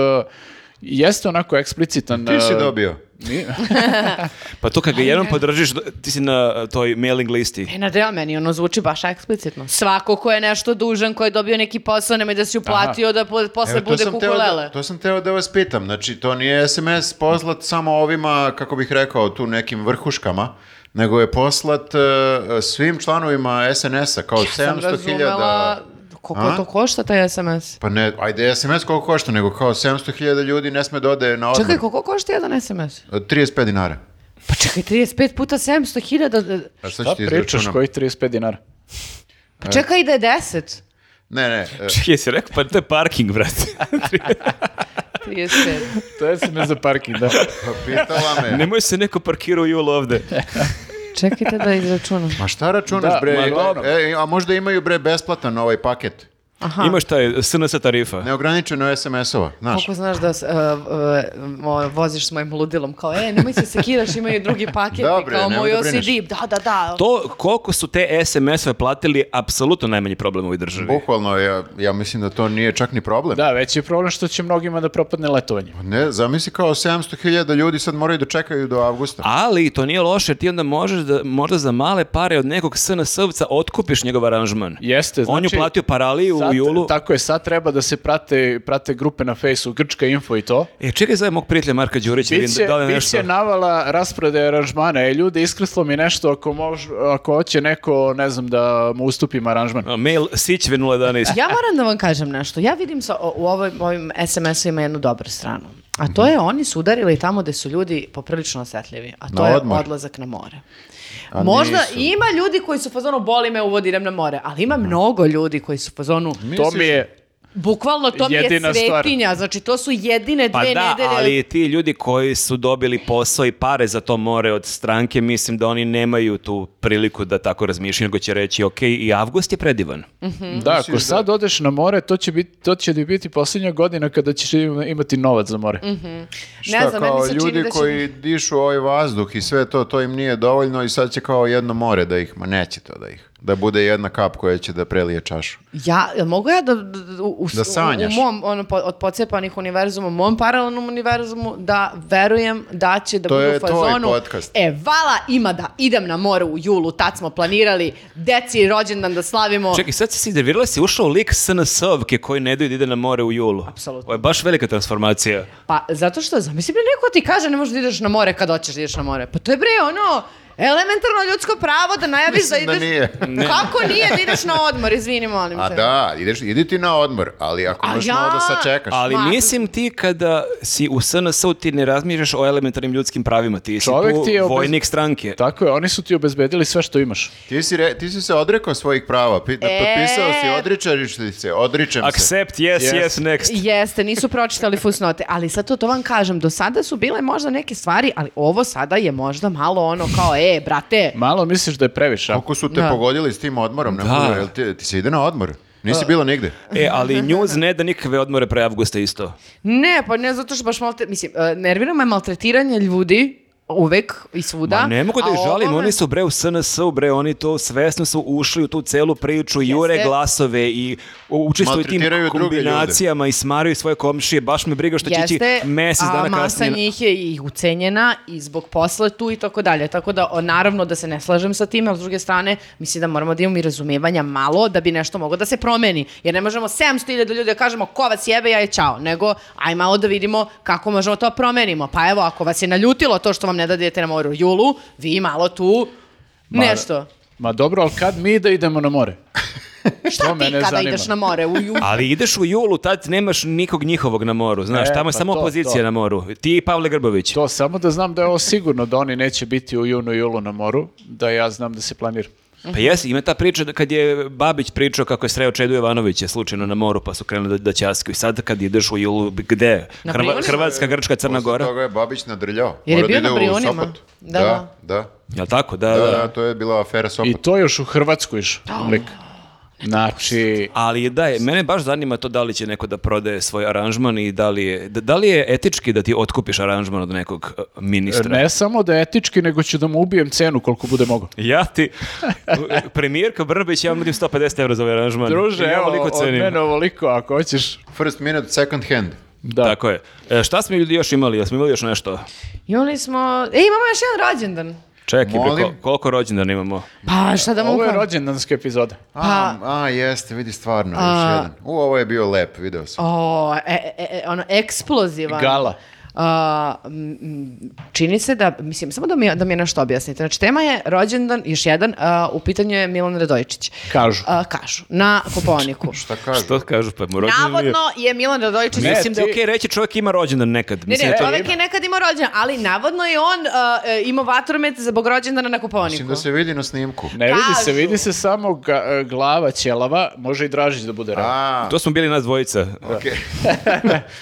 Speaker 1: jeste onako eksplicitan.
Speaker 2: Ti si
Speaker 1: e,
Speaker 2: dobio.
Speaker 1: nije-
Speaker 3: Pa to kad ga jednom podržiš, do- ti si na e, toj mailing listi.
Speaker 4: Nenadeo, meni ono zvuči baš eksplicitno. Svako ko je nešto dužan, ko je dobio neki posao, nemoj da si uplatio da po- posle
Speaker 2: Evo, to
Speaker 4: bude
Speaker 2: sam teo
Speaker 4: kukulele.
Speaker 2: Da, to sam teo da vas pitam. Znači, to nije SMS poslat samo ovima, kako bih rekao, tu nekim vrhuškama, nego je poslat e, svim članovima SNS-a, kao
Speaker 4: Sam
Speaker 2: 700.000...
Speaker 4: razumela koliko
Speaker 2: A?
Speaker 4: to košta taj SMS.
Speaker 2: Pa ne, ajde, SMS koliko košta, nego kao 700.000 ljudi ne sme da ode na odmor.
Speaker 4: Čekaj, koliko košta jedan SMS?
Speaker 2: 35 dinara.
Speaker 4: Pa čekaj, 35 puta 700 hiljada...
Speaker 2: A šta
Speaker 1: Šta
Speaker 2: ću ti
Speaker 1: pričaš,
Speaker 2: izračunam?
Speaker 1: koji 35 dinara?
Speaker 2: E.
Speaker 4: Pa čekaj da je 10.
Speaker 2: Ne, ne, e,
Speaker 3: Čekaj, jesi rekao, pa to je parking, brate.
Speaker 4: 35.
Speaker 1: To je SMS za parking, da.
Speaker 2: pa pitala me.
Speaker 3: Nemoj se neko parkirao jul ovde.
Speaker 4: Čekajte da izračunam.
Speaker 2: Ma šta računaš,
Speaker 1: Da,
Speaker 2: bre?
Speaker 1: ma dobro.
Speaker 2: E, a možda imaju, bre, besplatan ovaj paket.
Speaker 4: Aha.
Speaker 3: Imaš taj SNS tarifa.
Speaker 2: Neograničeno SMS-ova, znaš.
Speaker 4: Koliko znaš da s- e, e, o, voziš s mojim ludilom, kao, e, nemoj se sekiraš, imaju drugi paket,
Speaker 2: Dobre,
Speaker 4: kao
Speaker 2: nemoj
Speaker 4: moj
Speaker 2: da brineš.
Speaker 4: OCD, da, da, da.
Speaker 3: To koliko su te SMS-ove platili, apsolutno najmanji problem u ovoj državi.
Speaker 2: Bukvalno, ja, ja mislim da to nije čak ni problem.
Speaker 1: Da, veći je problem što će mnogima da propadne letovanje.
Speaker 2: Ne, zamisli kao 700.000 ljudi sad moraju da čekaju do avgusta.
Speaker 3: Ali to nije loše, ti onda možeš da, možda za male pare od nekog SNS-ovca otkupiš njegov aranžman.
Speaker 1: Jeste,
Speaker 3: On je
Speaker 1: znači-
Speaker 3: platio paraliju u
Speaker 1: Sad-
Speaker 3: julu.
Speaker 1: Tako je, sad treba da se prate, prate grupe na fejsu, Grčka info i to.
Speaker 3: E, čekaj za mog prijatelja Marka Đurića, vidim
Speaker 1: Biće,
Speaker 3: da li je nešto...
Speaker 1: biće navala rasprode aranžmana. E, ljudi, iskrslo mi nešto ako, mož, ako hoće neko, ne znam, da mu ustupim aranžman.
Speaker 3: A, Mail sićve 011.
Speaker 4: Znači, Ja moram da vam kažem nešto. Ja vidim sa, o- u ovim, ovim SMS-ovima jednu dobru stranu. A to
Speaker 2: Mhm.
Speaker 4: je, oni su udarili tamo gde su ljudi poprilično osjetljivi. A to
Speaker 2: Na
Speaker 4: je
Speaker 2: odmor.
Speaker 4: odlazak na more.
Speaker 2: A
Speaker 4: Možda
Speaker 2: nisu. Mhm.
Speaker 4: ima ljudi koji su u fazonu boli me, uvodi idem na more, ali ima mnogo ljudi koji su u fazonu,
Speaker 1: To mi je...
Speaker 4: bukvalno to mi je
Speaker 1: Jedina stvar.
Speaker 4: svetinja, znači to su jedine
Speaker 3: Pa
Speaker 4: dve
Speaker 3: da,
Speaker 4: nedelje.
Speaker 3: ali ti ljudi koji su dobili posao i pare za to more od stranke, mislim da oni nemaju tu priliku da tako razmišljaju, nego će reći, ok, i avgust je predivan.
Speaker 4: Mhm.
Speaker 1: Da, ako sad odeš na more, to će, biti, to će ti biti posljednja godina kada ćeš im- imati novac za more.
Speaker 4: Mhm. Ne znam, meni
Speaker 2: kao
Speaker 4: se čini
Speaker 2: ljudi
Speaker 4: da će-
Speaker 2: koji dišu ovaj vazduh i sve to, to im nije dovoljno i sad će kao jedno more da ih, ma neće to da ih, da bude jedna kap koja će da prelije čašu.
Speaker 4: Ja, jel mogu ja da, da, da- u, u-
Speaker 2: Da sanjaš.
Speaker 4: u mom, ono, po- od pocepanih univerzuma, mom paralelnom univerzumu, da verujem da će da
Speaker 2: To
Speaker 4: budu
Speaker 2: je
Speaker 4: u
Speaker 2: tvoj
Speaker 4: fazonu.
Speaker 2: podcast.
Speaker 4: E, vala ima da idem na more u julu, tad smo planirali deci rođendan da slavimo.
Speaker 3: Čekaj, sad si se iznervirala, si ušla u lik SNS-ovke koji ne daju da ide na more u julu.
Speaker 4: Apsolutno.
Speaker 3: Ovo je baš velika transformacija.
Speaker 4: Pa, zato što, zamisli bre, neko ti kaže ne možeš da ideš na more kad hoćeš da ideš na more. Pa to je bre, ono, elementarno ljudsko pravo da najaviš
Speaker 2: Mislim
Speaker 4: da
Speaker 2: da
Speaker 4: ideš...
Speaker 2: nije.
Speaker 4: Kako nije da ideš na odmor, izvini, molim
Speaker 2: A
Speaker 4: te.
Speaker 2: da, ideš, idi ti na odmor, ali ako
Speaker 4: A
Speaker 2: možeš
Speaker 4: ja-
Speaker 2: malo da sačekaš.
Speaker 3: Ali
Speaker 4: Ma-
Speaker 3: mislim ti kada si u SNS-u ti ne razmišljaš o elementarnim ljudskim pravima, ti si
Speaker 1: Čovek
Speaker 3: tu
Speaker 1: ti je obez-
Speaker 3: vojnik stranke.
Speaker 1: Tako je, oni su ti obezbedili sve što imaš.
Speaker 2: Ti, si re- ti si se odrekao svojih prava, Pi-
Speaker 4: E.
Speaker 2: potpisao si, odričariš ti se, odričem se.
Speaker 3: Accept, yes, yes,
Speaker 1: Yes.
Speaker 3: next.
Speaker 4: Jeste, nisu pročitali fusnote, ali sad to, to vam kažem, do sada su bile možda neke stvari, ali ovo sada je možda malo ono kao, e, brate,
Speaker 1: Malo misliš da je previše. a?
Speaker 2: Kako su te
Speaker 4: Da.
Speaker 2: pogodili s tim odmorom? Ne
Speaker 3: Da.
Speaker 2: mogu, jel ti, ti se ide na odmor? Nisi bila nigde.
Speaker 3: E, ali news ne da nikakve odmore pre avgusta isto.
Speaker 4: ne, pa ne, zato što baš malte, mislim, e, nervira me maltretiranje ljudi, uvek i svuda.
Speaker 3: Ma ne mogu da
Speaker 4: a
Speaker 3: ih
Speaker 4: ovo
Speaker 3: žalim,
Speaker 4: me-
Speaker 3: oni su bre u SNS-u, bre, oni to svesno su ušli u tu celu priču, jure glasove i u- učestvuju u tim
Speaker 2: Maltretiraju druge ljude.
Speaker 3: kombinacijama i smaraju svoje komšije, baš me briga što će ići
Speaker 4: Jeste,
Speaker 3: mesec
Speaker 4: a
Speaker 3: dana
Speaker 4: masa
Speaker 3: kasnije.
Speaker 4: njih je i ucenjena i zbog posla tu i tako dalje. Tako da, o, naravno da se ne slažem sa tim, ali s druge strane, mislim da moramo da imamo i razumevanja malo da bi nešto moglo da se promeni. Jer ne možemo 700.000 ljudi da kažemo ko vas jebe, ja je čao. Nego, aj malo da vidimo kako možemo to promenimo. Pa evo, ako vas je naljutilo to što vam ne dadete na moru julu, vi malo tu
Speaker 1: Ma-
Speaker 4: nešto.
Speaker 1: Ma dobro, ali kad mi da idemo na more?
Speaker 4: Šta ti
Speaker 1: mene
Speaker 4: kada
Speaker 1: zanima.
Speaker 4: ideš na more? U ju...
Speaker 3: Ali ideš u julu, tad nemaš nikog njihovog na moru, znaš,
Speaker 1: E,
Speaker 3: tamo je
Speaker 1: pa
Speaker 3: samo
Speaker 1: to,
Speaker 3: opozicija
Speaker 1: to.
Speaker 3: na moru. Ti i Pavle Grbović.
Speaker 1: To samo da znam da je ovo sigurno da oni neće biti u junu i julu na moru, da ja znam da se planira.
Speaker 3: Pa jesi, ima ta priča da kad je Babić pričao kako je sreo Čedu Jovanovića slučajno na moru pa su krenuli da, da ćaskuju. Sad kad ideš u julu, gde?
Speaker 4: Na
Speaker 3: Hrva-
Speaker 4: Brijunima?
Speaker 3: Pa, Hrvatska, Grčka, Crna
Speaker 2: Posle
Speaker 3: Gora?
Speaker 2: toga je Babić nadrljao.
Speaker 4: Jer je
Speaker 2: Mora da
Speaker 4: bio
Speaker 2: ide
Speaker 4: na
Speaker 2: u
Speaker 4: Brijunima.
Speaker 2: Sopot.
Speaker 4: Da,
Speaker 2: da. Da,
Speaker 3: Jel tako? Da,
Speaker 2: da,
Speaker 3: da.
Speaker 2: da, to je bila afera Sopot.
Speaker 1: I to još u Hrvatsku iš. lik. Znači,
Speaker 3: Ali da, je, mene baš zanima to da li će neko da prodaje svoj aranžman i da li je, da, da li je etički da ti otkupiš aranžman od nekog eh, ministra.
Speaker 1: ne samo da je etički, nego ću da mu ubijem cenu koliko bude mogao.
Speaker 3: Ja ti, premijerka Brbić, ja vam nudim 150 evra za ovaj aranžman.
Speaker 1: Druže,
Speaker 3: ja
Speaker 1: evo,
Speaker 3: ovoliko
Speaker 1: od
Speaker 3: cenim.
Speaker 1: mene ovoliko, ako hoćeš.
Speaker 2: First minute, second hand.
Speaker 1: Da.
Speaker 3: Tako je. E, šta smo ljudi još imali? Jesmo imali još nešto?
Speaker 4: Imali smo... E, imamo još jedan rođendan.
Speaker 3: Čekaj, bre,
Speaker 2: Molim?
Speaker 3: ko- koliko rođendana imamo?
Speaker 4: Pa, šta da mogu?
Speaker 1: Ovo je rođendanska epizoda.
Speaker 2: A, a jeste, vidi stvarno,
Speaker 4: Pa- A-
Speaker 2: još jedan. U, ovo je bio lep, video sam.
Speaker 4: O, e, e, e, ono, eksplozivan.
Speaker 1: Gala.
Speaker 4: A, m, m, čini se da, mislim, samo da mi, da mi je nešto objasnite. Znači, tema je rođendan, još jedan, a, u pitanju je Milan Radojičić.
Speaker 1: Kažu.
Speaker 4: A, kažu, na Koponiku.
Speaker 2: Šta kaže?
Speaker 3: Što kažu? Pa mu rođendan nije-
Speaker 4: Navodno je Milan Radojičić...
Speaker 1: Ne,
Speaker 3: Mislim da je
Speaker 1: ti-
Speaker 3: okej reći čovjek ima rođendan nekad.
Speaker 4: Ne,
Speaker 3: Mislim,
Speaker 4: ne,
Speaker 3: da to-
Speaker 4: čovjek je nekad imao rođendan, ali navodno je on a, e, imao vatromet zbog rođendana na Koponiku.
Speaker 2: Mislim da se vidi na snimku.
Speaker 1: Ne vidi se,
Speaker 4: Kažu.
Speaker 1: vidi se samo ga- glava ćelava, može i Dražić da bude rad.
Speaker 2: A,
Speaker 3: To smo bili nas dvojica.
Speaker 2: okej.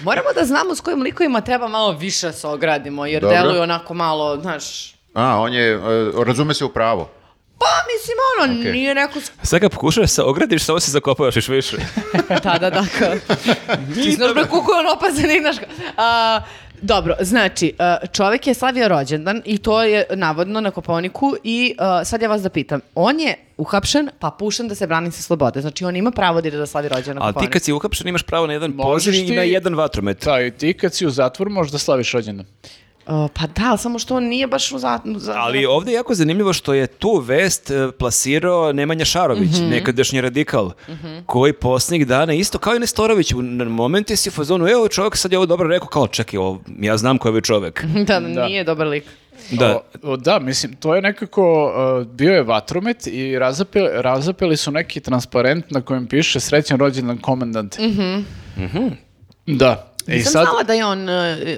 Speaker 4: Moramo da znamo s kojim likovima treba malo više se ogradimo, jer
Speaker 2: Dobro.
Speaker 4: deluju onako malo, znaš...
Speaker 2: A, on je, e, razume se u pravo.
Speaker 4: Pa, mislim, ono,
Speaker 2: Okej.
Speaker 4: nije neko... s-
Speaker 3: Sad ga pokušaš se ogradiš, samo se zakopavaš još više.
Speaker 4: Da, da, da. kao- Ti znaš bre koliko je on opazan i ono znaš... kao- A, dobro, znači, a, čovek je slavio rođendan i to je navodno na Koponiku i a, sad ja vas da pitam, on je uhapšen pa pušten da se brani sa slobode, znači on ima pravo da ide da slavi rođendan na
Speaker 3: Ali ti
Speaker 4: Koponiku.
Speaker 3: kad si uhapšen imaš pravo na jedan
Speaker 1: Možeš
Speaker 3: poziv i
Speaker 1: ti-
Speaker 3: na jedan vatromet.
Speaker 1: Da, i ti kad si u zatvoru možeš da slaviš rođendan.
Speaker 4: A, pa da, ali samo što on nije baš u zat... u zat-
Speaker 3: Ali ovdje je jako zanimljivo što je tu vest e, plasirao Nemanja Šarović,
Speaker 4: Mhm.
Speaker 3: nekadašnji radikal, koji posljednjih dana, isto kao i Nestorović, u na moment si u fazonu, evo čovjek sad je ovo dobro rekao, kao čekaj, ovo, ja znam ko je ovaj čovjek.
Speaker 4: da, nije dobar lik.
Speaker 3: Da,
Speaker 1: Mhm. O, o, da, mislim, to je nekako, uh, bio je vatromet i razapeli, razapeli su neki transparent na kojem piše srećan rođendan komandante. Mhm. Da. I
Speaker 4: Nisam
Speaker 1: sad,
Speaker 4: znala da je on e, e,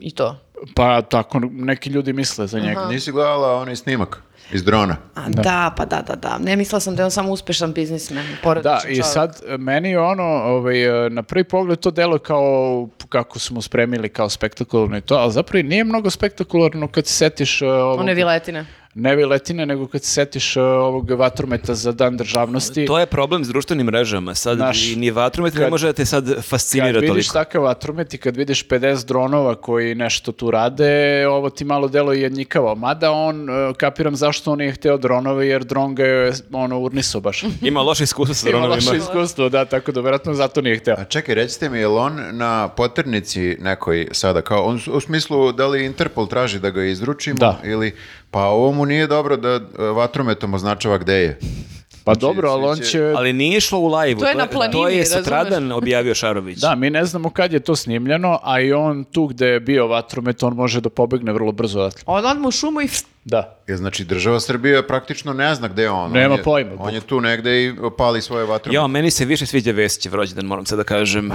Speaker 4: i to.
Speaker 1: pa tako, neki ljudi misle za njega.
Speaker 2: Nisi gledala onaj snimak iz drona.
Speaker 4: A, da. pa da, da, da. Ne mislila sam da je on samo uspešan biznismen.
Speaker 1: Da,
Speaker 4: porodičan
Speaker 1: i
Speaker 4: čovek.
Speaker 1: sad e, meni je ono, ovaj, e, na prvi pogled to delo kao kako smo spremili kao spektakularno i to, ali zapravo i nije mnogo spektakularno kad se setiš e, ovog,
Speaker 4: One viletine.
Speaker 1: ne viletine, nego kad se setiš e, ovog vatrometa za dan državnosti.
Speaker 3: to je problem s društvenim mrežama. Sad
Speaker 1: Znaš,
Speaker 3: i ni vatromet ne
Speaker 1: kad-
Speaker 3: može da te sad fascinira
Speaker 1: Kad vidiš
Speaker 3: toliko.
Speaker 1: takav vatromet i kad vidiš 50 dronova koji nešto tu rade, ovo ti malo delo jednjikavo. Mada on, e, kapiram zašto on nije hteo dronove, jer dron ga je ono urniso baš.
Speaker 3: Ima loše iskustvo sa
Speaker 1: Ima
Speaker 3: dronovima.
Speaker 1: loše iskustvo, da, tako da verovatno zato nije hteo.
Speaker 2: A čekaj, recite mi, je li on na poternici nekoj sada, kao on, u smislu da li Interpol traži da ga izručimo
Speaker 1: Da.
Speaker 2: ili, pa ovo mu nije dobro da e, vatrometom označava gde je.
Speaker 3: Znači,
Speaker 1: Pa dobro, ali on
Speaker 2: će-
Speaker 1: će...
Speaker 3: Ali nije išlo u live
Speaker 4: To je na
Speaker 3: To
Speaker 4: planini,
Speaker 3: je
Speaker 4: razumeš?
Speaker 3: sutradan objavio Šarović.
Speaker 1: Da, mi ne znamo kad je to snimljeno, a i on tu gde je bio vatromet, on može da pobegne vrlo brzo odatle.
Speaker 4: On odmah u šumu i... f-
Speaker 1: Da.
Speaker 2: Jer znači država Srbija praktično ne zna gde je on.
Speaker 1: Nema
Speaker 2: on je,
Speaker 1: pojma.
Speaker 2: On je tu negde i pali svoje vatrome.
Speaker 3: Ja, meni se više sviđa Vesićev rođendan, moram sad da kažem.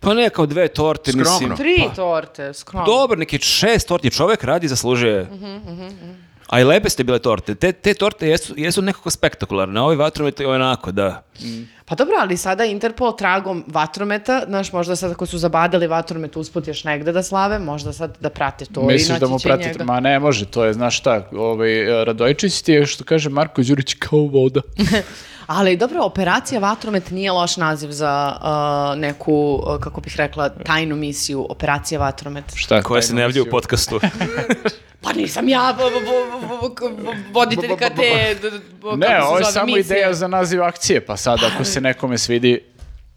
Speaker 3: Pa ne, kao dve torte,
Speaker 2: Skromno.
Speaker 3: mislim.
Speaker 4: Tri
Speaker 1: Pa.
Speaker 4: torte, skromno.
Speaker 3: Dobar, neki šest torti čovjek radi i zaslužuje.
Speaker 4: Mhm,
Speaker 3: A i lepe ste bile torte. Te, te torte jesu, jesu nekako spektakularne. a Ovi vatromet je onako, da.
Speaker 4: Pa dobro, ali sada Interpol tragom vatrometa, znaš, možda sad ako su zabadali vatromet usput još negde da slave, možda sad da prate to i
Speaker 1: Misliš
Speaker 4: naći
Speaker 1: da mu
Speaker 4: će
Speaker 1: pratite?
Speaker 4: njega.
Speaker 1: Ma ne može, to je, znaš šta, ovaj, Radojčić ti je, što kaže Marko Đurić, kao voda.
Speaker 4: Ali dobro, operacija Vatromet nije loš naziv za uh, neku, uh, kako bih rekla, tajnu misiju, operacija Vatromet.
Speaker 1: Šta?
Speaker 3: Koja se
Speaker 1: Tajno
Speaker 3: najavljuje u
Speaker 1: misiju.
Speaker 3: podcastu.
Speaker 4: Pa nisam ja b- b- b- b- b- b- voditeljka te... d- d- b-
Speaker 1: Ne,
Speaker 4: kako se
Speaker 1: ovo je
Speaker 4: zove,
Speaker 1: samo
Speaker 4: misije.
Speaker 1: ideja za naziv akcije, pa sad ako se nekome svidi,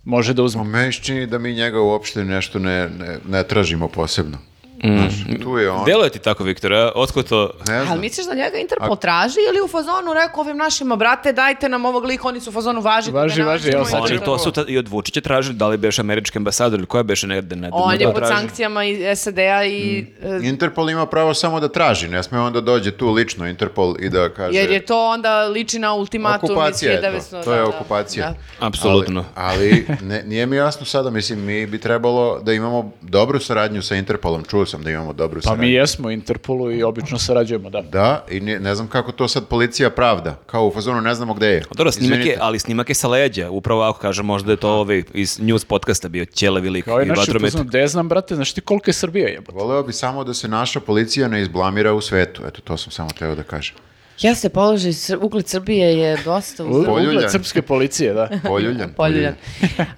Speaker 1: može da
Speaker 2: Ma,
Speaker 1: uzme.
Speaker 2: Ono, Meni se čini da mi njega uopšte nešto ne, ne, ne tražimo posebno. Znaš, tu je on.
Speaker 3: Delo je ti tako, Viktor, a? Otko to?
Speaker 2: Ne znam.
Speaker 4: Ali misliš da njega Interpol traži ili u fazonu rekao ovim našima, brate, dajte nam ovog lika, oni su u fazonu važi.
Speaker 1: Važi, važi, evo sad
Speaker 3: Znači,
Speaker 1: Znači,
Speaker 3: to su tad i od Vučića tražili, da li beš američki ambasador ili koja beše negde ne
Speaker 4: On
Speaker 3: da
Speaker 4: je pod
Speaker 3: traži.
Speaker 4: sankcijama i SAD-a i...
Speaker 2: Mm.
Speaker 4: e,
Speaker 2: Interpol ima pravo samo da traži, ne sme onda dođe tu lično Interpol i da kaže...
Speaker 4: Jer je to onda liči na ultimatum iz
Speaker 2: okupacija je
Speaker 4: 1900,
Speaker 2: to. To je
Speaker 4: da, da,
Speaker 2: okupacija.
Speaker 4: da.
Speaker 3: Apsolutno.
Speaker 2: Ali, ali ne- nije mi jasno sada, mislim, mi bi trebalo da imamo dobru saradnju sa Interpolom. Čuo sam da imamo dobru
Speaker 1: Pa mi
Speaker 2: saradnju.
Speaker 1: jesmo u Interpolu i obično sarađujemo, da.
Speaker 2: Da, i ne, ne znam kako to sad policija pravda. Kao u fazonu ne znamo gde je.
Speaker 3: pa Dobro, snimak je,
Speaker 2: Izvinite.
Speaker 3: ali snimak je sa leđa. Upravo ako kažem, možda je to ovaj iz news podcasta bio Ćelevi lik
Speaker 1: Kao je
Speaker 3: i
Speaker 1: naš
Speaker 3: vatromet.
Speaker 1: upoznat, gde znam, brate, znaš ti koliko je Srbija jebote?
Speaker 2: Voleo bi samo da se naša policija ne izblamira u svetu. Eto, to sam samo teo da kažem.
Speaker 4: Jeste, položaj, Sr- ugled Srbije je dosta
Speaker 1: U-
Speaker 4: uz...
Speaker 2: Poljuljan.
Speaker 1: Ugled srpske policije, da.
Speaker 2: Poljuljan.
Speaker 4: poljuljan.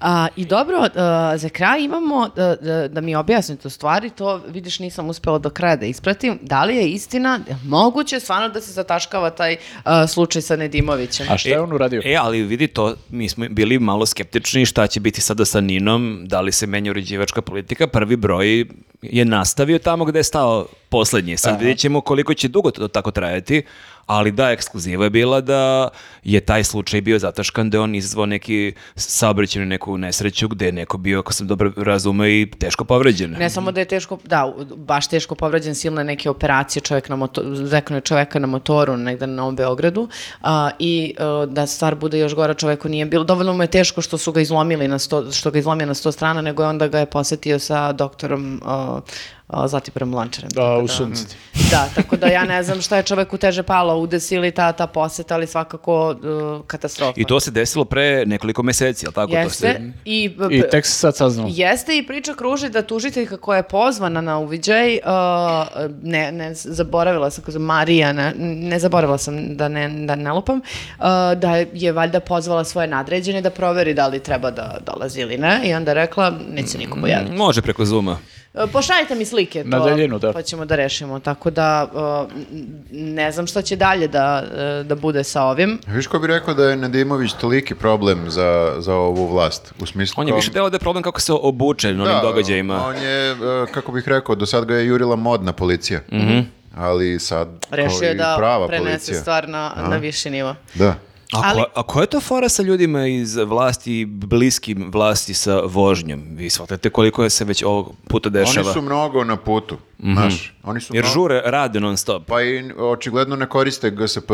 Speaker 4: A, I dobro, a, za kraj imamo, da, da, da mi objasnite u stvari, to vidiš nisam uspela do kraja da ispratim, da li je istina, moguće je stvarno da se zataškava taj a, slučaj sa Nedimovićem.
Speaker 1: A šta je on uradio?
Speaker 3: E, ali vidi to, mi smo bili malo skeptični šta će biti sada sa Ninom, da li se menja uređivačka politika, prvi broj je nastavio tamo gde je stao poslednji. Sad vidjet ćemo koliko će dugo to tako trajati, ali da, ekskluziva je bila da je taj slučaj bio zataškan da je on izazvao neki saobraćenu neku nesreću gde je neko bio, ako sam dobro razumeo, i teško povređen.
Speaker 4: Ne samo da je teško, da, u- baš teško povređen silne neke operacije, čovjek na motoru, zekno je čoveka na motoru negde na Novom Beogradu a, i a, da stvar bude još gora, čoveku nije bilo, dovoljno mu je teško što su ga izlomili na sto, što ga izlomio na sto strana, nego je onda ga je posetio sa doktorom e, a, a, Zlatiborom Lončarem.
Speaker 1: Da, u sunci.
Speaker 4: Da, tako da ja ne znam šta je čoveku teže palo, udes ili ta, ta poseta, ali svakako e, katastrofa.
Speaker 3: I to se desilo pre nekoliko meseci, ali tako? To
Speaker 4: Jeste,
Speaker 3: se...
Speaker 4: i, e,
Speaker 1: I tek se sad
Speaker 2: Oh.
Speaker 1: saznalo.
Speaker 4: Jeste i priča kruži da tužiteljka koja je pozvana na uviđaj, uh, ne, ne, zaboravila sam, kako se- Marija, ne, ne zaboravila sam da ne, da ne lupam, uh, da je valjda pozvala svoje nadređene da proveri da li treba da dolazi ili ne i onda je rekla, neće se
Speaker 2: Mm-hmm.
Speaker 4: niko pojaviti.
Speaker 3: Može preko Zuma.
Speaker 4: E, Pošaljite mi slike. To,
Speaker 1: Na daljinu, da.
Speaker 4: Pa ćemo da rešimo. Tako da e, n- ne znam šta će dalje da, e, da bude sa ovim.
Speaker 2: Viš ko bi rekao da je Nedimović toliki problem za, za ovu vlast? U smislu
Speaker 3: On je
Speaker 2: kao-
Speaker 3: više delo da je problem kako se obuče na onim
Speaker 2: Da,
Speaker 3: događajima.
Speaker 2: On je, e, kako bih rekao, do sad ga je jurila modna policija.
Speaker 3: Mhm.
Speaker 2: Ali sad
Speaker 4: Rešio
Speaker 2: kao
Speaker 4: je
Speaker 2: i
Speaker 4: da
Speaker 2: prava
Speaker 4: prenese
Speaker 2: policija.
Speaker 4: stvar na, na viši nivo.
Speaker 2: Da.
Speaker 3: A,
Speaker 4: Ali-
Speaker 3: ko, a koja je to fora sa ljudima iz vlasti, bliskim vlasti sa vožnjom? Vi shvatate koliko se već ovog puta dešava. Mhm.
Speaker 2: Oni su mnogo na putu, znaš. Oni su
Speaker 3: Jer
Speaker 2: mnogo-
Speaker 3: žure rade non stop.
Speaker 2: Pa i očigledno ne koriste GSP.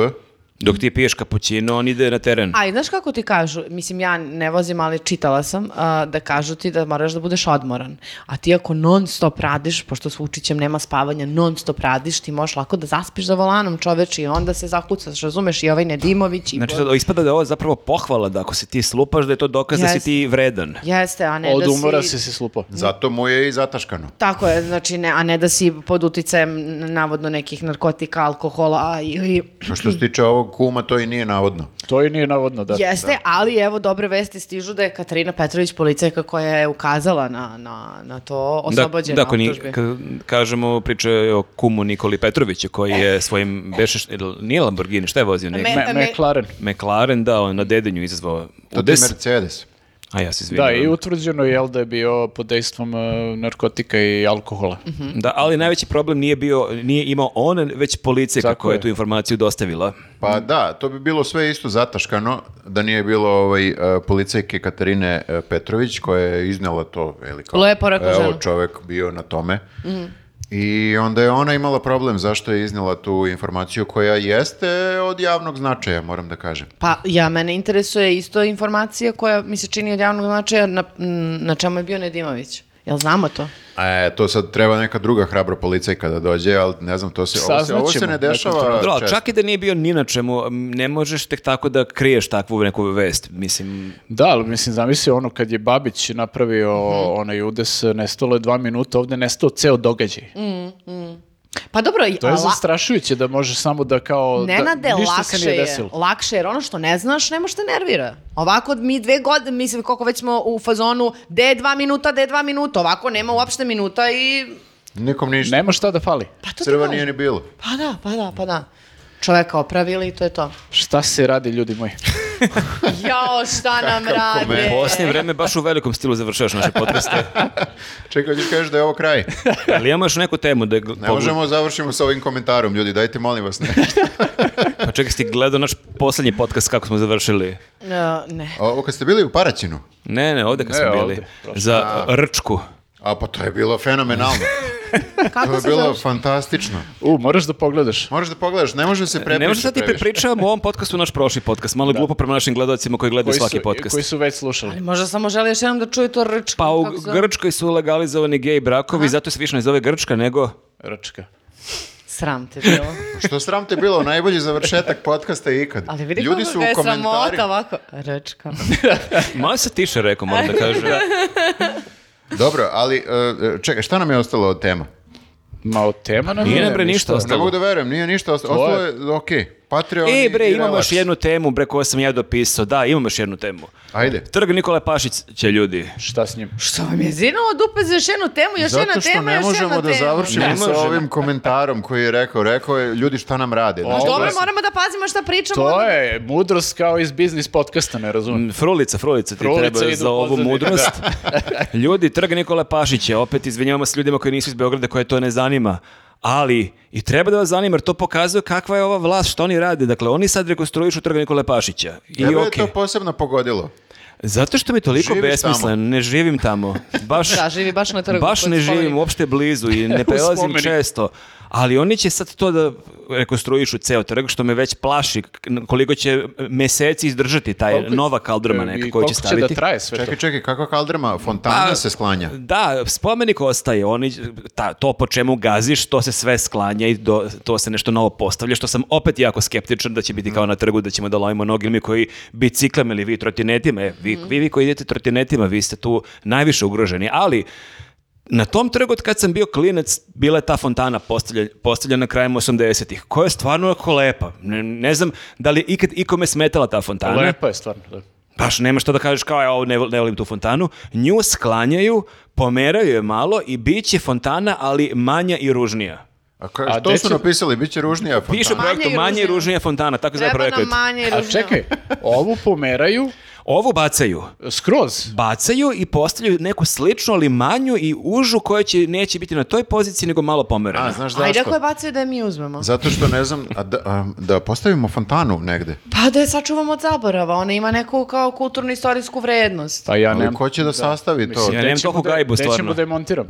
Speaker 3: Dok ti piješ kapućino, on ide na teren.
Speaker 4: A i znaš kako ti kažu, mislim ja ne vozim, ali čitala sam, a, da kažu ti da moraš da budeš odmoran. A ti ako non stop radiš, pošto s učićem nema spavanja, non stop radiš, ti možeš lako da zaspiš za volanom čoveč i onda se zakucaš, razumeš, i ovaj Nedimović. I
Speaker 3: Znači, to ispada da je ovo zapravo pohvala da ako se ti slupaš, da je to dokaz da si
Speaker 4: Jest.
Speaker 3: ti vredan.
Speaker 4: Jeste, a ne
Speaker 1: Od
Speaker 4: da
Speaker 1: umora
Speaker 4: si...
Speaker 1: si se slupao.
Speaker 2: Zato mu je i zataškano.
Speaker 4: Tako je, znači, ne, a ne da si pod uticajem navodno nekih narkotika, alkohola a, ili...
Speaker 2: A što se tiče ovog kuma, to i nije navodno.
Speaker 1: To i nije navodno, da.
Speaker 4: Jeste, ali evo dobre vesti stižu da je Katarina Petrović policajka koja je ukazala na, na, na to oslobođena
Speaker 3: da, ako ni-
Speaker 4: optužbi.
Speaker 3: ka- kažemo, priča je o kumu Nikoli Petroviću, koji je svojim, beše, š- ili nije Lamborghini, šta je vozio? Ne,
Speaker 4: Me-
Speaker 1: Me-
Speaker 4: me-
Speaker 1: McLaren.
Speaker 3: McLaren, da, on na dedenju izazvao
Speaker 2: To ti je
Speaker 3: udes.
Speaker 2: Mercedes.
Speaker 3: A ja se izvinjam.
Speaker 1: Da, i utvrđeno je jel, da je bio pod dejstvom e, narkotika i alkohola.
Speaker 3: Mhm. Da, ali najveći problem nije bio, nije imao on, već policija
Speaker 1: Tako
Speaker 3: kako je
Speaker 1: je.
Speaker 3: tu informaciju dostavila.
Speaker 2: Pa da, to bi bilo sve isto zataškano da nije bilo ovaj, e, policajke Katarine e, Petrović koja je iznela to veliko.
Speaker 4: Lepo rekla žena. Mhm.
Speaker 2: čovek bio na tome. I onda je ona imala problem zašto je iznela tu informaciju koja jeste od javnog značaja, moram da kažem.
Speaker 4: Pa ja, mene interesuje isto informacija koja mi se čini od javnog značaja na, m, na čemu je bio Nedimović. Jel znamo to?
Speaker 2: E, to sad treba neka druga hrabra policajka da dođe, ali ne znam, to se, ovo se, ovo se
Speaker 1: Saznaćemo
Speaker 2: ne
Speaker 1: nekom
Speaker 2: dešava
Speaker 1: trenutku.
Speaker 3: Dobro, ali
Speaker 2: često.
Speaker 3: čak i da nije bio ni na čemu, m, ne možeš tek tako da kriješ takvu neku vest. Mislim,
Speaker 1: Da, ali mislim, zamisli ono kad je Babić napravio onaj udes, nestalo je dva minuta, ovde je nestao ceo događaj.
Speaker 4: Pa dobro,
Speaker 1: To je
Speaker 4: la-
Speaker 1: zastrašujuće da možeš samo da kao...
Speaker 4: Nenade,
Speaker 1: da, ništa se
Speaker 4: lakše
Speaker 1: nije
Speaker 4: je.
Speaker 1: desilo.
Speaker 4: Lakše, jer ono što ne znaš, nema što nervira. Ovako, mi dve godine, mislim, koliko već smo u fazonu, de je dva minuta, de je dva minuta, ovako nema uopšte minuta i...
Speaker 2: Nikom ništa.
Speaker 1: Nema šta da fali.
Speaker 4: Pa to ti
Speaker 2: Crva
Speaker 4: kažem.
Speaker 2: nije ni bilo.
Speaker 4: Pa da, pa da, pa da. Čoveka opravili i to je to.
Speaker 1: Šta se radi, ljudi moji?
Speaker 4: Jao, šta nam
Speaker 2: komentar.
Speaker 4: rade?
Speaker 3: u posljednje vreme baš u velikom stilu završavaš naše podcaste.
Speaker 2: Čekaj, hoćeš kažeš da je ovo kraj.
Speaker 3: Ali imamo još neku temu da... je gl-
Speaker 2: Ne možemo završimo sa ovim komentarom, ljudi, dajte molim vas nešto.
Speaker 3: Pa čekaj, si ti gledao naš posljednji podcast kako smo završili.
Speaker 4: E, ne.
Speaker 2: A Ovo kad ste bili u Paraćinu,
Speaker 3: Ne, ne, ovdje kad
Speaker 1: Ne,
Speaker 3: smo bili.
Speaker 1: ovdje,
Speaker 3: Za Rčku.
Speaker 2: a pa to je bilo fenomenalno. To
Speaker 4: Kako
Speaker 2: je
Speaker 4: se
Speaker 2: bilo
Speaker 4: zove?
Speaker 2: fantastično.
Speaker 1: U, moraš da pogledaš.
Speaker 2: Moraš da pogledaš, ne može da se prepričati.
Speaker 3: Ne možda sad ti prepričavam u ovom podcastu naš prošli podcast. Malo je glupo prema našim gledalcima koji gledaju
Speaker 1: Koji
Speaker 3: svaki
Speaker 1: su,
Speaker 3: podcast.
Speaker 1: koji su već slušali.
Speaker 4: Možda samo želi još jednom da čuje to rč.
Speaker 3: Pa u Grčkoj su legalizovani gej brakovi, zato se više ne zove Grčka, nego...
Speaker 1: Račka.
Speaker 4: Sram te bilo.
Speaker 2: Što sram te bilo, najbolji završetak podcasta ikad.
Speaker 4: Ali vidi
Speaker 2: Ljudi
Speaker 4: kako
Speaker 2: su
Speaker 4: ga
Speaker 2: u
Speaker 4: je sramota
Speaker 2: komentarima.
Speaker 4: ovako. Rčka.
Speaker 3: Malo se tiše rekao, moram da kažem.
Speaker 2: Dobro, ali e, čekaj, šta nam je ostalo od tema?
Speaker 1: Malo tema nam
Speaker 3: Nije nam
Speaker 1: je,
Speaker 3: bre ništa
Speaker 2: Ne
Speaker 3: ostalo.
Speaker 2: mogu da verujem, nije ništa ostalo.
Speaker 1: To je-
Speaker 2: Ostalo je, okej, Patreon
Speaker 3: E, bre,
Speaker 2: i
Speaker 3: imamo još
Speaker 2: relax.
Speaker 3: jednu temu, bre, koju sam ja dopisao. Da, imamo još jednu temu.
Speaker 2: Ajde.
Speaker 3: Trg Nikola Pašić će ljudi.
Speaker 1: Šta s njim?
Speaker 4: Što vam je zina od dupe za još jednu temu, još jedna
Speaker 2: Zato
Speaker 4: tema, još jedna
Speaker 2: što
Speaker 4: tema.
Speaker 2: ne možemo da završimo
Speaker 3: Ne
Speaker 2: sa
Speaker 3: možemo.
Speaker 2: ovim komentarom koji je rekao. Rekao je, ljudi šta nam rade?
Speaker 1: A
Speaker 4: Pa
Speaker 2: Znači,
Speaker 1: Ovo
Speaker 4: Dobro,
Speaker 1: je-
Speaker 4: moramo da pazimo šta pričamo.
Speaker 1: To je mudrost kao iz biznis podcasta, ne razumem.
Speaker 3: Mm, Frulica, frulica ti
Speaker 1: Frulica
Speaker 3: treba
Speaker 1: ide
Speaker 3: za
Speaker 1: u
Speaker 3: ovu
Speaker 1: pozadini,
Speaker 3: mudrost. Ljudi, trg Nikola Pašića, opet izvinjavamo se ljudima koji nisu iz Beograda, koje to ne zanima. Ali i treba da vas zanima, jer to pokazuje kakva je ova vlast, što oni rade. Dakle, oni sad rekonstruišu trg Nikole Pašića. I
Speaker 2: Tebe je to
Speaker 3: okej.
Speaker 2: posebno pogodilo.
Speaker 3: Zato što mi je toliko
Speaker 2: Živiš
Speaker 3: besmisleno, ne živim tamo. Baš,
Speaker 4: Da, živi baš na trgu,
Speaker 3: Baš
Speaker 4: kod
Speaker 3: ne živim
Speaker 4: spomenika.
Speaker 3: uopšte blizu i ne prelazim
Speaker 1: spomenik.
Speaker 3: često. Ali oni će sad to da rekonstruišu ceo trg, što me već plaši k- koliko će meseci izdržati taj
Speaker 1: Koliko-
Speaker 3: e,
Speaker 1: E,
Speaker 3: nova kaldrma
Speaker 1: I
Speaker 3: neka koju
Speaker 1: koliko
Speaker 3: će staviti.
Speaker 1: da traje sve
Speaker 2: Čekaj,
Speaker 1: to?
Speaker 2: čekaj, kakva kaldrma? Fontana
Speaker 3: Pa-
Speaker 2: se sklanja.
Speaker 3: Da, spomenik ostaje, oni, ta, to po čemu gaziš, to se sve sklanja i do, to se nešto novo postavlja, što sam opet jako skeptičan da će biti kao na trgu, da ćemo da lovimo noge ili mi koji biciklama ili vi trotinetima, e, vi, vi, vi koji idete trotinetima, vi ste tu najviše ugroženi, ali na tom trgu od kad sam bio klinac bila je ta fontana postavlja- postavljena krajem 80-ih, koja je stvarno jako lepa. Ne, ne znam da li je ikad ikome smetala ta fontana
Speaker 1: Lepa je stvarno. da.
Speaker 3: baš nema što da kažeš kao ja ovo ne, vol- ne volim tu fontanu. Nju sklanjaju, pomeraju je malo i bit će fontana, ali manja i ružnija.
Speaker 2: A ka-
Speaker 1: A
Speaker 2: što
Speaker 1: gde
Speaker 2: su
Speaker 1: će-
Speaker 2: napisali? Biće ružnija fontana.
Speaker 3: Piše u projektu
Speaker 4: Manja i
Speaker 3: manja i
Speaker 4: ružnija.
Speaker 3: ružnija fontana, tako zove
Speaker 4: Treba
Speaker 3: projekat.
Speaker 4: nam manje
Speaker 1: A
Speaker 4: ružno.
Speaker 1: čekaj, ovu pomeraju
Speaker 3: Ovo bacaju.
Speaker 1: skroz.
Speaker 3: Bacaju i postavljaju neku sličnu, ali manju i užu koja će, neće biti na toj poziciji, nego malo pomerena.
Speaker 2: A, znaš
Speaker 4: Ajde
Speaker 2: zašto?
Speaker 4: ako je pa- bacaju da je mi uzmemo.
Speaker 2: Zato što ne znam, a da, a, da postavimo fontanu negde.
Speaker 4: Pa da je sačuvamo od zaborava, ona ima neku kao kulturno-istorijsku vrednost.
Speaker 1: Pa ja
Speaker 2: Ali
Speaker 1: nemam.
Speaker 2: ko će da, sastavi to?
Speaker 3: ja
Speaker 1: Gde
Speaker 3: nemam
Speaker 1: ćemo
Speaker 3: toliko
Speaker 1: da-
Speaker 3: gajbu,
Speaker 1: Gde
Speaker 3: stvarno.
Speaker 1: ćemo da je montiramo?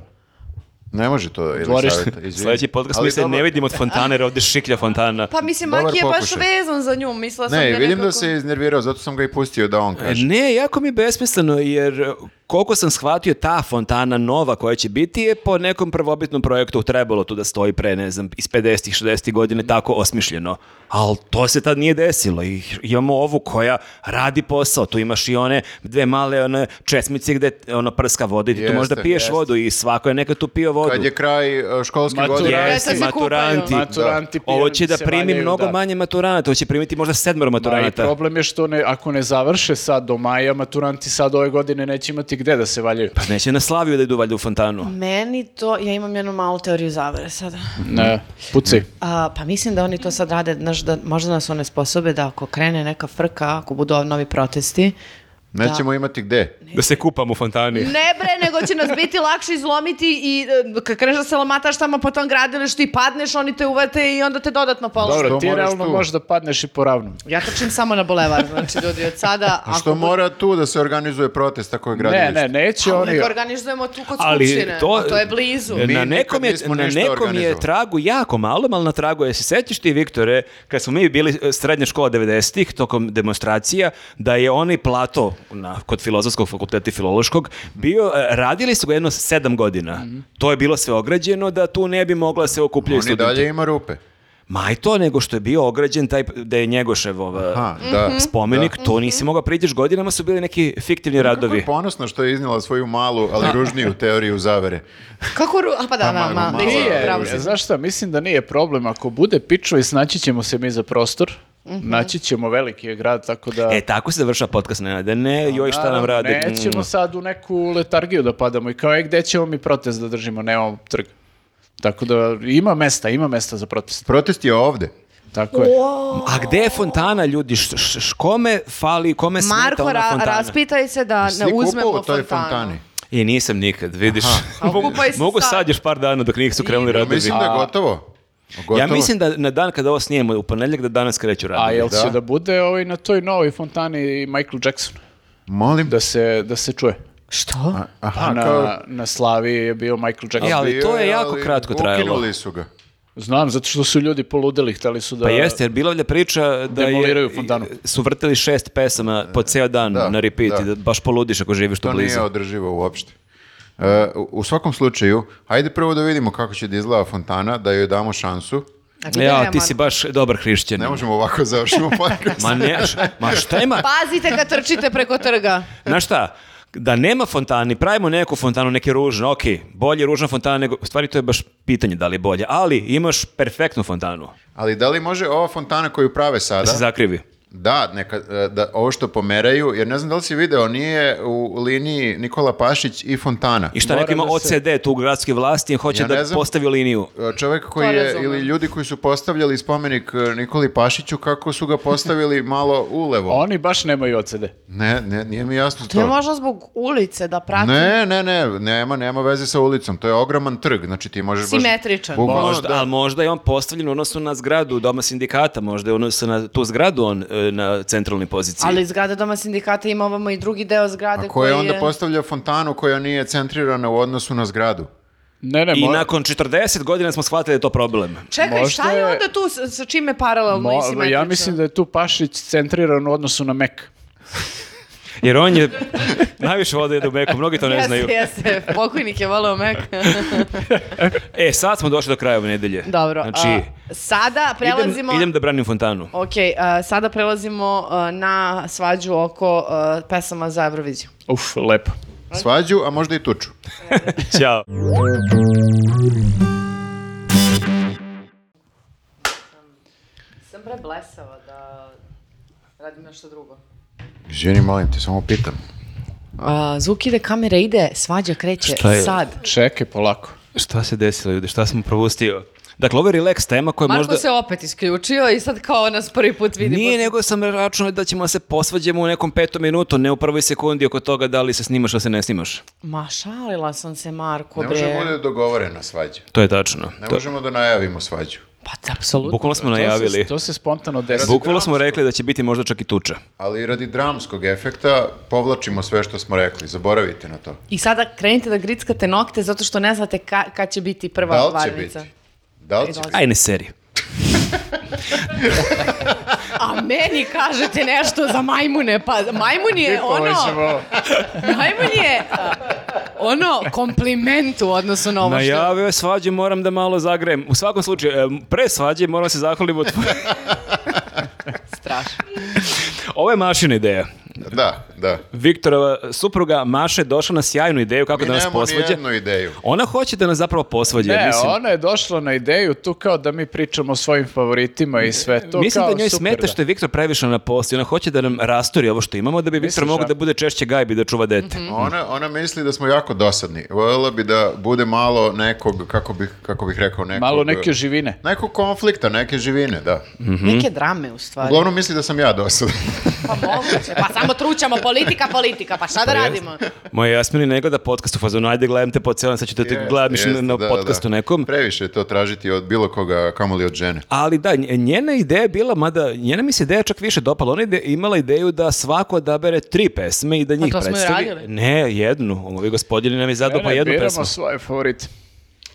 Speaker 2: Ne može to,
Speaker 1: Dvorište.
Speaker 2: Elisaveta, izvini.
Speaker 3: Sljedeći podcast
Speaker 2: Ali
Speaker 3: mi se
Speaker 2: dobro.
Speaker 3: ne vidimo od fontane, jer ovdje šiklja fontana.
Speaker 4: Pa mislim,
Speaker 2: Dobar
Speaker 4: Maki je baš
Speaker 2: pokušaj.
Speaker 4: vezan za nju, mislila sam
Speaker 2: Ne,
Speaker 4: je
Speaker 2: vidim da
Speaker 4: nekako-
Speaker 2: se iznervirao, zato sam ga i pustio da on
Speaker 3: E,
Speaker 2: kaže.
Speaker 3: Ne, jako mi je besmisleno, jer e, koliko sam shvatio, ta fontana nova koja će biti je po nekom prvobitnom projektu trebalo tu da stoji pre, ne znam, iz 50-ih, 60-ih godine tako osmišljeno. Ali to se tad nije desilo i imamo ovu koja radi posao. Tu imaš i one dve male one česmice gde ono prska voda i ti tu
Speaker 2: Jeste,
Speaker 3: možda piješ
Speaker 2: jeste.
Speaker 3: vodu i svako je nekad tu pio vodu.
Speaker 2: Kad je kraj e, školske
Speaker 1: Matura.
Speaker 2: godine,
Speaker 4: Yes.
Speaker 3: Jeste,
Speaker 4: Kad se
Speaker 3: maturanti.
Speaker 4: kupaju.
Speaker 1: Maturanti pijani
Speaker 3: Ovo će da
Speaker 1: se
Speaker 3: primi
Speaker 1: valjaju,
Speaker 3: mnogo
Speaker 1: da.
Speaker 3: manje maturanata. Ovo će primiti možda sedmoro
Speaker 1: Da, i
Speaker 3: maturanata.
Speaker 1: problem je što ne, ako ne završe sad do maja, maturanti sad ove godine neće imati gde da se valjaju.
Speaker 3: Pa neće na Slaviju da idu valjda u fontanu.
Speaker 4: Meni to, ja imam jednu malu teoriju zavere sada.
Speaker 1: Ne, puci.
Speaker 4: A, pa mislim da oni to sad rade, znaš, da možda nas one sposobe da ako krene neka frka, ako budu ovi novi protesti,
Speaker 2: nećemo imati gde.
Speaker 3: Da se kupam u fontani.
Speaker 4: Ne bre, nego će nas biti lakše izlomiti i e, kad kreneš da se lamataš tamo po tom gradilištu i padneš, oni te uvate i onda te dodatno polože.
Speaker 1: Dobro,
Speaker 2: Što
Speaker 1: ti
Speaker 2: moraš
Speaker 1: realno
Speaker 2: tu?
Speaker 1: možeš da padneš i po ravnom.
Speaker 4: Ja trčim samo na bulevar, znači ljudi od sada...
Speaker 2: A što
Speaker 4: ako bu-
Speaker 2: mora tu da se organizuje protest ako je
Speaker 1: Ne, ne,
Speaker 2: gradilište?
Speaker 1: neće
Speaker 4: Ali
Speaker 1: oni...
Speaker 4: neka organizujemo tu kod
Speaker 3: Ali
Speaker 4: skupštine,
Speaker 3: to-
Speaker 4: a to je blizu.
Speaker 2: Mi
Speaker 3: na
Speaker 2: nikad
Speaker 3: nekom je,
Speaker 2: nismo
Speaker 3: na
Speaker 2: ništa
Speaker 3: nekom je
Speaker 2: organizovali.
Speaker 3: tragu jako malo, ali na tragu je, se sećaš ti Viktore, kad smo mi bili e, srednja škola 90-ih tokom demonstracija, da je onaj plato na, kod filozofskog fakulteta i filološkog bio, e, radili su ga jedno sedam godina. To je bilo sve ograđeno da tu ne bi mogla se okupljaju
Speaker 2: Mhm. Oni
Speaker 3: studenti.
Speaker 2: dalje ima rupe.
Speaker 3: Ma i to nego što je bio ograđen taj, da je Njegošev ova,
Speaker 2: Ha,
Speaker 4: Mhm.
Speaker 2: da.
Speaker 3: spomenik, to nisi mogao priđeš godinama su bili neki fiktivni
Speaker 2: Kako
Speaker 3: radovi.
Speaker 2: je ponosna što je iznijela svoju malu, ali ružniju teoriju zavere.
Speaker 4: Kako... Ru... A pa da,
Speaker 2: Pa
Speaker 4: da,
Speaker 2: malo,
Speaker 4: ma,
Speaker 2: malo,
Speaker 4: da,
Speaker 2: ali-
Speaker 1: Nije,
Speaker 4: pravo si.
Speaker 1: e, znaš šta, mislim da nije problem. Ako bude pičo i snaći ćemo se mi za prostor, naći ćemo veliki je grad, tako da...
Speaker 3: E, tako se završava podcast, Nenade. Ne, joj, šta nam
Speaker 1: Naravno,
Speaker 3: rade.
Speaker 1: Nećemo
Speaker 3: Mm.
Speaker 1: sad u neku letargiju da padamo i kao, e, gde ćemo mi protest da držimo, nemamo trg. Tako da ima mesta, ima mesta za protest.
Speaker 2: Protest je ovde.
Speaker 1: Tako je.
Speaker 3: A gde je fontana, ljudi? Š, š- š- kome fali, kome smeta
Speaker 4: Marko,
Speaker 3: ona
Speaker 4: ra-
Speaker 3: fontana?
Speaker 4: raspitaj se da
Speaker 2: Svi
Speaker 4: ne uzmemo
Speaker 2: kupao u
Speaker 4: fontanu.
Speaker 2: toj fontani.
Speaker 3: I nisam nikad, vidiš.
Speaker 4: A okupaj se
Speaker 3: Mogu
Speaker 4: sad.
Speaker 3: sad još par dana dok nisu krenuli radovi.
Speaker 2: Mislim da je gotovo. gotovo.
Speaker 3: ja mislim da na dan kada ovo snijemo u ponedjeljak da danas kreću
Speaker 1: A
Speaker 3: radovi.
Speaker 1: jel će
Speaker 2: Da.
Speaker 1: da bude ovaj na toj novoj fontani Michael Jackson?
Speaker 2: Molim,
Speaker 1: Da se, da se čuje.
Speaker 4: Što?
Speaker 1: Pa
Speaker 2: Aha, kao...
Speaker 1: na, na Slavi je bio Michael Jackson.
Speaker 3: E, ali to je
Speaker 2: bio,
Speaker 3: jako
Speaker 2: ali
Speaker 3: kratko trajalo.
Speaker 2: Ukinuli su ga.
Speaker 1: Znam, zato što su ljudi poludeli, hteli su da...
Speaker 3: Pa jeste, jer bila je priča da je,
Speaker 1: Demoliraju fontanu.
Speaker 3: su vrtili šest pesama po ceo dan
Speaker 2: Da,
Speaker 3: na repeat
Speaker 2: da.
Speaker 3: i da baš poludiš ako živiš tu
Speaker 2: To
Speaker 3: blizu.
Speaker 2: nije održivo uopšte. Uh, u- u svakom slučaju, hajde prvo da vidimo kako će da izgleda fontana, da joj damo šansu.
Speaker 4: Dakle,
Speaker 3: Ja,
Speaker 4: nema-
Speaker 3: ti si baš dobar hrišćan.
Speaker 2: Ne možemo ovako završimo podcast.
Speaker 3: Ma ne, š- ma šta ima?
Speaker 4: Pazite kad trčite preko trga.
Speaker 3: Znaš šta? Da nema fontani, pravimo neku fontanu, neke ružne, ok, bolje ružna fontana nego, u stvari to je baš pitanje da li je bolje, ali imaš perfektnu fontanu,
Speaker 2: Ali da li može ova fontana koju prave
Speaker 3: da, se
Speaker 2: sada,
Speaker 3: zakrivi.
Speaker 2: da, neka, e, da, ovo što pomeraju, jer ne znam da li si video, nije u liniji Nikola Pašić i fontana.
Speaker 3: I šta,
Speaker 1: Mora
Speaker 3: neko ima
Speaker 1: da se-
Speaker 3: OCD tu u gradskoj vlasti i hoće
Speaker 2: Ja ne
Speaker 3: da
Speaker 2: znam.
Speaker 3: postavi liniju.
Speaker 2: E, Čovek koji
Speaker 4: To
Speaker 2: je,
Speaker 4: razumem.
Speaker 2: ili ljudi koji su postavljali spomenik e, Nikoli Pašiću, kako su ga postavili malo ulevo.
Speaker 1: Oni baš nemaju OCD.
Speaker 2: Ne, ne, nije mi jasno
Speaker 4: To je
Speaker 2: Pa to.
Speaker 4: možda zbog ulice da prati.
Speaker 2: Ne, ne, ne, nema, nema veze sa ulicom, to je ogroman trg, znači ti možeš baš...
Speaker 4: Simetričan.
Speaker 2: Bukvalno,
Speaker 3: Možda,
Speaker 2: da.
Speaker 3: ali možda je on postavljen u odnosu na zgradu doma sindikata, možda je u odnosu na tu zgradu on e, na centralnoj poziciji.
Speaker 4: Ali zgrada Doma sindikata ima ovamo i drugi deo zgrade
Speaker 2: A ko je
Speaker 4: koji
Speaker 2: onda postavlja fontanu koja nije centrirana u odnosu na zgradu?
Speaker 1: Ne, ne,
Speaker 3: I
Speaker 1: mo-
Speaker 3: nakon 40 godina smo shvatili da je to problem.
Speaker 4: Čekaj,
Speaker 1: Možda
Speaker 4: šta je
Speaker 1: je-
Speaker 4: onda tu sa, sa čime paralelno
Speaker 1: mo-
Speaker 4: i simetrično?
Speaker 1: ja mislim da je tu Pašić centriran u odnosu na Mek.
Speaker 3: Jer on je najviše vode jede u meku, mnogi to ne znaju.
Speaker 4: Jeste, jeste, pokojnik je volao mek.
Speaker 3: E, sad smo došli do kraja ove nedelje.
Speaker 4: Dobro,
Speaker 3: Znači,
Speaker 4: a, sada prelazimo...
Speaker 3: idem, idem da branim fontanu.
Speaker 4: Ok, a, sada prelazimo a, na svađu oko a, pesama za Euroviziju.
Speaker 1: Uf, lepo.
Speaker 2: Svađu, a možda i tuču.
Speaker 3: Ćao.
Speaker 4: Sam preblesava da radim nešto drugo.
Speaker 2: Izvini, molim te, samo pitam.
Speaker 4: zvuk ide, kamera ide, svađa kreće
Speaker 3: Šta je?
Speaker 4: sad.
Speaker 1: Čekaj, polako.
Speaker 3: Šta se desilo, ljudi? Šta sam propustio? Dakle, ovo je relax tema koja
Speaker 4: Marko
Speaker 3: možda...
Speaker 4: se opet isključio i sad kao nas prvi put vidimo.
Speaker 3: Nije, nego sam računao da ćemo se posvađamo u nekom petom minutu, ne u prvoj sekundi oko toga da li se snimaš ili se ne snimaš.
Speaker 4: Ma šalila sam se Marko,
Speaker 2: Ne
Speaker 4: bre.
Speaker 2: možemo da je dogovorena svađa.
Speaker 3: To je tačno.
Speaker 2: Ne
Speaker 3: To-
Speaker 2: možemo da najavimo svađu.
Speaker 4: Pa, apsolutno.
Speaker 3: Bukvalno smo
Speaker 1: To se,
Speaker 3: najavili.
Speaker 1: to se spontano desilo.
Speaker 3: Bukvalno smo rekli da će biti možda čak i tuča.
Speaker 2: Ali radi dramskog efekta povlačimo sve što smo rekli. Zaboravite na to.
Speaker 4: I sada krenite da grickate nokte zato što ne znate ka, kad će biti prva
Speaker 2: Da li će
Speaker 4: varnica.
Speaker 2: biti? Da li će
Speaker 4: Dolazi.
Speaker 2: biti?
Speaker 3: Aj, ne seri.
Speaker 4: A meni kažete nešto za majmune, pa majmun
Speaker 1: E,
Speaker 4: je ono,
Speaker 1: Povećamo-
Speaker 4: majmun je a, ono kompliment u odnosu na ovo što...
Speaker 3: Najavio je svađu, moram da malo zagrem. U svakom slučaju, em, pre svađe moram se zahvalim od...
Speaker 4: Strašno.
Speaker 3: Ovo je mašina ideja.
Speaker 2: Da, da.
Speaker 3: Viktorova supruga Maša je došla na sjajnu ideju kako
Speaker 2: Mi
Speaker 3: da nas
Speaker 2: nemamo ni
Speaker 3: posvađa.
Speaker 2: jednu ideju.
Speaker 3: Ona hoće da nas zapravo posvađa.
Speaker 1: Ne,
Speaker 3: mislim,
Speaker 1: ona E, ono je došla na ideju tu kao da mi pričamo o svojim favoritima i sve to.
Speaker 3: mislim
Speaker 1: kao
Speaker 3: da njoj
Speaker 1: super,
Speaker 3: smeta
Speaker 1: da.
Speaker 3: što je Viktor previše na poslu. i Ona hoće da nam rasturi ovo što imamo da bi Viktor
Speaker 1: Misliš,
Speaker 3: mogao
Speaker 1: a?
Speaker 3: da bude češće gajbi da čuva dete.
Speaker 2: Ona, ona misli da smo jako dosadni. Voljela bi da bude malo nekog, kako bih, kako bih rekao, nekog...
Speaker 1: Malo neke živine.
Speaker 2: Nekog konflikta, neke živine, da.
Speaker 4: Neke drame u stvari.
Speaker 2: Uglavnom misli da sam ja dosadan.
Speaker 4: Mhm. Pa moguće. Pa samo trućamo politika, politika. Pa šta da radimo?
Speaker 3: Moja Jasmina ne gleda podcast u fazonu, ajde gledam te po celom, sad ću te
Speaker 2: Jeste,
Speaker 3: gledam još na,
Speaker 2: jeste,
Speaker 3: na
Speaker 2: da,
Speaker 3: podcastu
Speaker 2: da.
Speaker 3: nekom.
Speaker 2: Previše je to tražiti od bilo koga, kamoli od žene.
Speaker 3: Ali da, nj- njena ideja je bila, mada njena mi se ideja čak više dopala. Ona je ide- imala ideju da svako odabere tri pesme i da njih
Speaker 4: to smo i
Speaker 3: predstavi.
Speaker 4: radili.
Speaker 3: Ne, jednu. Ovi gospodini nam je zadao
Speaker 1: Ne,
Speaker 3: pa
Speaker 1: ne,
Speaker 3: jednu
Speaker 1: biramo
Speaker 3: pesmu.
Speaker 1: svoje favorite.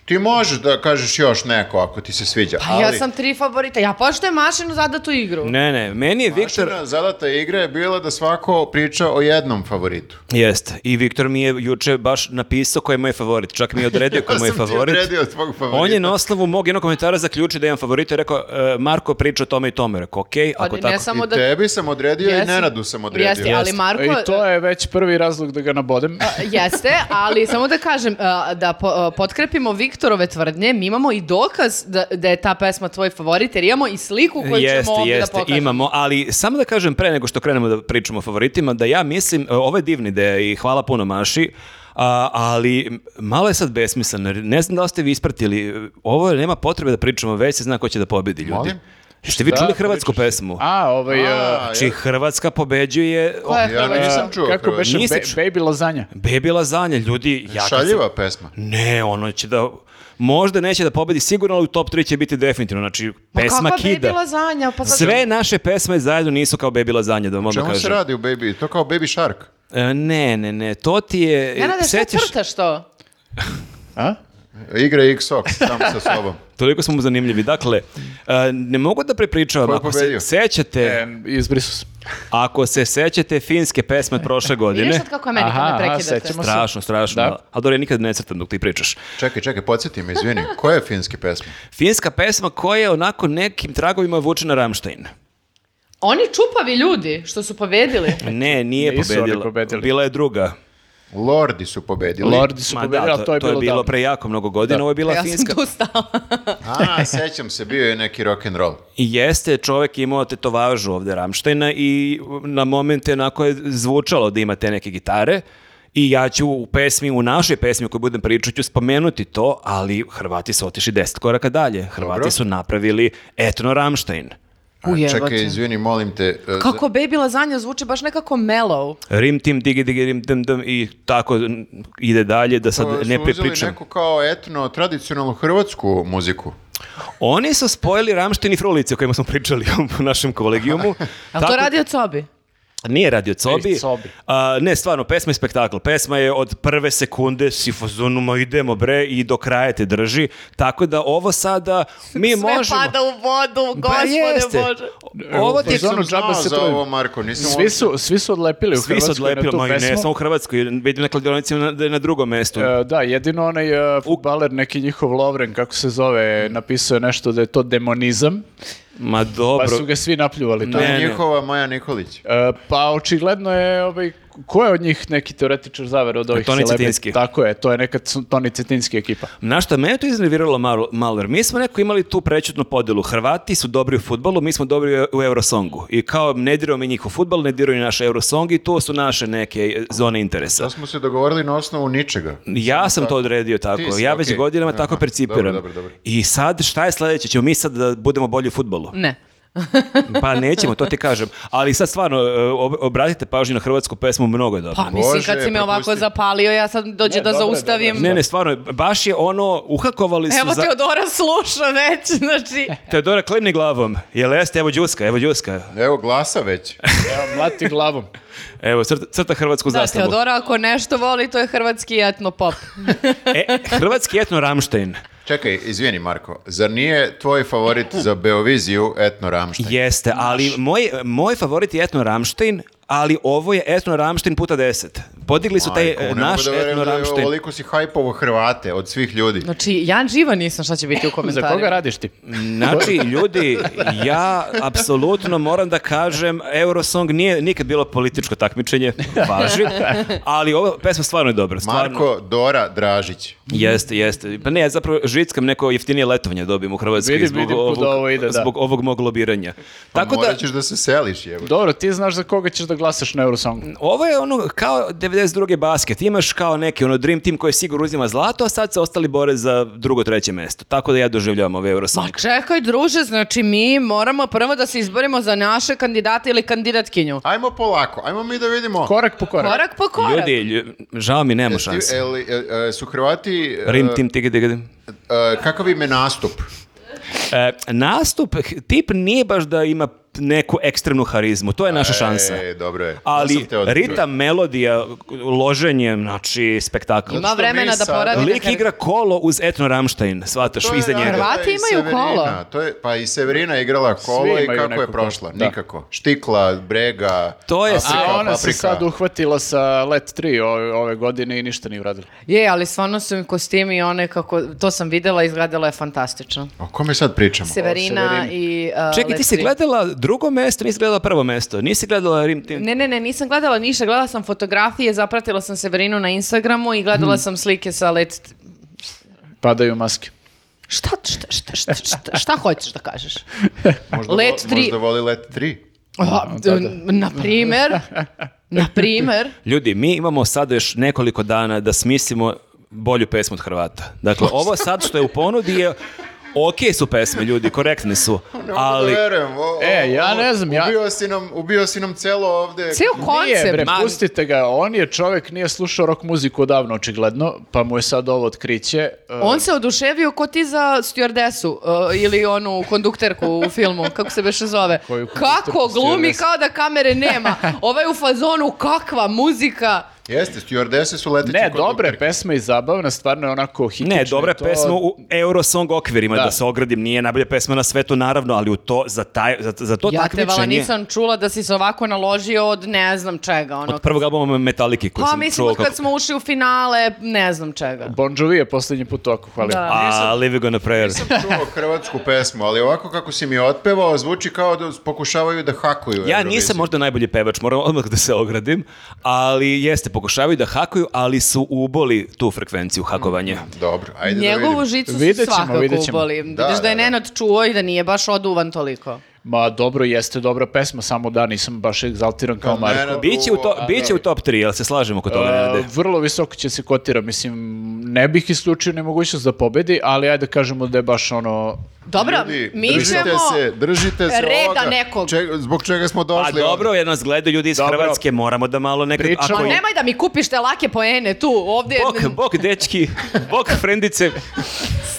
Speaker 2: Ti možeš da kažeš još neko ako ti se sviđa,
Speaker 4: Pa
Speaker 2: ali...
Speaker 4: ja sam tri favorita. Ja poštujem mašinu zadatu igru.
Speaker 3: Ne, ne, meni je Viktor...
Speaker 2: Mašina zadata igra je bila da svako priča o jednom favoritu.
Speaker 3: Jeste, i Viktor mi je juče baš napisao koji je moj favorit, čak mi je odredio koji je moj
Speaker 2: sam ti
Speaker 3: favorit.
Speaker 2: odredio od tvog favorita.
Speaker 3: On je na osnovu mog jednog komentara zaključio da imam favorita i rekao, e, Marko priča o tome i tome. Rekao, okej,
Speaker 4: Pa
Speaker 3: ako
Speaker 4: ne
Speaker 3: tako...
Speaker 4: samo
Speaker 2: I
Speaker 4: da...
Speaker 2: tebi sam odredio i
Speaker 4: Jesi.
Speaker 2: Nenadu sam odredio.
Speaker 4: Jeste, E, ali
Speaker 3: Jeste.
Speaker 4: Marko...
Speaker 1: E, I to je već prvi razlog da ga nabodem.
Speaker 4: Jeste, ali samo da kažem, a, da po- a, potkrepimo Viktorove tvrdnje, mi imamo i dokaz da, da je ta pesma tvoj favorit, jer imamo i sliku koju
Speaker 3: Jeste,
Speaker 4: ćemo ovdje
Speaker 3: jeste,
Speaker 4: da pokažemo.
Speaker 3: imamo, ali samo da kažem pre nego što krenemo da pričamo o favoritima, da ja mislim, e, ovo je divna ideja i hvala puno Maši, a, ali m, malo je sad besmisleno, jer ne znam da li ste vi ispratili, e, ovo nema potrebe da pričamo, već se zna ko će da pobedi ljudi.
Speaker 2: Molim?
Speaker 3: Jeste vi
Speaker 1: Da,
Speaker 3: čuli hrvatsku
Speaker 1: pričaš.
Speaker 3: pesmu?
Speaker 1: A, ovaj...
Speaker 2: A,
Speaker 1: uh,
Speaker 3: Znači, Hrvatska pobeđuje...
Speaker 4: Koja je
Speaker 2: Ja
Speaker 4: Hrvatska?
Speaker 2: nisam čuo
Speaker 1: e, kako
Speaker 2: Hrvatsku.
Speaker 1: beše,
Speaker 3: Nisi
Speaker 1: be-
Speaker 3: čuo.
Speaker 1: baby lasagna.
Speaker 3: Bebi lazanja, ljudi... Ja kad sam-
Speaker 2: Šaljiva pesma.
Speaker 3: Ne, ono će da... Možda neće da pobedi sigurno, ali u top 3 će biti definitivno. Znači, pesma
Speaker 4: kakva
Speaker 3: kida.
Speaker 4: baby lazanja? Pa zato-
Speaker 3: Sve naše pesme zajedno nisu kao Baby Lazanja, da vam odmah
Speaker 2: Čemu se
Speaker 3: kažem.
Speaker 2: radi u Baby? To kao Baby Shark.
Speaker 3: E, Ne, ne, ne, to ti je...
Speaker 4: Nenade, šta
Speaker 3: sećaš-
Speaker 4: crtaš to?
Speaker 1: A?
Speaker 2: Igra X-Ox sam sa sobom.
Speaker 3: Toliko smo mu zanimljivi. Dakle, e, ne mogu da prepričavam.
Speaker 2: Ko je
Speaker 3: Ako se
Speaker 2: pobedio?
Speaker 3: sećate,
Speaker 1: E, izbrisu sam.
Speaker 3: ako se sećate finske pesme od prošle godine...
Speaker 4: Vidiš sad kako Amerika
Speaker 1: Aha,
Speaker 4: me
Speaker 1: aha,
Speaker 4: prekidate?
Speaker 1: sećamo se.
Speaker 3: Strašno, strašno.
Speaker 1: Da.
Speaker 3: Da. Ali dobro, ja nikad ne crtam dok ti pričaš.
Speaker 2: Čekaj, čekaj, podsjeti me, izvini. Koja je finski pesma?
Speaker 3: Finska pesma koja je onako nekim tragovima vuče na Ramštajn.
Speaker 4: Oni čupavi ljudi što su pobedili.
Speaker 3: Ne, nije
Speaker 1: Nisu oni
Speaker 3: pobedila.
Speaker 1: pobedili.
Speaker 3: Bila je druga.
Speaker 2: Lordi su pobedili.
Speaker 1: Lordi su
Speaker 3: Ma
Speaker 1: pobedili,
Speaker 3: da,
Speaker 1: ali to je bilo, davno.
Speaker 3: pre jako mnogo godina,
Speaker 1: Da.
Speaker 3: ovo je bila
Speaker 4: Pa ja
Speaker 3: finska.
Speaker 4: sam tu stala.
Speaker 2: A, sećam se, bio je neki rock and roll.
Speaker 3: I jeste, čovek je imao tetovažu ovde Ramštajna i na momente onako je zvučalo da ima te neke gitare i ja ću u pesmi, u našoj pesmi koju budem pričao ću spomenuti to, ali Hrvati su otišli deset koraka dalje. Hrvati
Speaker 2: Dobro.
Speaker 3: su napravili etno Ramštajn.
Speaker 2: A,
Speaker 4: Ujebate.
Speaker 2: čekaj, izvini, molim te. e,
Speaker 4: Kako baby lazanja zvuči baš nekako mellow.
Speaker 3: Rim tim digi digi rim dim dim i tako n- ide dalje da
Speaker 1: Pa,
Speaker 3: sad
Speaker 2: za- su
Speaker 3: ne
Speaker 2: uzeli
Speaker 3: prepričam.
Speaker 2: neku kao etno, tradicionalnu hrvatsku muziku.
Speaker 3: Oni su spojili Ramštajn i Frulice o kojima smo pričali u našem kolegijumu.
Speaker 4: Jel
Speaker 3: Tako-
Speaker 4: to radi od sobi?
Speaker 3: Nije radio Cobi.
Speaker 1: Ej, Cobi.
Speaker 3: A, ne, stvarno, pesma je spektakl. Pesma je od prve sekunde si fazonu, ma idemo bre i do kraja te drži. Tako da ovo sada mi
Speaker 4: Sve
Speaker 3: možemo... Pa
Speaker 4: pada u vodu, gospode
Speaker 3: jeste.
Speaker 4: Bože.
Speaker 3: Ovo ti
Speaker 1: Tek sam
Speaker 2: Nisam
Speaker 1: džaba
Speaker 2: znao
Speaker 1: se
Speaker 2: za
Speaker 1: trudim.
Speaker 2: ovo, Marko, nisam
Speaker 1: Svi su, svi su odlepili u
Speaker 3: svi su
Speaker 1: Hrvatskoj
Speaker 3: odlepili,
Speaker 1: na
Speaker 3: ma
Speaker 1: tu
Speaker 3: i ne
Speaker 1: pesmu.
Speaker 3: samo u Hrvatskoj, vidim na kladionici na- da je na drugom mestu.
Speaker 1: E, da, jedino onaj uh, futbaler, neki njihov Lovren, kako se zove, napisao je nešto da je to demonizam,
Speaker 3: Ma
Speaker 1: pa
Speaker 3: dobro.
Speaker 1: su ga svi napljuvali.
Speaker 2: To
Speaker 1: To.
Speaker 3: Ne,
Speaker 2: je
Speaker 3: ne.
Speaker 2: njihova Maja Nikolić.
Speaker 1: E, pa očigledno je, ovaj, ko je od njih neki teoretičar zavere od ovih
Speaker 3: Toni
Speaker 1: celebri-
Speaker 3: Cetinski.
Speaker 1: Tako je, to je neka c- Toni Cetinski ekipa.
Speaker 3: Na što mene to iznerviralo malo, malo, jer mi smo neko imali tu prečutnu podelu. Hrvati su dobri u futbolu, mi smo dobri u Eurosongu. I kao ne dirao mi njihov futbol, ne dirao i naš Eurosong i to su naše neke e, zone interesa.
Speaker 2: Da smo se dogovorili na osnovu ničega.
Speaker 3: Ja sam to odredio tako.
Speaker 2: Ti si,
Speaker 3: ja već
Speaker 2: okej.
Speaker 3: godinama
Speaker 2: Aha,
Speaker 3: tako percipiram.
Speaker 2: dobro, dobro, dobro.
Speaker 3: I sad šta je sledeće? Ćemo mi sad da budemo bolji u futbolu?
Speaker 4: Ne.
Speaker 3: Pa nećemo, to ti kažem. Ali sad stvarno, e, ob- obratite pažnju na hrvatsku pesmu, mnogo je dobro.
Speaker 4: Pa mislim kad
Speaker 2: Bože,
Speaker 4: si me ovako
Speaker 2: propusti.
Speaker 4: zapalio, ja sad dođe
Speaker 1: Ne,
Speaker 4: da
Speaker 1: dobro je,
Speaker 4: zaustavim.
Speaker 1: dobro
Speaker 3: Ne, ne, stvarno, baš je ono, uhakovali su...
Speaker 4: Evo
Speaker 3: za- E,
Speaker 4: Teodora sluša već, znači...
Speaker 3: Teodora, klimni glavom. Jel jeste? Evo Đuska, evo Đuska.
Speaker 2: Evo glasa već.
Speaker 1: Evo, mlati glavom.
Speaker 3: Evo, crta, crta hrvatsku
Speaker 4: Da,
Speaker 3: zastavu.
Speaker 4: Teodora ako nešto voli, to je hrvatski etno pop.
Speaker 3: E, hrvatski etno Ramštajn.
Speaker 2: Čekaj, izvini Marko, zar nije tvoj favorit za Beoviziju Etno Ramštajn?
Speaker 3: Jeste, ali moj, moj favorit je etno Ramštajn, ali ovo je etno Ramštajn puta 10. Podigli su taj
Speaker 2: Majko, ne
Speaker 3: e,
Speaker 2: mogu
Speaker 3: naš
Speaker 2: da verujem
Speaker 3: etno
Speaker 2: da je
Speaker 3: Ramštajn.
Speaker 2: Ovoliko si hajpovo Hrvate od svih ljudi.
Speaker 4: Znači, ja živa nisam šta će biti u
Speaker 1: Za
Speaker 4: komentarima.
Speaker 1: koga radiš ti?
Speaker 3: Znači, ljudi, ja apsolutno moram da kažem, Eurosong nije nikad bilo političko takmičenje, važi, ali ova pesma stvarno je dobra. Stvarno.
Speaker 2: Marko Dora Dražić.
Speaker 3: Jeste, jeste. Pa ne, ja zapravo žickam neko jeftinije letovanje dobijem u Hrvatskoj
Speaker 1: Vidim,
Speaker 3: zbog,
Speaker 1: vidim kuda
Speaker 3: ovog,
Speaker 1: ovo ide, da.
Speaker 3: zbog ovog mog lobiranja. Tako
Speaker 2: Pa
Speaker 3: da,
Speaker 2: Morat ćeš da se seliš, jebo.
Speaker 1: Dobro, ti znaš za koga ćeš da glasaš na Eurosongu.
Speaker 3: ovo je ono kao 92. basket. Imaš kao neki ono dream team koji sigurno uzima zlato, a sad se ostali bore za drugo, treće mesto. Tako da ja doživljavam ove Eurosong.
Speaker 4: Ma čekaj, druže, znači mi moramo prvo da se izborimo za naše kandidate ili kandidatkinju.
Speaker 2: Ajmo polako, ajmo mi da vidimo.
Speaker 1: Korak po korak.
Speaker 4: Korak po korak.
Speaker 3: Ljudi, lju- žao mi, nema
Speaker 2: Jesi ti-
Speaker 3: šanse.
Speaker 2: el- el- e, su Hrvati... e,
Speaker 3: Rim tim tigi digi dim.
Speaker 2: e, kakav im je nastup?
Speaker 3: E, nastup, h- tip nije baš da ima neku ekstremnu harizmu, to je naša šansa.
Speaker 2: E, dobro je. Ja sam
Speaker 3: Ali
Speaker 2: teo da čujem.
Speaker 3: ritam, melodija, loženje, znači spektakl.
Speaker 4: Ima
Speaker 2: što
Speaker 4: vremena
Speaker 2: mi
Speaker 4: da
Speaker 2: sad-
Speaker 4: poradi. na
Speaker 3: Lik
Speaker 4: kar-
Speaker 3: igra kolo uz etno Ramštajn, shvataš,
Speaker 2: To je
Speaker 3: iza
Speaker 2: razlika
Speaker 3: njega.
Speaker 4: Hrvati
Speaker 2: i
Speaker 4: imaju
Speaker 2: Severina.
Speaker 4: kolo.
Speaker 2: To je, pa i Severina je igrala kolo
Speaker 1: Svi
Speaker 2: i
Speaker 1: imaju
Speaker 2: kako je
Speaker 1: neko
Speaker 2: prošla.
Speaker 1: kolo, da.
Speaker 2: Nikako. Štikla, brega,
Speaker 3: To je-
Speaker 2: Afrika,
Speaker 1: A ona se
Speaker 2: paprika.
Speaker 1: sad uhvatila sa Let 3 ove, ove godine i ništa nije uradila.
Speaker 4: Je, ali stvarno su mi kostimi one kako, to sam videla, izgledalo je fantastično.
Speaker 2: O kome sad pričamo?
Speaker 4: Severina i... uh,
Speaker 3: Čekaj, ti si
Speaker 4: Leslie.
Speaker 3: gledala drugo mesto, nisi gledala prvo mesto, nisi gledala Rim tim.
Speaker 4: Ne, ne, ne, nisam gledala ništa, gledala sam fotografije, zapratila sam Severinu na Instagramu i gledala
Speaker 1: Hmm.
Speaker 4: sam slike sa let...
Speaker 1: Padaju maske.
Speaker 4: Šta, šta, šta, šta, šta, šta hoćeš da kažeš?
Speaker 2: Možda,
Speaker 4: Let
Speaker 2: vo-
Speaker 4: tri.
Speaker 2: možda voli Let 3.
Speaker 4: A, Na primer, na primer,
Speaker 3: Ljudi, mi imamo sada još nekoliko dana da smislimo bolju pesmu od Hrvata. Dakle, ovo sad što je u ponudi je Okej su pesme, ljudi, korektne su.
Speaker 2: Ali...
Speaker 3: Ali,
Speaker 2: verujem. o,
Speaker 1: E, ja
Speaker 2: o,
Speaker 1: ne znam, ja-
Speaker 2: Ubio si nam, ubio si nam celo ovde.
Speaker 4: Ceo
Speaker 1: Nije, bre,
Speaker 4: koncept.
Speaker 3: Ma-
Speaker 1: pustite ga. On je čovek, nije slušao rock muziku odavno, očigledno, pa mu je sad ovo otkriće. Uh,
Speaker 4: On se oduševio ko ti za stjuardesu uh, ili onu kondukterku u filmu, kako se beše zove.
Speaker 1: Koju
Speaker 4: Kako
Speaker 1: kondukterku,
Speaker 4: glumi
Speaker 1: stjuardesu?
Speaker 4: kao da kamere nema. Ovaj u fazonu kakva muzika.
Speaker 2: Jeste, stewardese su leteći
Speaker 1: Ne,
Speaker 2: kod
Speaker 1: dobre
Speaker 2: doktorke.
Speaker 1: pesme i zabavne, stvarno je onako hitične.
Speaker 3: ne, dobra
Speaker 1: to-
Speaker 3: pesma u Eurosong okvirima, da.
Speaker 1: Da.
Speaker 3: se ogradim, nije najbolja pesma na svetu, naravno, ali u to, za, taj, za, za to
Speaker 4: ja te vala
Speaker 3: takmičenje...
Speaker 4: nisam čula da si se ovako naložio od ne znam čega. Ono.
Speaker 3: Od prvog albuma Metalike koji
Speaker 4: Pa
Speaker 3: sam
Speaker 4: mislim
Speaker 3: čuo
Speaker 4: od kad
Speaker 3: kako...
Speaker 4: smo ušli u finale, ne znam čega.
Speaker 1: Bon Jovi je poslednji put ovako hvalio.
Speaker 4: Da.
Speaker 3: A, Living on a Prayer.
Speaker 2: čuo hrvatsku pesmu, ali ovako kako si mi otpevao, zvuči kao da pokušavaju da hakuju.
Speaker 3: Ja
Speaker 2: Euroviziju.
Speaker 3: nisam možda najbolji pevač, moram odmah da se ogradim, ali jeste, pokušavaju da hakuju, ali su uboli tu frekvenciju hakovanja.
Speaker 4: Mm.
Speaker 2: Dobro, ajde da
Speaker 4: Njegovu
Speaker 2: vidim.
Speaker 4: žicu su
Speaker 1: Vidjet ćemo,
Speaker 4: svakako
Speaker 1: vidjet ćemo.
Speaker 4: uboli.
Speaker 2: Da,
Speaker 4: Vidiš da je
Speaker 2: da, da.
Speaker 4: Nenad čuo i da nije baš oduvan toliko.
Speaker 1: Ma dobro, jeste dobra pesma, samo da nisam baš egzaltiran kao
Speaker 2: Pa,
Speaker 1: Marko.
Speaker 2: Nenad,
Speaker 3: Biće u, to,
Speaker 2: A,
Speaker 3: biće u top 3, jel se slažemo oko toga,
Speaker 1: A,
Speaker 3: Nenade?
Speaker 1: vrlo visoko će se kotira, mislim, ne bih isključio nemogućnost da pobedi, ali ajde kažemo da je baš ono...
Speaker 4: Dobro,
Speaker 2: Ljudi,
Speaker 4: mi
Speaker 2: držite
Speaker 4: ćemo...
Speaker 2: se, držite se
Speaker 4: reda
Speaker 2: ovoga.
Speaker 4: nekog.
Speaker 2: Čeg- zbog čega smo
Speaker 3: Pa
Speaker 2: došli
Speaker 3: dobro, jer nas gledaju ljudi iz
Speaker 1: Dobro.
Speaker 3: Hrvatske, moramo da malo nekad...
Speaker 1: Pričamo- Ma
Speaker 3: Ako,
Speaker 4: Nemoj Pa da mi kupiš te lake poene tu, ovdje
Speaker 3: bok, bok, dečki, bok, frendice.
Speaker 2: ovdje?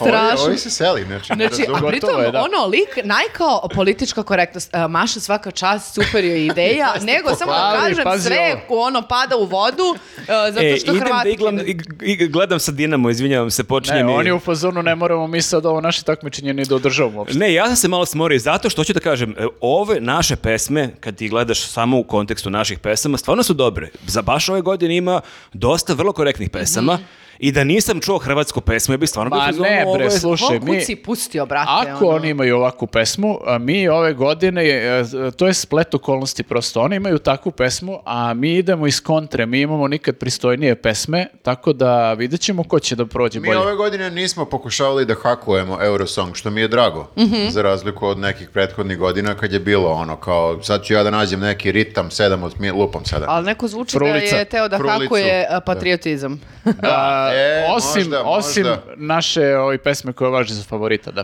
Speaker 2: Ovi,
Speaker 4: strašno.
Speaker 2: ovi se seli, znači, ne
Speaker 4: Znači,
Speaker 2: razumem.
Speaker 4: a
Speaker 1: gotovo
Speaker 4: pritom,
Speaker 1: je, da.
Speaker 4: ono, lik, najkao politička korektnost, e, Maša svaka čast, super je ideja, nego samo da
Speaker 1: pohvali,
Speaker 4: kažem,
Speaker 1: pazi
Speaker 4: sve ono pada u vodu, e, zato
Speaker 3: E,
Speaker 4: što
Speaker 3: idem da
Speaker 4: Hrvati...
Speaker 3: iglam, ig- ig- gledam sa Dinamo, izvinjavam se,
Speaker 1: Ne,
Speaker 3: počinje mi...
Speaker 1: on je u fazonu, ne moramo mi sad ovo naše takmičenje ni da održavamo uopšte.
Speaker 3: Ne, ja sam se malo smorio zato što hoću da kažem, e, ove naše pesme, kad ti gledaš samo u kontekstu naših pesama, stvarno su dobre. Za baš ove godine ima dosta vrlo korektnih pesama i da nisam čuo hrvatsku pesmu, ja bih
Speaker 1: Ma
Speaker 3: stvarno bio u fazonu,
Speaker 1: ne,
Speaker 3: ovo
Speaker 1: bre,
Speaker 3: je-
Speaker 1: slušaj,
Speaker 4: Ko
Speaker 1: mi...
Speaker 4: kuci pustio, brate?
Speaker 1: Ako
Speaker 4: ono?
Speaker 1: oni imaju ovakvu pesmu, a mi ove godine, e, z- to je splet okolnosti prosto, oni imaju takvu pesmu, a mi idemo iz kontre, mi imamo nikad pristojnije pesme, tako da vidjet ćemo ko će da prođe
Speaker 2: Mi
Speaker 1: bolje.
Speaker 2: ove godine nismo pokušavali da hakujemo Eurosong, što mi je drago,
Speaker 4: Mhm.
Speaker 2: za razliku od nekih prethodnih godina kad je bilo ono kao, sad ću ja da nađem neki ritam, sedam od mi lupam sada.
Speaker 4: Ali neko zvuči da
Speaker 1: Frulica.
Speaker 4: je teo da
Speaker 2: Frulicu.
Speaker 4: hakuje e, patriotizam.
Speaker 1: Da,
Speaker 2: e,
Speaker 1: osim,
Speaker 2: možda,
Speaker 1: osim
Speaker 2: možda.
Speaker 1: naše ove pesme koje važi za favorita, da.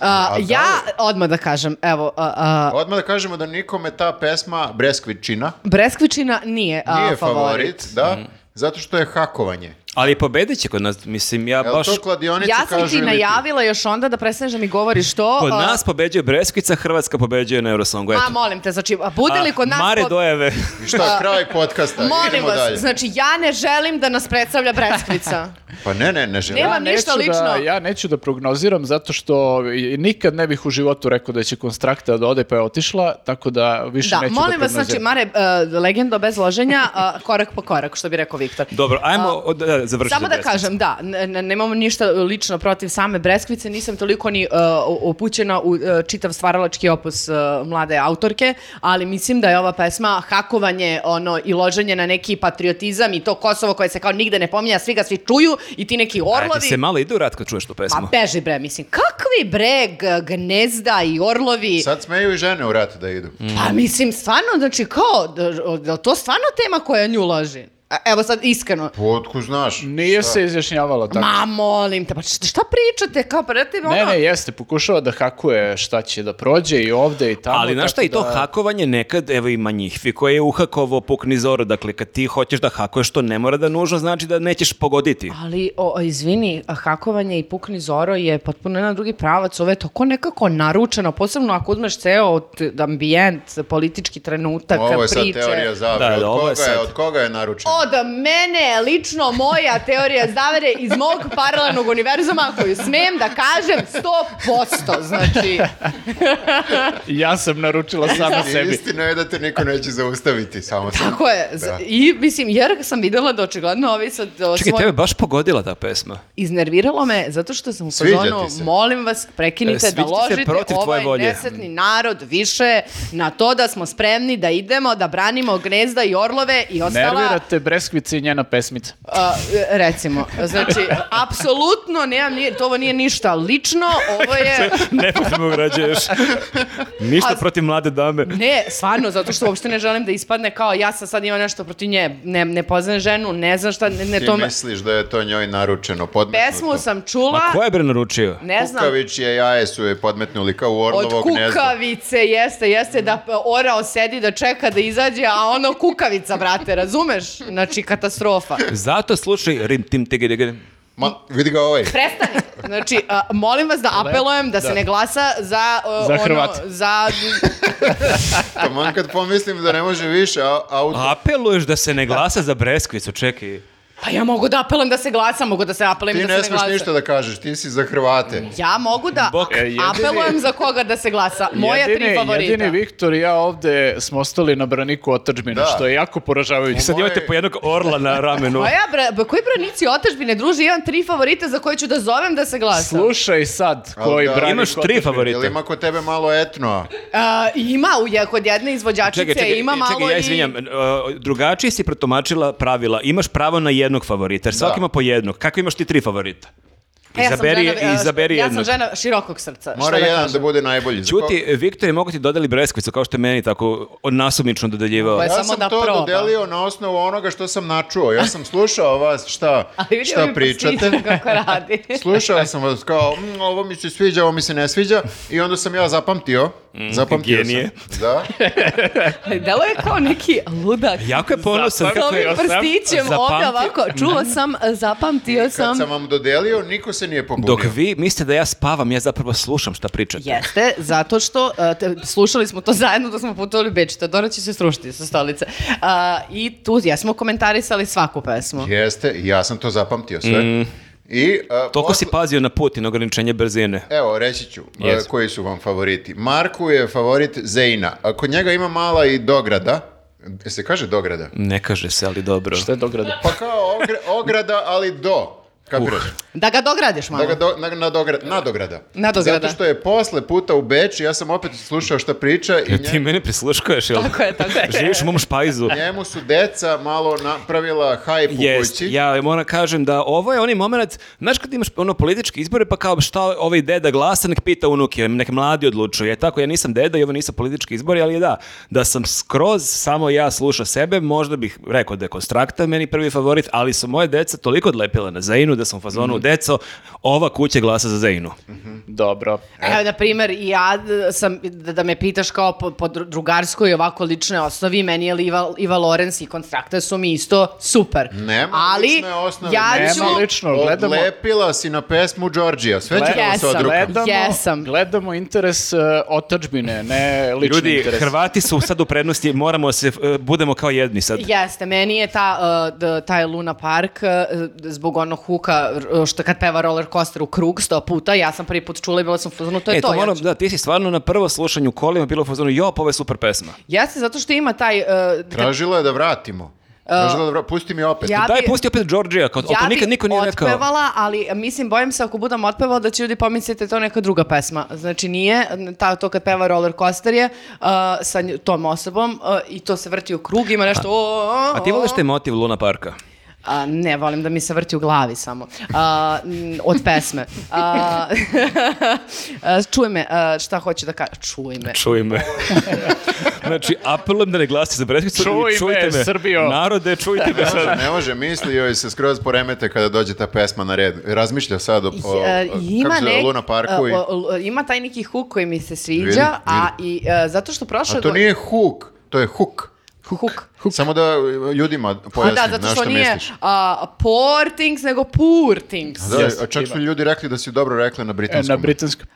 Speaker 4: A,
Speaker 2: A da
Speaker 4: ja
Speaker 2: li-
Speaker 4: odmah da kažem, evo, a, a,
Speaker 2: Odmah da kažemo da nikome ta pesma Breskvičina
Speaker 4: Breskvičina nije, a,
Speaker 2: nije
Speaker 4: favorit. Mhm.
Speaker 2: favorit, da, zato što je hakovanje.
Speaker 3: Ali pobedit će kod nas, mislim, ja
Speaker 2: Jel
Speaker 3: baš...
Speaker 2: to kladionice
Speaker 4: Ja sam
Speaker 2: kažu
Speaker 4: ti
Speaker 2: ili
Speaker 4: najavila još onda da prestaneš da mi govoriš to.
Speaker 3: Kod
Speaker 4: a-
Speaker 3: nas pobeđuje Breskvica, Hrvatska pobeđuje na Eurosongu, eto.
Speaker 4: A, molim te, znači, a bude li kod nas...
Speaker 3: Mare
Speaker 4: po-
Speaker 3: dojeve.
Speaker 2: I Šta, kraj podcasta,
Speaker 4: Molim
Speaker 2: idemo
Speaker 4: vas,
Speaker 2: dalje.
Speaker 4: znači ja ne želim da nas predstavlja Breskvica.
Speaker 2: Pa ne, ne, ne želim.
Speaker 4: Nema-
Speaker 1: Ja
Speaker 4: Nemam ništa
Speaker 1: neću da-
Speaker 4: lično.
Speaker 1: ja neću da prognoziram zato što i- nikad ne bih u životu rekao da će konstrakta da ode pa je otišla, tako da više
Speaker 4: da,
Speaker 1: neću da
Speaker 4: molim vas,
Speaker 1: prognoziram.
Speaker 4: znači, Mare, uh, legendo bez loženja, uh, korak po korak, što bi rekao Viktor.
Speaker 3: Dobro, ajmo, od, da, završiti.
Speaker 4: Samo da kažem, da, ne- ne- nemam ništa lično protiv same Breskvice, nisam toliko ni uh, upućena u uh, čitav stvaralački opus uh, mlade autorke, ali mislim da je ova pesma hakovanje ono, i loženje na neki patriotizam i to Kosovo koje se kao nigde ne pominja, a svi ga svi čuju i ti neki orlovi.
Speaker 3: Ajde se malo ide u rat kad čuješ tu pesmu.
Speaker 4: Pa beži bre, mislim, kakvi bre g- gnezda i orlovi,
Speaker 2: Sad smeju i žene u rat da idu.
Speaker 4: pa mislim, stvarno, znači kao, da, da to stvarno tema koja nju loži? E- Evo sad, iskreno.
Speaker 2: Potku Pa znaš.
Speaker 1: Nije se izjašnjavala tako.
Speaker 4: Ma, molim te, pa šta šta pričate, kao, pa brate, ono...
Speaker 1: Ne, ne, jeste, pokušava da hakuje šta će da prođe i ovde i tamo.
Speaker 3: Ali znaš šta,
Speaker 1: tako
Speaker 3: i to
Speaker 1: da-
Speaker 3: hakovanje nekad, evo ima njihvi koji je uhakovo pukni zoru, dakle kad ti hoćeš da hakuješ, to ne mora da nužno znači da nećeš pogoditi.
Speaker 4: Ali, o, o, izvini, a hakovanje i pukni zoro je potpuno jedan drugi pravac. Ovo je toko nekako naručeno, posebno ako uzmeš ceo t- ambijent, politički trenutak, priče.
Speaker 2: Ovo je sad teorija
Speaker 3: Da,
Speaker 2: zavre.
Speaker 3: da,
Speaker 2: od,
Speaker 3: ovo je
Speaker 2: koga je,
Speaker 3: sad.
Speaker 2: od koga je naručeno?
Speaker 4: Od mene, lično moja teorija zavere iz mog paralelnog univerzuma koju smem da kažem 100%. Znači,
Speaker 1: Ja sam naručila sama sebi.
Speaker 2: Istina je da te niko neće zaustaviti, samo sam.
Speaker 4: tako je. Z-
Speaker 2: Da.
Speaker 4: I mislim, jer sam videla da očigledno ovi sad o,
Speaker 3: Čekaj,
Speaker 4: svoj-
Speaker 3: tebe je baš pogodila ta pesma.
Speaker 4: iznerviralo me zato što sam u
Speaker 2: Sviđa ti
Speaker 4: fazonu,
Speaker 2: se.
Speaker 4: molim vas,
Speaker 3: E,
Speaker 4: prekinite
Speaker 3: sviđa
Speaker 4: da
Speaker 3: ti se
Speaker 4: ložite
Speaker 3: protiv tvoje
Speaker 4: ovaj
Speaker 3: volje."
Speaker 4: nesretni narod više na to da smo spremni da idemo, da branimo gnezda i orlove i ostala
Speaker 1: Nervirate Breskvici i njena pesmica.
Speaker 4: A, recimo, znači, apsolutno nemam, nije, to ovo nije ništa lično, ovo je...
Speaker 3: ne protiv mog rađa još. Ništa protiv mlade dame.
Speaker 4: Ne, stvarno, zato što uopšte ne želim da ispadne kao ja sam sad imam nešto protiv nje, ne, ne poznajem ženu, ne znam šta, ne, ne
Speaker 2: Ti
Speaker 4: to... me-
Speaker 2: misliš da je to njoj naručeno, podmetnuto?
Speaker 4: Pesmu sam čula,
Speaker 3: Ma ko je bre naručio?
Speaker 4: ne znam,
Speaker 2: Kukavić je jaje su je podmetnuli kao u
Speaker 4: od
Speaker 2: Orlovog gnezda.
Speaker 4: kukavice, jeste, jeste, da p- orao sedi da čeka da izađe, a ono kukavica, brate, razumeš? Znači, katastrofa.
Speaker 3: Zato slušaj rim tim tigi digi.
Speaker 2: Ma, vidi ga ovaj.
Speaker 4: Prestani. Znači, a, molim vas da apelujem da se ne glasa za... o,
Speaker 1: Za
Speaker 4: ono,
Speaker 1: Hrvate.
Speaker 4: za-
Speaker 2: Taman kad pomislim da ne može više, a, auto...
Speaker 3: Apeluješ da se ne glasa za Breskvicu, čekaj.
Speaker 4: Pa ja mogu da apelujem da se glasa, mogu da se apelujem
Speaker 2: ti
Speaker 4: da se
Speaker 2: ne
Speaker 4: ne
Speaker 2: smiješ
Speaker 4: glasa.
Speaker 2: ništa da kažeš, ti si za Hrvate.
Speaker 4: Ja mogu da
Speaker 3: Bok. E,
Speaker 1: jedini-
Speaker 4: apelujem za koga da se glasa. Moja tri favorita.
Speaker 1: Jedini Viktor i ja ovde smo ostali na braniku otadžbine,
Speaker 2: Da.
Speaker 1: što je jako poražavajuće.
Speaker 3: Sad
Speaker 2: Moje-
Speaker 3: imate po jednog orla na ramenu.
Speaker 4: Moja, bra, ba, koji branici otadžbine, druži, imam tri favorita za koje ću da zovem da se glasa.
Speaker 1: Slušaj sad
Speaker 2: Ali
Speaker 1: koji
Speaker 2: da.
Speaker 1: branik
Speaker 3: Imaš tri
Speaker 1: otadžbine.
Speaker 2: Jel
Speaker 3: favorita.
Speaker 2: ima kod tebe malo etno?
Speaker 4: A, ima u je, kod jedne izvođačice, ima malo
Speaker 3: čekaj, ja
Speaker 4: i-
Speaker 3: izvinjam, e, drugačije si protumačila pravila. Imaš pravo na jednog favorita, jer svaki
Speaker 2: Da.
Speaker 3: ima po jednog. Kako imaš ti tri favorita?
Speaker 4: E, ja sam
Speaker 3: Izaberi,
Speaker 4: žena, e,
Speaker 3: izaberi
Speaker 4: ja
Speaker 3: jednog.
Speaker 4: sam žena širokog srca.
Speaker 2: Mora
Speaker 4: šta da
Speaker 2: jedan da,
Speaker 4: kažem.
Speaker 2: bude najbolji. Za ko-
Speaker 3: Čuti, Viktor je mogo ti dodali breskvicu, kao što je meni tako nasumično dodeljivao.
Speaker 4: Pa je
Speaker 2: Ja
Speaker 4: samo
Speaker 2: sam
Speaker 4: da
Speaker 2: to
Speaker 4: proba.
Speaker 2: dodelio na osnovu onoga što sam načuo. Ja sam slušao vas šta,
Speaker 4: Ali vidio
Speaker 2: šta
Speaker 4: bi po
Speaker 2: pričate.
Speaker 4: sviđu kako radi.
Speaker 2: Slušao sam vas kao, "Mm, ovo mi se sviđa, ovo mi se ne sviđa. I onda sam ja zapamtio. zapamtio
Speaker 3: Mm, genije.
Speaker 2: sam. Da.
Speaker 4: Delo je kao neki ludak.
Speaker 3: Jako je ponosan
Speaker 4: S
Speaker 3: kako je...
Speaker 1: Zapamtio
Speaker 4: ovim
Speaker 1: sam,
Speaker 4: prstićem ovdje
Speaker 3: zapamtio-
Speaker 4: ovako, čuo sam, e, zapamtio
Speaker 2: Kad
Speaker 4: sam.
Speaker 2: sam vam dodelio, niko se nije pobunio.
Speaker 3: Dok vi mislite da ja spavam, ja zapravo slušam šta pričate.
Speaker 4: Jeste, zato što uh, te- slušali smo to zajedno dok smo putovali u Beč, Teodora će se srušiti sa stolice. Uh, I tu jesmo komentarisali svaku pesmu.
Speaker 2: Jeste, i ja sam to zapamtio sve. I, a,
Speaker 3: Mm. Toliko si
Speaker 2: posle-
Speaker 3: pazio na put i na ograničenje brzine.
Speaker 2: Evo, reći ću a,
Speaker 3: Jeste.
Speaker 2: koji su vam favoriti. Marku je favorit Zeina. A kod njega ima mala i dograda. e, Se kaže dograda?
Speaker 3: Ne kaže se, ali dobro.
Speaker 1: Šta je dograda?
Speaker 2: Pa kao ogre- ograda, ali do. Kapiraš?
Speaker 3: Uh.
Speaker 4: Da ga dogradiš malo.
Speaker 2: Da ga do- na, nadogra- nadograda.
Speaker 4: Nadograda.
Speaker 2: Zato što je posle puta u Beču, ja sam opet slušao šta priča i
Speaker 3: Jel ti
Speaker 2: nje-
Speaker 3: mene prisluškuješ, jel?
Speaker 4: Tako je, tako je.
Speaker 3: Živiš u mom špajzu.
Speaker 2: njemu su deca malo napravila hajp u
Speaker 3: Jest,
Speaker 2: kući.
Speaker 3: ja moram kažem da ovo je onaj moment, znaš kad imaš ono političke izbore pa kao šta ovaj deda glasa nek pita unuke, nek mladi odlučuje, tako ja nisam deda i ovo nisu politički izbori, ali da, da sam skroz samo ja slušao sebe, možda bih rekao da je Konstrakta meni prvi favorit, ali su moje deca toliko odlepila na Zeinu da sam u fazonu,
Speaker 1: Mhm.
Speaker 3: deco, ova kuća glasa za Zeinu.
Speaker 1: Dobro.
Speaker 2: E.
Speaker 4: Evo, na primjer, i ja d- sam, da, da me pitaš kao po, po dru- drugarskoj i ovako lične osnovi, meni je Iva, Iva Lorenz i Konstrakta su mi isto super.
Speaker 2: Nema
Speaker 4: Ali,
Speaker 2: lične osnove.
Speaker 4: ja
Speaker 1: Nema
Speaker 4: ću...
Speaker 1: lične- Lično, gledamo-
Speaker 2: Odlepila si na pesmu Đorđija. Sve će da se
Speaker 4: Jesam.
Speaker 2: odrukati.
Speaker 1: Gledamo,
Speaker 4: Jesam.
Speaker 1: gledamo interes uh, otadžbine, ne lični
Speaker 3: Ljudi,
Speaker 1: interes.
Speaker 3: Hrvati su sad u prednosti, moramo se, eh, budemo kao jedni sad.
Speaker 4: Jeste, meni je ta, uh, d- taj Luna Park uh, zbog onog huka r- što kad peva roller coaster u krug sto puta, ja sam prvi put čula i bila sam u fazonu, to je
Speaker 3: e,
Speaker 4: to.
Speaker 3: to
Speaker 4: ja
Speaker 3: moram,
Speaker 4: ću-
Speaker 3: da, ti si stvarno na prvo slušanju u kolima bilo u fazonu, jo, pa ovo je super pesma.
Speaker 4: Jeste, zato što ima taj... Uh, kad-
Speaker 2: Tražila je da vratimo. Tražila je da vra- Pusti mi opet.
Speaker 4: Ja
Speaker 3: Daj,
Speaker 4: bi-
Speaker 3: pusti opet Georgija, kao, to
Speaker 4: bi
Speaker 3: nikad niko nije rekao.
Speaker 4: otpevala, ali mislim, bojim se ako budem otpevala da će ljudi pomisliti da je to neka druga pesma. Znači nije, ta, to kad peva roller coaster je uh, sa nj- tom osobom uh, i to se vrti u krug, ima nešto... o, o,
Speaker 3: A ti
Speaker 4: o.
Speaker 3: voliš te motiv Luna Parka?
Speaker 4: A, ne, volim da mi se vrti u glavi samo. A, m, od pesme. A, a, čuj me, a, šta hoću da kažem? Čuj me.
Speaker 3: Čuj me. znači, apelujem da ne glasi za Breskvicu.
Speaker 1: Čuj me,
Speaker 3: čujte me.
Speaker 1: Srbijo.
Speaker 3: Narode, čujte me
Speaker 2: Ne može,
Speaker 3: sad.
Speaker 2: ne može, misli joj se skroz poremete kada dođe ta pesma na red. Razmišlja sad o, o, o
Speaker 4: E,
Speaker 2: kako se zove,
Speaker 4: nek-
Speaker 2: Luna Parku. i-
Speaker 4: a, o, o, ima taj neki huk koji mi se sviđa,
Speaker 2: Vidi,
Speaker 4: a i e, zato što prošle
Speaker 2: A to
Speaker 4: godine-
Speaker 2: nije huk, to je huk.
Speaker 4: huk.
Speaker 2: Samo da e, ljudima
Speaker 4: Pa
Speaker 2: pojasnim
Speaker 4: da, zato
Speaker 2: na
Speaker 4: što
Speaker 2: što
Speaker 4: nije
Speaker 2: misliš.
Speaker 4: a, poor things, nego poor things.
Speaker 2: Da, a čak su ljudi rekli da si dobro rekla na
Speaker 1: E,
Speaker 2: britanskom.
Speaker 1: na britanskom.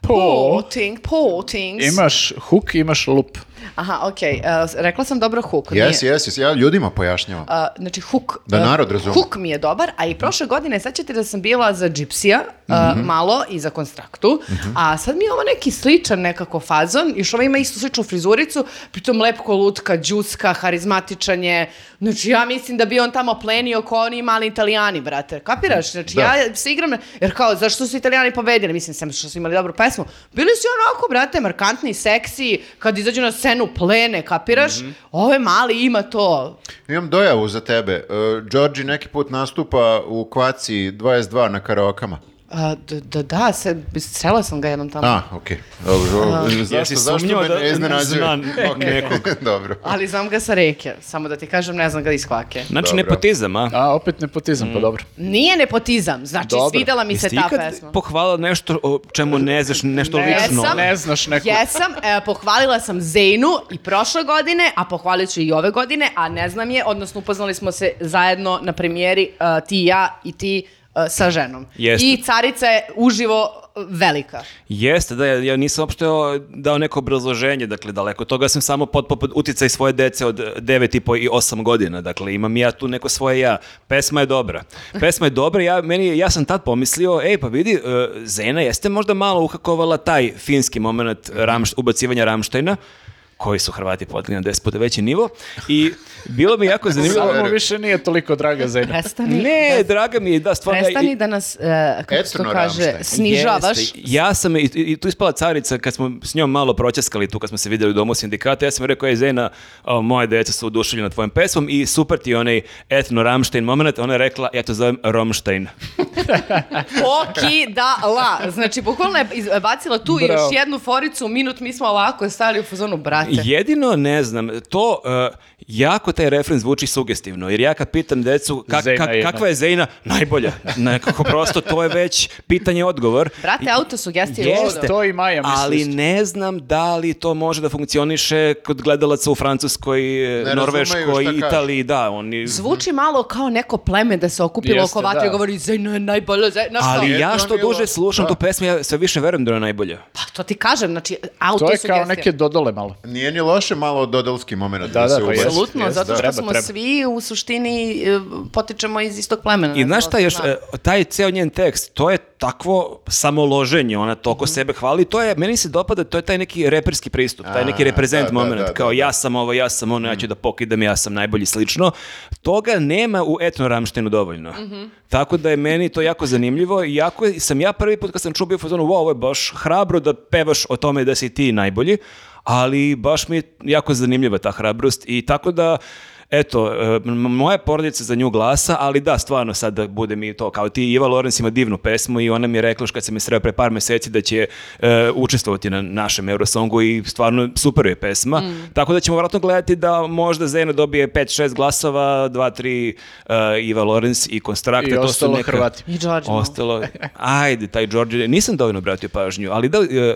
Speaker 1: Po,
Speaker 4: Poor thing, poor things.
Speaker 1: imaš hook, imaš loop.
Speaker 4: Aha, okej, e, s- rekla sam dobro hook. nije-
Speaker 2: Jesi, jesi, jesi, ja ljudima pojašnjavam.
Speaker 4: a, znači huk.
Speaker 2: Da narod razume. Mhm.
Speaker 4: Huk mi je dobar, a i prošle godine, sećate da sam bila za džipsija a, malo i za konstraktu,
Speaker 2: Mhm.
Speaker 4: a sad mi je ovo neki sličan nekako fazon, još ovo ima istu sličnu frizuricu, pritom lep ko lutka, džuska, harizmatičan je, znači ja mislim da bi on tamo plenio ko oni mali italijani, brate, kapiraš? Znači
Speaker 2: Mhm. Da.
Speaker 4: ja se igram, na- jer kao, zašto su italijani pobedili, mislim, sem što su imali dobru pesmu, bili su i onako, brate, markantni, seksi, kad izađu na ženu plene, kapiraš?
Speaker 2: Mhm.
Speaker 4: Ove mali ima to.
Speaker 2: Imam dojavu za tebe. E, Đorđe neki put nastupa u kvaci 22 na karaokama.
Speaker 4: A, da, da, da, se, srela sam ga jednom tamo.
Speaker 2: A, okej. Dobro. Zašto,
Speaker 3: Jesi
Speaker 2: zašto
Speaker 3: sumnjao
Speaker 2: me
Speaker 3: da-
Speaker 2: ne iznenađuje?
Speaker 3: Zna nekog.
Speaker 2: Dobro.
Speaker 4: Ali znam ga sa reke, samo da ti kažem, ne znam ga iz kvake.
Speaker 3: Znači
Speaker 2: Dobro.
Speaker 3: nepotizam, a?
Speaker 1: A, opet nepotizam,
Speaker 3: Mm.
Speaker 1: pa dobro.
Speaker 4: Nije nepotizam, znači
Speaker 1: Dobro.
Speaker 4: svidela mi se
Speaker 3: Jesi ti
Speaker 4: ta
Speaker 3: ikad
Speaker 4: pesma.
Speaker 3: pohvalila nešto o čemu ne znaš, nešto
Speaker 4: Ne
Speaker 3: lično?
Speaker 4: znam.
Speaker 1: Ne znaš neku...
Speaker 4: Jesam, e, pohvalila sam Zeynu i prošle godine, a pohvalit ću i ove godine, a ne znam je, odnosno upoznali smo se zajedno na premijeri e, ti i ja i ti e, sa ženom.
Speaker 3: Jeste.
Speaker 4: I carica je uživo e, velika.
Speaker 3: Jeste, da, ja, ja nisam uopšte o, dao neko obrazloženje, dakle, daleko od toga sam samo pod, pod, pod uticaj svoje dece od 9,5 i 8 godina, dakle, imam ja tu neko svoje ja. Pesma je dobra. Pesma je dobra, ja, meni, ja sam tad pomislio, ej, pa vidi, e, Zena jeste možda malo uhakovala taj finski moment Ramš- ubacivanja Ramštajna, koji su Hrvati podigli na 10 puta veći nivo, i bilo mi jako zanimljivo...
Speaker 1: Samo više nije toliko draga Zena.
Speaker 4: Prestani,
Speaker 3: Ne, draga mi je, da, stvarno... ja-
Speaker 4: prestani da nas, e, kako se to
Speaker 2: Etno
Speaker 4: kaže,
Speaker 2: Rammstein.
Speaker 4: snižavaš.
Speaker 3: Jeste. Ja sam, i, i tu ispala carica, kad smo s njom malo proćeskali tu, kad smo se vidjeli u domu sindikata, ja sam joj rekao, ej Zena, o, moje deca su oduševljena tvojim pesmom i super ti je onaj etno Ramštajn moment, ona je rekla, ja to zovem Romštajn.
Speaker 4: Pokidala. Znači, bukvalno je iz- bacila tu i
Speaker 1: Bravo.
Speaker 4: još jednu foricu, minut mi smo ovako stali u fazonu, brate.
Speaker 3: Jedino ne znam, to uh, jako taj refren zvuči sugestivno, jer ja kad pitam decu kak-
Speaker 1: Zejna
Speaker 3: kak-
Speaker 1: jedna.
Speaker 3: kakva je Zejna najbolja, nekako prosto to je već pitanje odgovor.
Speaker 4: Brate, autosugestija je
Speaker 3: Jeste,
Speaker 4: čudo.
Speaker 1: To i Maja misli
Speaker 3: ali
Speaker 1: isto.
Speaker 3: ne znam da li to može da funkcioniše kod gledalaca u Francuskoj,
Speaker 2: Ne
Speaker 3: Norveškoj,
Speaker 2: razumeju šta
Speaker 3: Italiji, da, oni...
Speaker 4: Zvuči malo kao neko pleme da se okupilo
Speaker 1: Jeste,
Speaker 4: oko vatre
Speaker 1: da.
Speaker 4: i govori Zajna je najbolja, Zajna šta?
Speaker 3: Ali
Speaker 2: je
Speaker 3: ja
Speaker 2: to
Speaker 3: što
Speaker 2: bilo?
Speaker 3: duže slušam tu pesmu, ja sve više verujem da je ona najbolja.
Speaker 4: Pa to ti kažem, znači
Speaker 1: To je
Speaker 4: autosugestija.
Speaker 1: kao neke dodole malo.
Speaker 2: Nije ni loše malo dodalski moment
Speaker 1: Da,
Speaker 2: da,
Speaker 1: da,
Speaker 2: se
Speaker 1: pa
Speaker 2: ubaci.
Speaker 1: jeste.
Speaker 4: Apsolutno, zato što
Speaker 1: Treba,
Speaker 4: smo
Speaker 1: treba.
Speaker 4: svi u suštini e, potičemo iz istog plemena.
Speaker 3: I
Speaker 4: ne
Speaker 3: znaš
Speaker 4: znam,
Speaker 3: šta još,
Speaker 4: znam.
Speaker 3: e, taj ceo njen tekst, to je takvo samoloženje, ona
Speaker 2: Mhm.
Speaker 3: toliko sebe hvali, to je, meni se dopada, to je taj neki reperski pristup, taj neki
Speaker 2: A,
Speaker 3: reprezent
Speaker 2: da, da,
Speaker 3: moment,
Speaker 2: da, da,
Speaker 3: kao
Speaker 2: da. Mhm.
Speaker 3: ja sam ovo, ja sam ono, ja ću da pokidam, ja sam najbolji, slično. Toga nema u etno Ramštinu dovoljno.
Speaker 2: Mhm.
Speaker 3: Tako da je meni to jako zanimljivo i jako sam ja prvi put kad sam čuo bio u fazonu, wow, ovo je baš hrabro da pevaš o tome da si ti najbolji, ali baš mi je jako zanimljiva ta hrabrost i tako da Eto, e, m- moja porodica za nju glasa, ali da, stvarno sad da bude mi to kao ti. Iva Lorenz ima divnu pesmu i ona mi je rekla još kad sam je sreo pre par meseci da će e, učestvovati na našem Eurosongu i stvarno super je pesma. Tako da ćemo vratno gledati da možda Zena dobije 5-6 glasova, 2-3 e, Iva Lorenz i Konstrakta.
Speaker 1: I
Speaker 3: to su
Speaker 1: ostalo
Speaker 3: neka-
Speaker 1: Hrvati.
Speaker 4: I George Michael.
Speaker 3: Ostalo, ajde, taj Đorđe, nisam dovoljno obratio pažnju, ali da... e,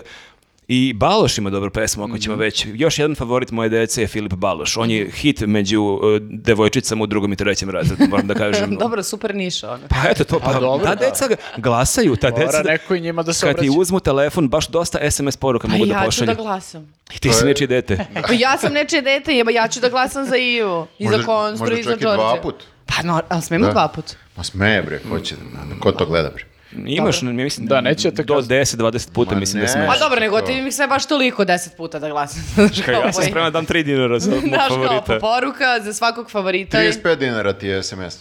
Speaker 3: i Baloš ima dobru pesmu, ako ćemo već. Još jedan favorit moje dece je Filip Baloš. On je hit među e, devojčicama u drugom i trećem razredu, moram da kažem.
Speaker 4: Dobro, super niša ono. ona.
Speaker 3: Pa eto to, pa
Speaker 1: dobro,
Speaker 3: ta
Speaker 1: da.
Speaker 3: deca glasaju, ta
Speaker 1: Mora
Speaker 3: deca...
Speaker 1: neko i njima da se
Speaker 3: Kad ti
Speaker 1: obraća.
Speaker 3: uzmu telefon, baš dosta SMS poruka
Speaker 4: Pa
Speaker 3: mogu da
Speaker 4: ja ću
Speaker 3: pošalju.
Speaker 4: da glasam.
Speaker 3: I ti si nečije dete.
Speaker 4: Pa ja sam nečije dete, jeba, ja ću da glasam za Ivo. I
Speaker 2: Možda-
Speaker 4: za Konstru,
Speaker 2: možda
Speaker 4: i za
Speaker 2: čak i
Speaker 4: Đorđe.
Speaker 2: dva put.
Speaker 4: Pa no, ali smemo
Speaker 2: Da.
Speaker 4: dva put.
Speaker 2: Ma sme bre, ko će, ko to gleda bre?
Speaker 3: Imaš, ja mislim,
Speaker 1: Da, neće te
Speaker 3: do
Speaker 1: kazniti.
Speaker 3: 10-20 puta
Speaker 2: Ma
Speaker 3: mislim da
Speaker 2: ne.
Speaker 3: smeš.
Speaker 4: Pa
Speaker 2: Znaš
Speaker 4: dobro, nego
Speaker 2: to.
Speaker 4: ti mi se baš toliko deset puta da glasam. Znaš kao,
Speaker 3: Ja sam
Speaker 4: ovaj,
Speaker 3: spreman da dam 3 dinara za mog
Speaker 4: Znaš kao, po
Speaker 3: favorita.
Speaker 4: poruka za svakog favorita. i-
Speaker 2: 35 dinara ti je SMS.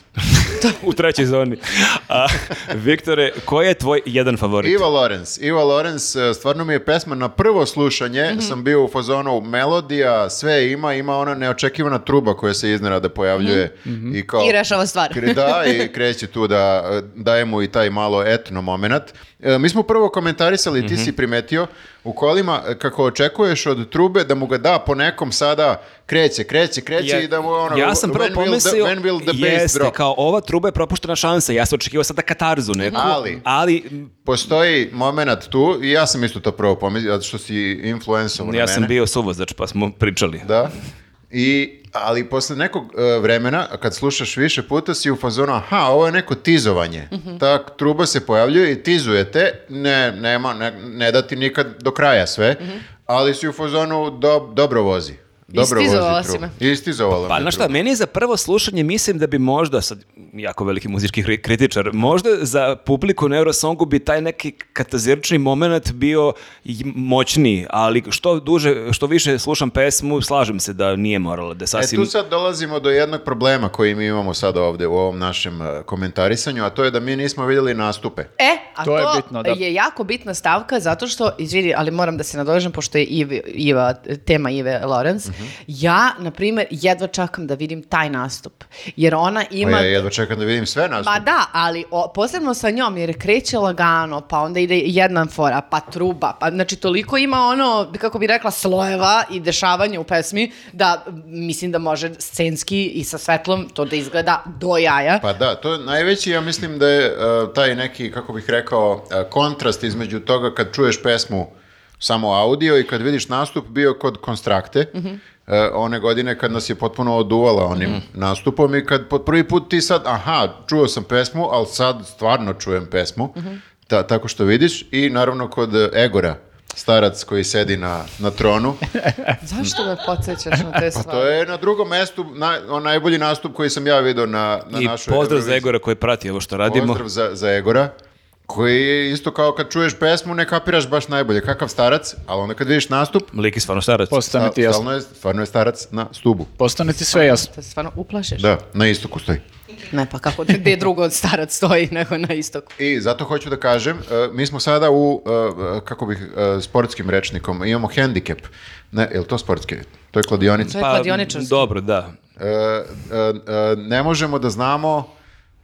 Speaker 3: u trećoj zoni. A, Viktore, koji je tvoj jedan favorit?
Speaker 2: Iva Lorenz. Iva Lorenz, e, stvarno mi je pesma na prvo slušanje,
Speaker 3: Mhm.
Speaker 2: sam bio u fazonu melodija, sve ima, ima ona neočekivana truba koja se iznenada pojavljuje
Speaker 3: Mhm.
Speaker 2: i kao...
Speaker 4: I rešava stvar.
Speaker 2: Kre- Da, i kreće tu da e, daje mu i taj malo etno moment. E, Mi smo prvo komentarisali,
Speaker 3: Mhm.
Speaker 2: ti si primetio, u kolima e, kako očekuješ od trube da mu ga da po nekom sada kreće, kreće, kreće i da mu ono...
Speaker 3: ja sam prvo
Speaker 2: when will the-
Speaker 3: pomislio,
Speaker 2: when will the bass
Speaker 3: jeste,
Speaker 2: drop?
Speaker 3: kao ova truba je propuštena šansa, ja sam očekivao sada katarzu neku,
Speaker 2: Ali-
Speaker 3: ali
Speaker 2: Postoji moment tu i ja sam isto to prvo pomislio, zato što si influensovo na
Speaker 3: ja sam
Speaker 2: mene.
Speaker 3: bio suvozač pa smo pričali.
Speaker 2: Da. I, ali posle nekog e, vremena, kad slušaš više puta, si u fazonu, aha, ovo je neko tizovanje. Ta truba se pojavljuje i tizujete, ne, nema, ne, ne da ti nikad do kraja sve, ali si u fazonu, do- dobro vozi. Dobro
Speaker 4: Istizovala
Speaker 2: vozi
Speaker 4: si
Speaker 2: trubu. Istizovala
Speaker 3: Pa
Speaker 2: me
Speaker 3: znaš šta,
Speaker 2: truba.
Speaker 3: meni je za prvo slušanje mislim da bi možda, sad jako veliki muzički kri- kritičar, možda za publiku na Eurosongu bi taj neki katazirčni moment bio i moćniji, ali što duže, što više slušam pesmu, slažem se da nije morala, da je
Speaker 2: E
Speaker 3: sasvim...
Speaker 2: tu sad dolazimo do jednog problema koji mi imamo sada ovdje u ovom našem e, komentarisanju, a to je da mi nismo vidjeli nastupe.
Speaker 4: E, a
Speaker 1: To
Speaker 4: to,
Speaker 1: je bitno, da.
Speaker 4: je jako bitna stavka zato što, izvini, ali moram da se nadovežem pošto je Ivi- Iva, tema Ive Lorenz,
Speaker 3: Mhm.
Speaker 4: ja, na primjer, jedva čekam da vidim taj nastup, jer ona
Speaker 2: Pa
Speaker 4: ima...
Speaker 2: ja jedva čekam da vidim sve nas.
Speaker 4: Pa da, ali o- posebno sa njom, jer kreće lagano, pa onda ide jedna fora, pa truba, pa znači toliko ima ono, kako bi rekla, slojeva i dešavanja u pesmi, da m, mislim da može scenski i sa svetlom to da izgleda do jaja.
Speaker 2: Pa da, to je najveći, ja mislim da je uh, taj neki, kako bih rekao, uh, kontrast između toga kad čuješ pesmu samo audio i kad vidiš nastup bio kod Konstrakte, uh, one godine kad nas je potpuno oduvala onim nastupom i kad po prvi put ti sad, aha, čuo sam pesmu, ali sad stvarno čujem pesmu, ta, tako što vidiš i naravno kod uh, Egora, starac koji sedi na, na tronu,
Speaker 4: Zašto me podsjećaš na te stvari?
Speaker 2: Pa to je na drugom mestu naj, on najbolji nastup koji sam ja vidio na, na
Speaker 3: I
Speaker 2: našoj
Speaker 3: pozdrav za
Speaker 2: Euroviziji.
Speaker 3: Egora koji prati ovo što radimo.
Speaker 2: Pozdrav za, za Egora, koji je isto kao kad čuješ pesmu ne kapiraš baš najbolje. Kakav starac, ali onda kad vidiš nastup,
Speaker 3: Lik je stvarno starac.
Speaker 1: Postane ti
Speaker 2: stal-
Speaker 1: jasno.
Speaker 2: stalno je, stvarno je starac na stubu.
Speaker 1: Postane ti sve jasno.
Speaker 4: Te stvarno uplašeš?
Speaker 2: Da, na istoku stoji.
Speaker 4: Ne, pa kako, gdje drugo od starac stoji nego na istoku?
Speaker 2: I zato hoću da kažem, e, mi smo sada u, e, e, kako bih, e, sportskim rečnikom, imamo handicap. Ne, je li to sportski? To je kladionica.
Speaker 4: To je kladioničarski.
Speaker 3: Pa, Dobro, da.
Speaker 2: E, e, e, ne možemo da znamo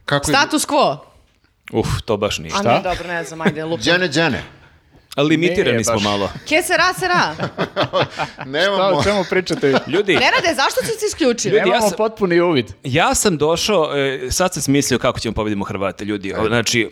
Speaker 2: kako... je-
Speaker 4: Status quo?
Speaker 3: Uf, to baš ništa.
Speaker 4: A ne, dobro, ne znam, ajde, lupno.
Speaker 2: Đene, đene.
Speaker 3: Ali Limitirani
Speaker 1: Ne,
Speaker 3: smo
Speaker 1: baš.
Speaker 3: malo.
Speaker 4: Ke sera, sera?
Speaker 1: Da,
Speaker 2: Nemamo...
Speaker 1: o čemu pričate? vi?
Speaker 3: Ljudi,
Speaker 4: Nenade, zašto si se isključio?
Speaker 3: Ljudi, ja
Speaker 1: Nemamo
Speaker 3: sam-
Speaker 1: potpuni uvid.
Speaker 3: ja sam došao, e, sad sam smislio kako ćemo pobedimo Hrvate, ljudi. O, Znači,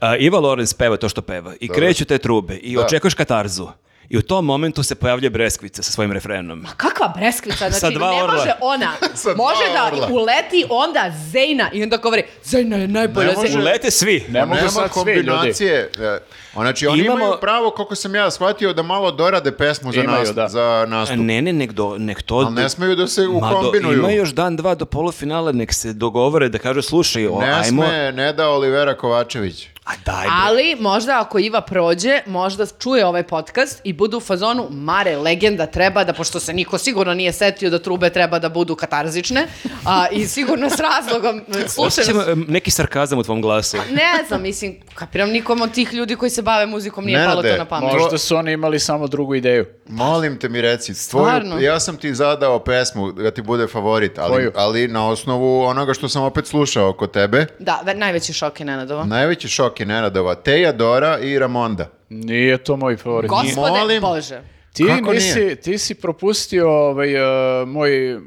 Speaker 3: a, Iva Lorenz peva to što peva i kreću te trube i očekuješ katarzu. I u tom momentu se pojavlja Breskvica sa svojim refrenom.
Speaker 4: Kakva breskvica, znači
Speaker 3: dva
Speaker 4: ne
Speaker 3: orla.
Speaker 4: može ona,
Speaker 2: Sa dva
Speaker 4: može da
Speaker 2: orla.
Speaker 4: uleti onda Zejna i onda govori Zejna je najbolja,
Speaker 2: Ne može-
Speaker 4: Zejna.
Speaker 3: Ulete svi.
Speaker 1: Ne
Speaker 2: Pa
Speaker 1: mogu
Speaker 2: nema
Speaker 1: sad svi ljudi.
Speaker 2: kombinacije. e, a Znači, oni
Speaker 3: Imamo-
Speaker 2: imaju pravo, koliko sam ja shvatio, da malo dorade pesmu za,
Speaker 1: Imaju,
Speaker 2: nas,
Speaker 1: da.
Speaker 2: za nastup.
Speaker 3: Ne, ne, nek, do, nek to...
Speaker 2: Ali ne smeju da se
Speaker 3: Ma do-
Speaker 2: ukombinuju.
Speaker 3: ima još dan, dva do polufinala, nek se dogovore da kažu, slušaj, o,
Speaker 2: Ne
Speaker 3: ajmo...
Speaker 2: sme, ne da Olivera Kovačević.
Speaker 3: A daj, bre.
Speaker 4: Ali možda ako Iva prođe, možda čuje ovaj podcast i budu u fazonu Mare, legenda treba da, pošto se niko sigurno nije setio da trube treba da budu katarzične a, i sigurno s razlogom slušaj nas-
Speaker 3: Osjećam em, neki sarkazam u tvom glasu.
Speaker 4: Ne znam, mislim, kapiram nikom od tih ljudi koji se bave muzikom nije
Speaker 2: Nenade,
Speaker 4: palo to na pamet.
Speaker 1: Možda su oni imali samo drugu ideju.
Speaker 2: Molim te mi reci, tvoju-
Speaker 4: Stvarno?
Speaker 2: ja sam ti zadao pesmu da ti bude favorit, ali,
Speaker 1: Koju?
Speaker 2: ali na osnovu onoga što sam opet slušao oko tebe,
Speaker 4: Da, ve- najveći šok je Nenadova.
Speaker 2: najveći šok je Nenadova, Teja Dora i Ramonda.
Speaker 1: Nije to moj favorit.
Speaker 4: Gospode
Speaker 2: Molim.
Speaker 4: Bože.
Speaker 1: Ti
Speaker 2: Kako
Speaker 1: nisi,
Speaker 2: nije?
Speaker 1: ti si propustio ovaj, e, moj e,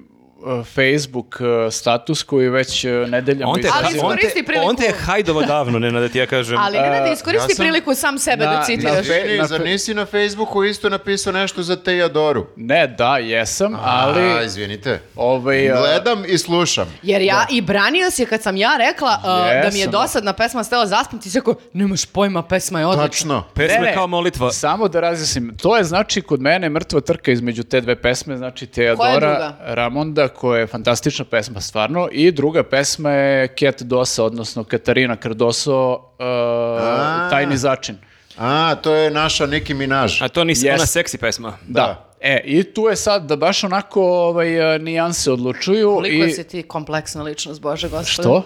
Speaker 1: Facebook e, status koji već e, nedeljama
Speaker 3: On te,
Speaker 4: Ali
Speaker 3: ha-
Speaker 1: izlazi.
Speaker 3: on te-
Speaker 4: iskoristi priliku.
Speaker 3: on te je hajdovo davno, ne da ti ja kažem.
Speaker 4: Ali Nenade, iskoristi
Speaker 2: E, ja sam-
Speaker 4: priliku sam sebe
Speaker 1: Na-
Speaker 4: da
Speaker 1: na
Speaker 4: citiraš.
Speaker 1: Fe-
Speaker 2: Meni,
Speaker 1: na
Speaker 2: zar
Speaker 1: Fe-
Speaker 2: nisi na Facebooku isto napisao nešto za Teja Doru?
Speaker 1: Ne, da, jesam, ali...
Speaker 2: A, izvinite.
Speaker 1: ovaj, e,
Speaker 2: Gledam i slušam.
Speaker 4: Jer ja i branio si je kad sam ja rekla uh, da mi je
Speaker 1: Jesam.
Speaker 4: dosadna pesma Stela zaspam, ti si rekao, nemaš pojma, pesma je odlična.
Speaker 2: Tačno.
Speaker 3: Pesma
Speaker 1: Ne,
Speaker 3: je
Speaker 1: ne.
Speaker 3: kao molitva.
Speaker 1: Samo da razjasnim, to je znači kod mene mrtva trka između te dve pesme, znači Teodora
Speaker 4: druga?
Speaker 1: Ramonda koja je fantastična pesma stvarno i druga pesma je Ket Dosa, odnosno Katarina Cardoso, uh, Tajni začin.
Speaker 2: A, to je naša Nicki Minaj.
Speaker 3: A to nisi
Speaker 1: Jest.
Speaker 3: ona seksi pesma.
Speaker 1: Da. E, i tu je sad da baš onako ovaj, e, nijanse odlučuju.
Speaker 4: Koliko
Speaker 1: i...
Speaker 4: si ti kompleksna ličnost, Bože gospode.
Speaker 1: Što?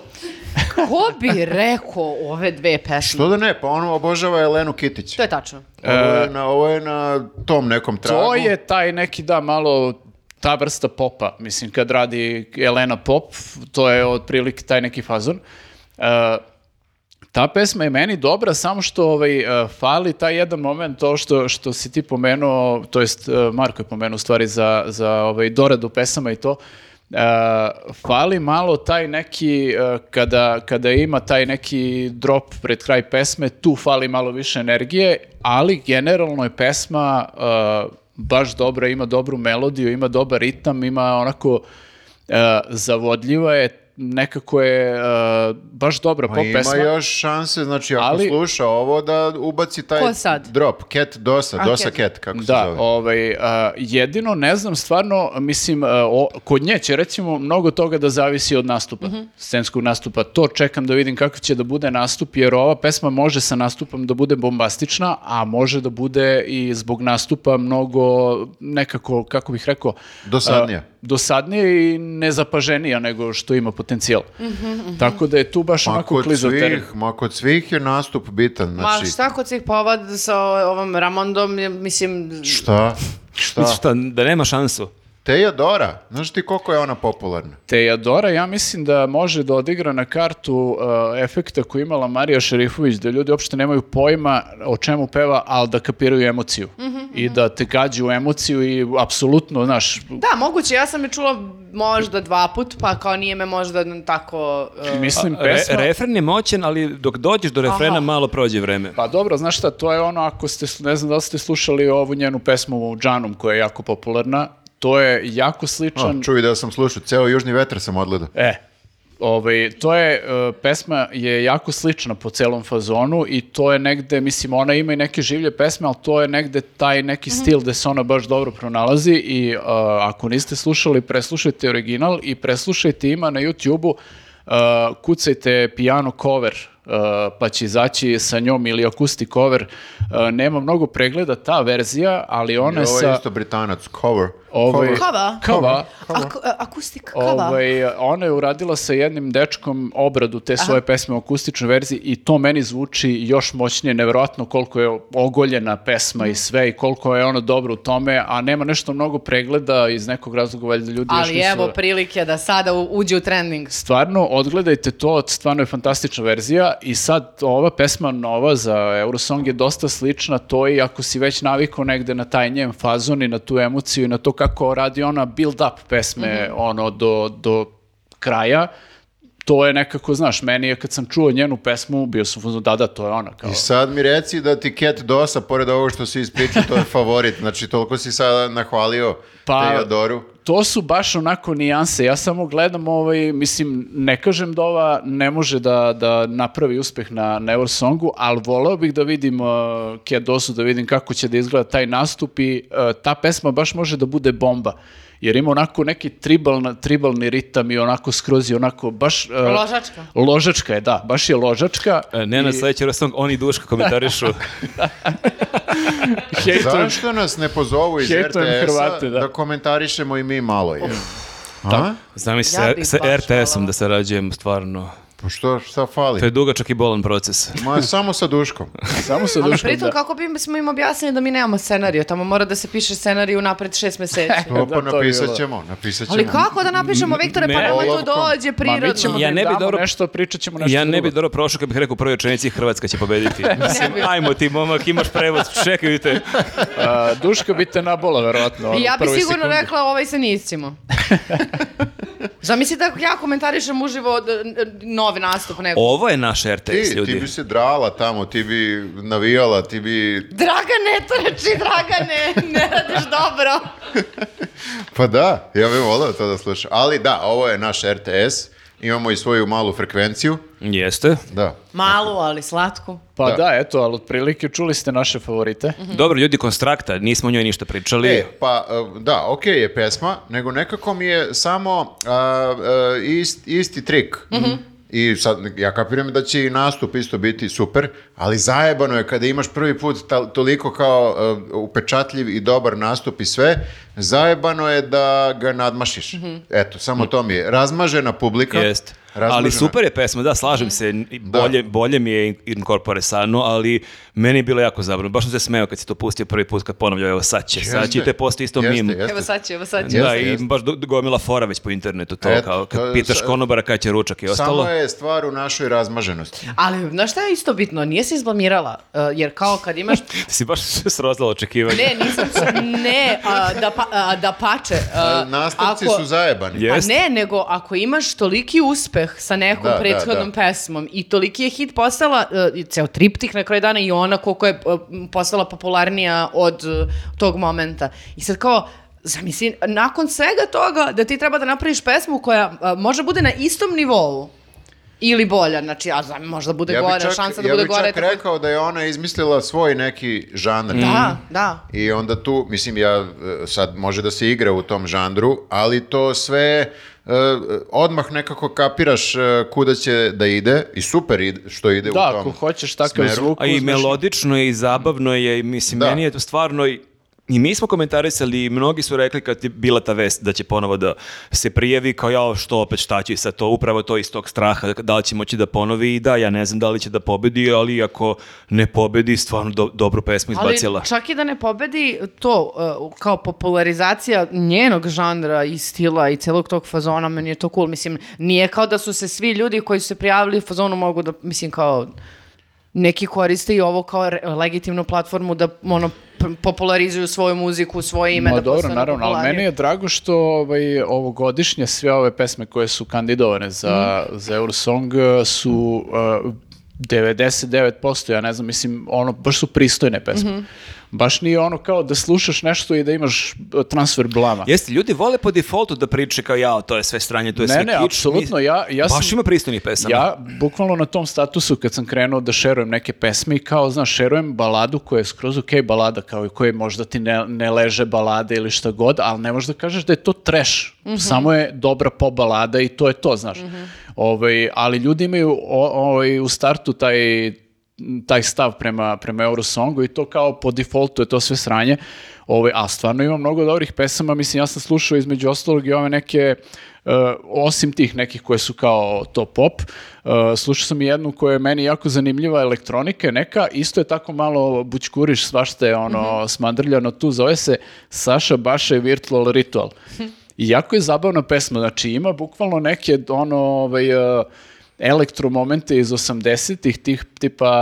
Speaker 4: Ko bi rekao ove dve pesme?
Speaker 2: Što da ne, pa on obožava Elenu Kitić.
Speaker 4: To je tačno.
Speaker 2: Ovo je, na, ovo je na tom nekom tragu.
Speaker 1: E- To je taj neki, da, malo ta vrsta popa. Mislim, kad radi Elena Pop, to je otprilike taj neki fazon. E, ta pesma je meni dobra, samo što ovaj, e, fali taj jedan moment, to što, što si ti pomenuo, to jest e, Marko je pomenuo u stvari za, za ovaj, doradu pesama i to, e, fali malo taj neki, e, kada, kada ima taj neki drop pred kraj pesme, tu fali malo više energije, ali generalno je pesma e, baš dobra, ima dobru melodiju, ima dobar ritam, ima onako e, zavodljiva je, nekako je e, baš dobra pop
Speaker 2: Pa ima
Speaker 1: pesma.
Speaker 2: još šanse, znači ako
Speaker 1: Ali-
Speaker 2: sluša ovo da ubaci taj
Speaker 4: Ko sad?
Speaker 2: drop. Cat Dosa,
Speaker 4: A,
Speaker 2: Dosa
Speaker 4: Cat.
Speaker 2: Cat, kako se
Speaker 1: Da,
Speaker 2: zove.
Speaker 1: ovaj, a, jedino ne znam stvarno, mislim, a, o- kod nje će recimo mnogo toga da zavisi od nastupa, scenskog nastupa. To čekam da vidim kako će da bude nastup, jer ova pesma može sa nastupom da bude bombastična, a može da bude i zbog nastupa mnogo nekako, kako bih rekao,
Speaker 2: Dosadnija.
Speaker 1: a, dosadnije i nezapaženija nego što ima potencijal. Tako da je tu baš
Speaker 2: Ma
Speaker 1: onako
Speaker 2: Pa kod,
Speaker 1: klizav teren.
Speaker 2: svih, ma kod svih je nastup bitan. Znači,
Speaker 4: Ma šta kod svih povad sa ovom Ramondom, je, mislim...
Speaker 2: Šta? Šta?
Speaker 3: Šta, da nema šansu.
Speaker 2: Teja Dora, znaš ti koliko je ona popularna?
Speaker 1: Teodora, ja mislim da može da odigra na kartu uh, efekta koji imala Marija Šerifović, da ljudi uopšte nemaju pojma o čemu peva, ali da kapiraju emociju. I da te gađu u emociju i apsolutno, znaš,
Speaker 4: Da, moguće, ja sam je čula možda dva put, pa kao nije me možda tako... e,
Speaker 1: mislim,
Speaker 3: Re,
Speaker 1: pesma...
Speaker 3: refren je moćen, ali dok dođeš do refrena
Speaker 4: Aha.
Speaker 3: malo prođe vreme.
Speaker 1: Pa dobro, znaš šta, to je ono, ako ste, ne znam da li ste slušali ovu njenu pesmu u Džanom, koja je jako popularna, to je jako
Speaker 2: O,
Speaker 1: sličan...
Speaker 2: čuj da sam slušao, ceo Južni vetar sam odgledao.
Speaker 1: E, ovaj, to je, e, pesma je jako slična po celom fazonu i to je negde, mislim, ona ima i neke življe pesme, ali to je negde taj neki stil gde se ona baš dobro pronalazi i e, ako niste slušali, preslušajte original i preslušajte ima na YouTube-u, e, kucajte piano cover e, pa će izaći sa njom ili akustik cover. E, nema mnogo pregleda ta verzija, ali ona je
Speaker 2: Ovo
Speaker 1: sa...
Speaker 2: je isto britanac, cover.
Speaker 1: ovaj-
Speaker 2: Cover.
Speaker 4: Kava?
Speaker 1: Kava.
Speaker 4: Aku, akustik kava.
Speaker 1: Ovaj, ona je uradila sa jednim dečkom obradu te svoje pesme u akustičnoj verziji i to meni zvuči još moćnije, nevjerojatno koliko je ogoljena pesma
Speaker 4: Mhm.
Speaker 1: i sve i koliko je ona dobra u tome, a nema nešto mnogo pregleda iz nekog razloga, valjda ljudi još
Speaker 4: Ali
Speaker 1: nisu...
Speaker 4: evo prilike da sada u- uđe u trending.
Speaker 1: Stvarno, odgledajte to, stvarno je fantastična verzija i sad ova pesma nova za Eurosong je dosta slična to i ako si već navikao negde na taj njen fazon i na tu emociju i na to kako radi ona build up pesme ono do, do kraja, to je nekako, znaš, meni je kad sam čuo njenu pesmu, bio sam u fazonu, da, da, to je ona. Kao.
Speaker 2: I sad mi reci da ti Cat Dosa, pored ovog što si ispričao, to je favorit. Znači, toliko si sada nahvalio
Speaker 1: Pa-
Speaker 2: Teodoru.
Speaker 1: To su baš onako nijanse. Ja samo gledam ovaj, mislim, ne kažem da ova ne može da, da napravi uspeh na Never Songu, ali voleo bih da vidim uh, Kea Dosu, da vidim kako će da izgleda taj nastup i uh, ta pesma baš može da bude bomba. Jer ima onako neki tribalna, tribalni ritam i onako skroz i onako baš... uh,
Speaker 4: Ložačka.
Speaker 1: Ložačka je, da, baš je ložačka.
Speaker 3: E, Ne na
Speaker 1: I
Speaker 3: sledeći Eurosong, oni duška komentarišu.
Speaker 1: hejtujem-
Speaker 2: Zašto nas ne pozovu iz
Speaker 1: Hejtujem
Speaker 2: RTS-a
Speaker 1: Hrvate, da.
Speaker 2: da. komentarišemo i mi malo? Je. A?
Speaker 3: Zamisli
Speaker 4: Ja
Speaker 3: sa,
Speaker 4: bih
Speaker 3: sa
Speaker 4: baš
Speaker 3: RTS-om
Speaker 4: volela.
Speaker 3: da sarađujem, stvarno.
Speaker 2: Pa što, šta fali?
Speaker 3: To je dugačak i bolan proces.
Speaker 2: Ma, samo sa Duškom.
Speaker 1: Samo sa
Speaker 4: Ali
Speaker 1: duškom,
Speaker 4: pritom
Speaker 1: da.
Speaker 4: kako bi smo im objasnili da mi nemamo scenariju, tamo mora da se piše scenariju napred šest meseci.
Speaker 1: Da,
Speaker 2: To pa
Speaker 1: to je
Speaker 2: napisat
Speaker 1: bilo.
Speaker 2: ćemo, napisat ćemo.
Speaker 4: Ali kako da napišemo, Viktore, pa
Speaker 3: ne,
Speaker 4: nama to
Speaker 2: olovkom.
Speaker 4: dođe
Speaker 1: Ma,
Speaker 4: prirodno.
Speaker 1: mi ćemo
Speaker 3: Ja
Speaker 1: da im
Speaker 3: ne bi
Speaker 1: damo
Speaker 3: dobro-
Speaker 1: nešto, pričat ćemo nešto
Speaker 3: ja ne bi
Speaker 1: drugo.
Speaker 3: dobro prošao kad bih rekao u prvoj rečenici Hrvatska će pobediti. Mislim,
Speaker 4: bi.
Speaker 3: ajmo ti momak, imaš prevod, čekajte.
Speaker 1: Uh, Duška bi te nabola, verovatno. ono,
Speaker 4: I ja
Speaker 1: u
Speaker 4: bi
Speaker 1: prvoj
Speaker 4: sigurno
Speaker 1: sekundi.
Speaker 4: rekla ovaj se nisimo. Zamisli da ja komentarišem uživo od, n- n- novi nastup nego.
Speaker 3: Ovo je naš RTS,
Speaker 2: Ti,
Speaker 3: ljudi.
Speaker 2: ti bi se drala tamo, ti bi navijala, ti bi...
Speaker 4: Dragane, to reči, Dragane, ne radiš dobro.
Speaker 2: Pa da, ja bih volao to da slušam. Ali da, ovo je naš RTS, imamo i svoju malu frekvenciju.
Speaker 3: Jeste.
Speaker 2: Da.
Speaker 4: Malu, ali slatku.
Speaker 1: Pa
Speaker 2: Da. Mhm.
Speaker 1: da. eto, ali otprilike čuli ste naše favorite.
Speaker 3: Dobro, ljudi, konstrakta, nismo o njoj ništa pričali.
Speaker 2: E, pa e, da, okej je pesma, nego nekako mi je samo a, e, ist- isti trik.
Speaker 4: Mhm.
Speaker 2: I sad, ja kapiram da će i nastup isto biti super, ali zajebano je kada imaš prvi put ta- toliko kao e, upečatljiv i dobar nastup i sve, zajebano je da ga nadmašiš.
Speaker 4: Mhm.
Speaker 2: Eto, samo to mi je. Razmažena publika.
Speaker 3: Jeste. Ali
Speaker 2: razmažena-
Speaker 3: super je pesma, da, slažem se. i Bolje, bolje mi je in- incorpore sano, ali meni je bilo jako zabavno. Baš sam se smeo kad si to pustio prvi put kad ponavljao, evo sad će, sad će, i
Speaker 2: Jeste.
Speaker 3: te postoji isto
Speaker 2: Jeste,
Speaker 3: mim.
Speaker 2: jeste.
Speaker 4: Evo sad će, evo sad će.
Speaker 2: Jeste,
Speaker 3: da, i
Speaker 2: jeste.
Speaker 3: baš do- gomila fora već po internetu to,
Speaker 2: Eto, to
Speaker 3: kao kad
Speaker 2: je
Speaker 3: pitaš
Speaker 2: sa-
Speaker 3: konobara kada će ručak i ostalo.
Speaker 2: Samo je stvar u našoj razmaženosti.
Speaker 4: Ali, znaš šta je isto bitno? Nije se izblamirala, e, jer kao kad imaš...
Speaker 3: Si baš srozala očekivanje.
Speaker 4: Ne, nisam se... Ne, a, da, pa, a, da pače. a,
Speaker 2: Nastavci
Speaker 4: ako-
Speaker 2: su zajebani.
Speaker 3: Je.
Speaker 4: Pa
Speaker 3: Jeste.
Speaker 4: ne, nego ako imaš toliki uspeh sa nekom
Speaker 2: Da, da,
Speaker 4: prethodnom
Speaker 2: da.
Speaker 4: pesmom i toliki je hit postala, uh, i ceo triptih na kraju dana i ona koliko je uh, postala popularnija od uh, tog momenta. I sad kao, zamisli, nakon svega toga da ti treba da napraviš pesmu koja uh, može bude na istom nivou ili bolja, znači ja znam, možda bude
Speaker 2: Ja bih
Speaker 4: gora,
Speaker 2: čak-
Speaker 4: šansa da bude
Speaker 2: Ja
Speaker 4: gora.
Speaker 2: bih čak rekao da je ona izmislila svoj neki žanr.
Speaker 4: Da, da.
Speaker 2: I onda tu, mislim, ja e, sad može da se igra u tom žanru, ali to sve e, odmah nekako kapiraš e, kuda će da ide i super ide- što ide u
Speaker 1: Da,
Speaker 2: tom
Speaker 1: ako hoćeš takav
Speaker 2: smeru.
Speaker 1: zvuk
Speaker 3: A i
Speaker 1: uzmeš
Speaker 3: melodično je i zabavno je, i mislim,
Speaker 2: Da.
Speaker 3: meni je to stvarno i- I mi smo komentarisali, mnogi su rekli kad je bila ta vest da će ponovo da se prijavi, kao ja, što opet šta će sad to, upravo to iz tog straha, da li će moći da ponovi, da, ja ne znam da li će da pobedi, ali ako ne pobedi, stvarno do- dobru pesmu
Speaker 4: Ali
Speaker 3: izbacila.
Speaker 4: čak i da ne pobedi to uh, kao popularizacija njenog žanra i stila i celog tog fazona, meni je to cool. Mislim, nije kao da su se svi ljudi koji su se prijavili fazonu mogu da, mislim, kao neki koriste i ovo kao re- legitimnu platformu da ono, p- popularizuju svoju muziku, svoje ime.
Speaker 1: Ma
Speaker 4: da
Speaker 1: dobro,
Speaker 4: postanu
Speaker 1: naravno, ali
Speaker 4: popularniji.
Speaker 1: meni je drago što ovaj, ovogodišnje sve ove pesme koje su kandidovane za,
Speaker 4: Mhm.
Speaker 1: za Eurosong eh, su eh, 99%, ja ne znam, mislim, ono, baš su pristojne pesme.
Speaker 4: Mhm.
Speaker 1: Baš nije ono kao da slušaš nešto i da imaš eh, transfer blama.
Speaker 3: Jeste, ljudi vole po defaultu da priče kao ja, to je sve stranje, to je
Speaker 1: Ne,
Speaker 3: sve
Speaker 1: ne,
Speaker 3: kič. Mi-
Speaker 1: apsolutno, ja- ja
Speaker 3: Baš
Speaker 1: sam-
Speaker 3: ima pristojnih pesama.
Speaker 1: Ja, bukvalno na tom statusu kad sam krenuo da šerujem neke pesme i kao, znaš, šerujem baladu koja je skroz ok balada, kao i koje možda ti ne, ne leže balade ili šta god, ali ne možeš da kažeš da je to trash. Samo je dobra pop balada i to je to, znaš. Ovaj, ali ljudi imaju o- ovaj, u startu taj taj stav prema, prema Eurosongu i to kao po defaultu je to sve sranje. Ovaj, a stvarno ima mnogo dobrih pesama, mislim ja sam slušao između ostalog i ove neke e, osim tih nekih koje su kao to pop, e, slušao sam i jednu koja je meni jako zanimljiva, elektronika je neka, isto je tako malo bućkuriš, svašta je ono smandrljano tu, zove se Saša Baše Virtual Ritual. I jako je zabavna pesma, znači ima bukvalno neke ono, ovaj, e, elektromomente iz 80-ih, tih tipa,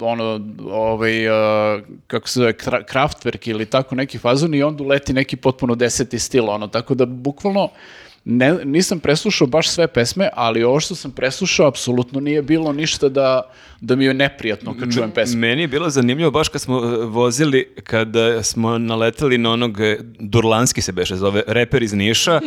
Speaker 1: ono, ovaj, eh, kako se zove, kra- Kraftwerk ili tako neki fazon i onda uleti neki potpuno deseti stil, ono, tako da bukvalno ne, nisam preslušao baš sve pesme, ali ovo što sam preslušao apsolutno nije bilo ništa da, da mi je neprijatno kad čujem pesmu.
Speaker 3: Meni je bilo zanimljivo baš kad smo e, vozili, kada smo naletali na onog e, Durlanski se beše zove, reper iz Niša.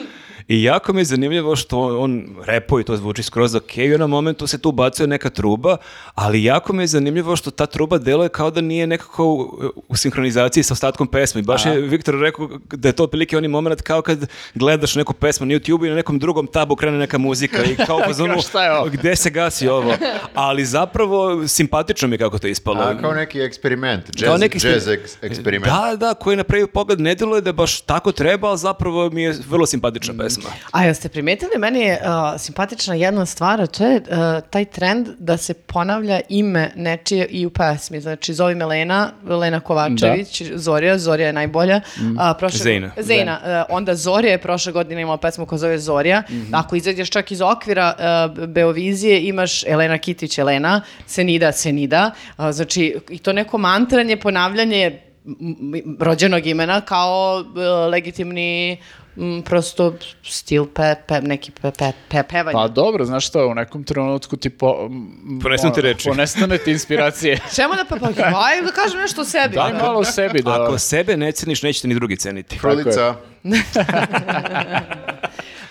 Speaker 3: I jako mi je zanimljivo što on repo i to zvuči skroz ok, i u jednom momentu se tu bacuje neka truba, ali jako mi je zanimljivo što ta truba deluje kao da nije nekako u, u sinhronizaciji sa ostatkom pesme. I Baš je Viktor rekao da je to otprilike onaj moment kao kad gledaš neku pesmu na YouTube i na nekom drugom tabu krene neka muzika i kao u fazonu,
Speaker 1: šta je ovo?
Speaker 3: gde se gasi ovo? Ali zapravo simpatično mi je kako to ispalo.
Speaker 2: A, kao neki eksperiment, jazz,
Speaker 3: Kao neki
Speaker 2: jazz
Speaker 3: stil-
Speaker 2: eks- eksperiment.
Speaker 3: Da, da, koji na prvi pogled ne deluje da baš tako treba, ali zapravo mi je vrlo simpatična pesma.
Speaker 4: A jel ste primetili, meni je uh, simpatična jedna stvar, a to je uh, taj trend da se ponavlja ime nečije i u pesmi. Znači, zove me Lena, Lena Kovačević, Zorija, Zorija je najbolja. A, prošle,
Speaker 3: Zejna.
Speaker 4: Zejna. uh, onda Zorija je prošle godine imala pesmu koja zove Zorija.
Speaker 1: Mhm.
Speaker 4: Ako izađeš čak iz okvira uh, Beovizije, imaš Elena Kitić, Elena, Senida, Senida. Uh, znači, i to neko mantranje, ponavljanje m- m- rođenog imena kao e, legitimni m, prosto stil pe, pe, neki pe, pe, pe, pevanje.
Speaker 1: Pa dobro, znaš šta, u nekom trenutku ti po... m,
Speaker 3: Ponestanu ti
Speaker 1: ono,
Speaker 3: reči.
Speaker 1: Ponestane ti inspiracije.
Speaker 4: Čemu da pa, pa aj da kažem nešto o sebi.
Speaker 1: Daj malo o sebi da...
Speaker 3: Ako sebe ne ceniš, nećete ni drugi ceniti.
Speaker 2: Frulica.
Speaker 4: A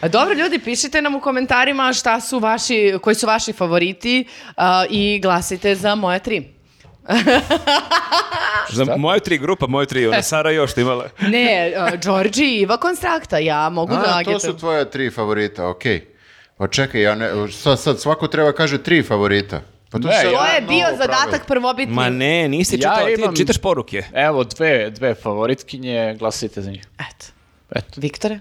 Speaker 4: E, Dobro ljudi, pišite nam u komentarima šta su vaši, koji su vaši favoriti a, i glasite za moje tri.
Speaker 3: Za moje tri grupa, moje tri, ona Sara još što imala.
Speaker 4: Ne, a, Đorđe i Iva Konstrakta, ja mogu da
Speaker 2: A, to
Speaker 4: agetam.
Speaker 2: su tvoja tri favorita, okej. Pa čekaj, ja ne, sad, sad svako treba kaže tri favorita. Pa
Speaker 1: Ne,
Speaker 2: sad
Speaker 4: To je
Speaker 2: novo
Speaker 4: bio
Speaker 2: pravilo.
Speaker 4: zadatak prvobitni.
Speaker 3: Ma ne, nisi
Speaker 1: Ja
Speaker 3: čitala,
Speaker 1: imam-
Speaker 3: ti čitaš poruke.
Speaker 1: Evo, dve, dve favoritkinje, glasajte za njih.
Speaker 4: Eto.
Speaker 1: Eto.
Speaker 4: Viktore?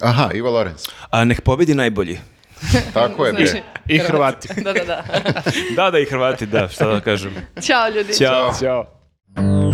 Speaker 2: Aha, Iva Lorenz.
Speaker 3: A nek pobedi najbolji.
Speaker 2: Tako je, bre.
Speaker 1: I Hrvati.
Speaker 4: Znači, Da, da, da.
Speaker 3: Da, da i Hrvati, da, šta da kažem.
Speaker 4: Ćao ljudi.
Speaker 3: Ćao.
Speaker 1: Ćao.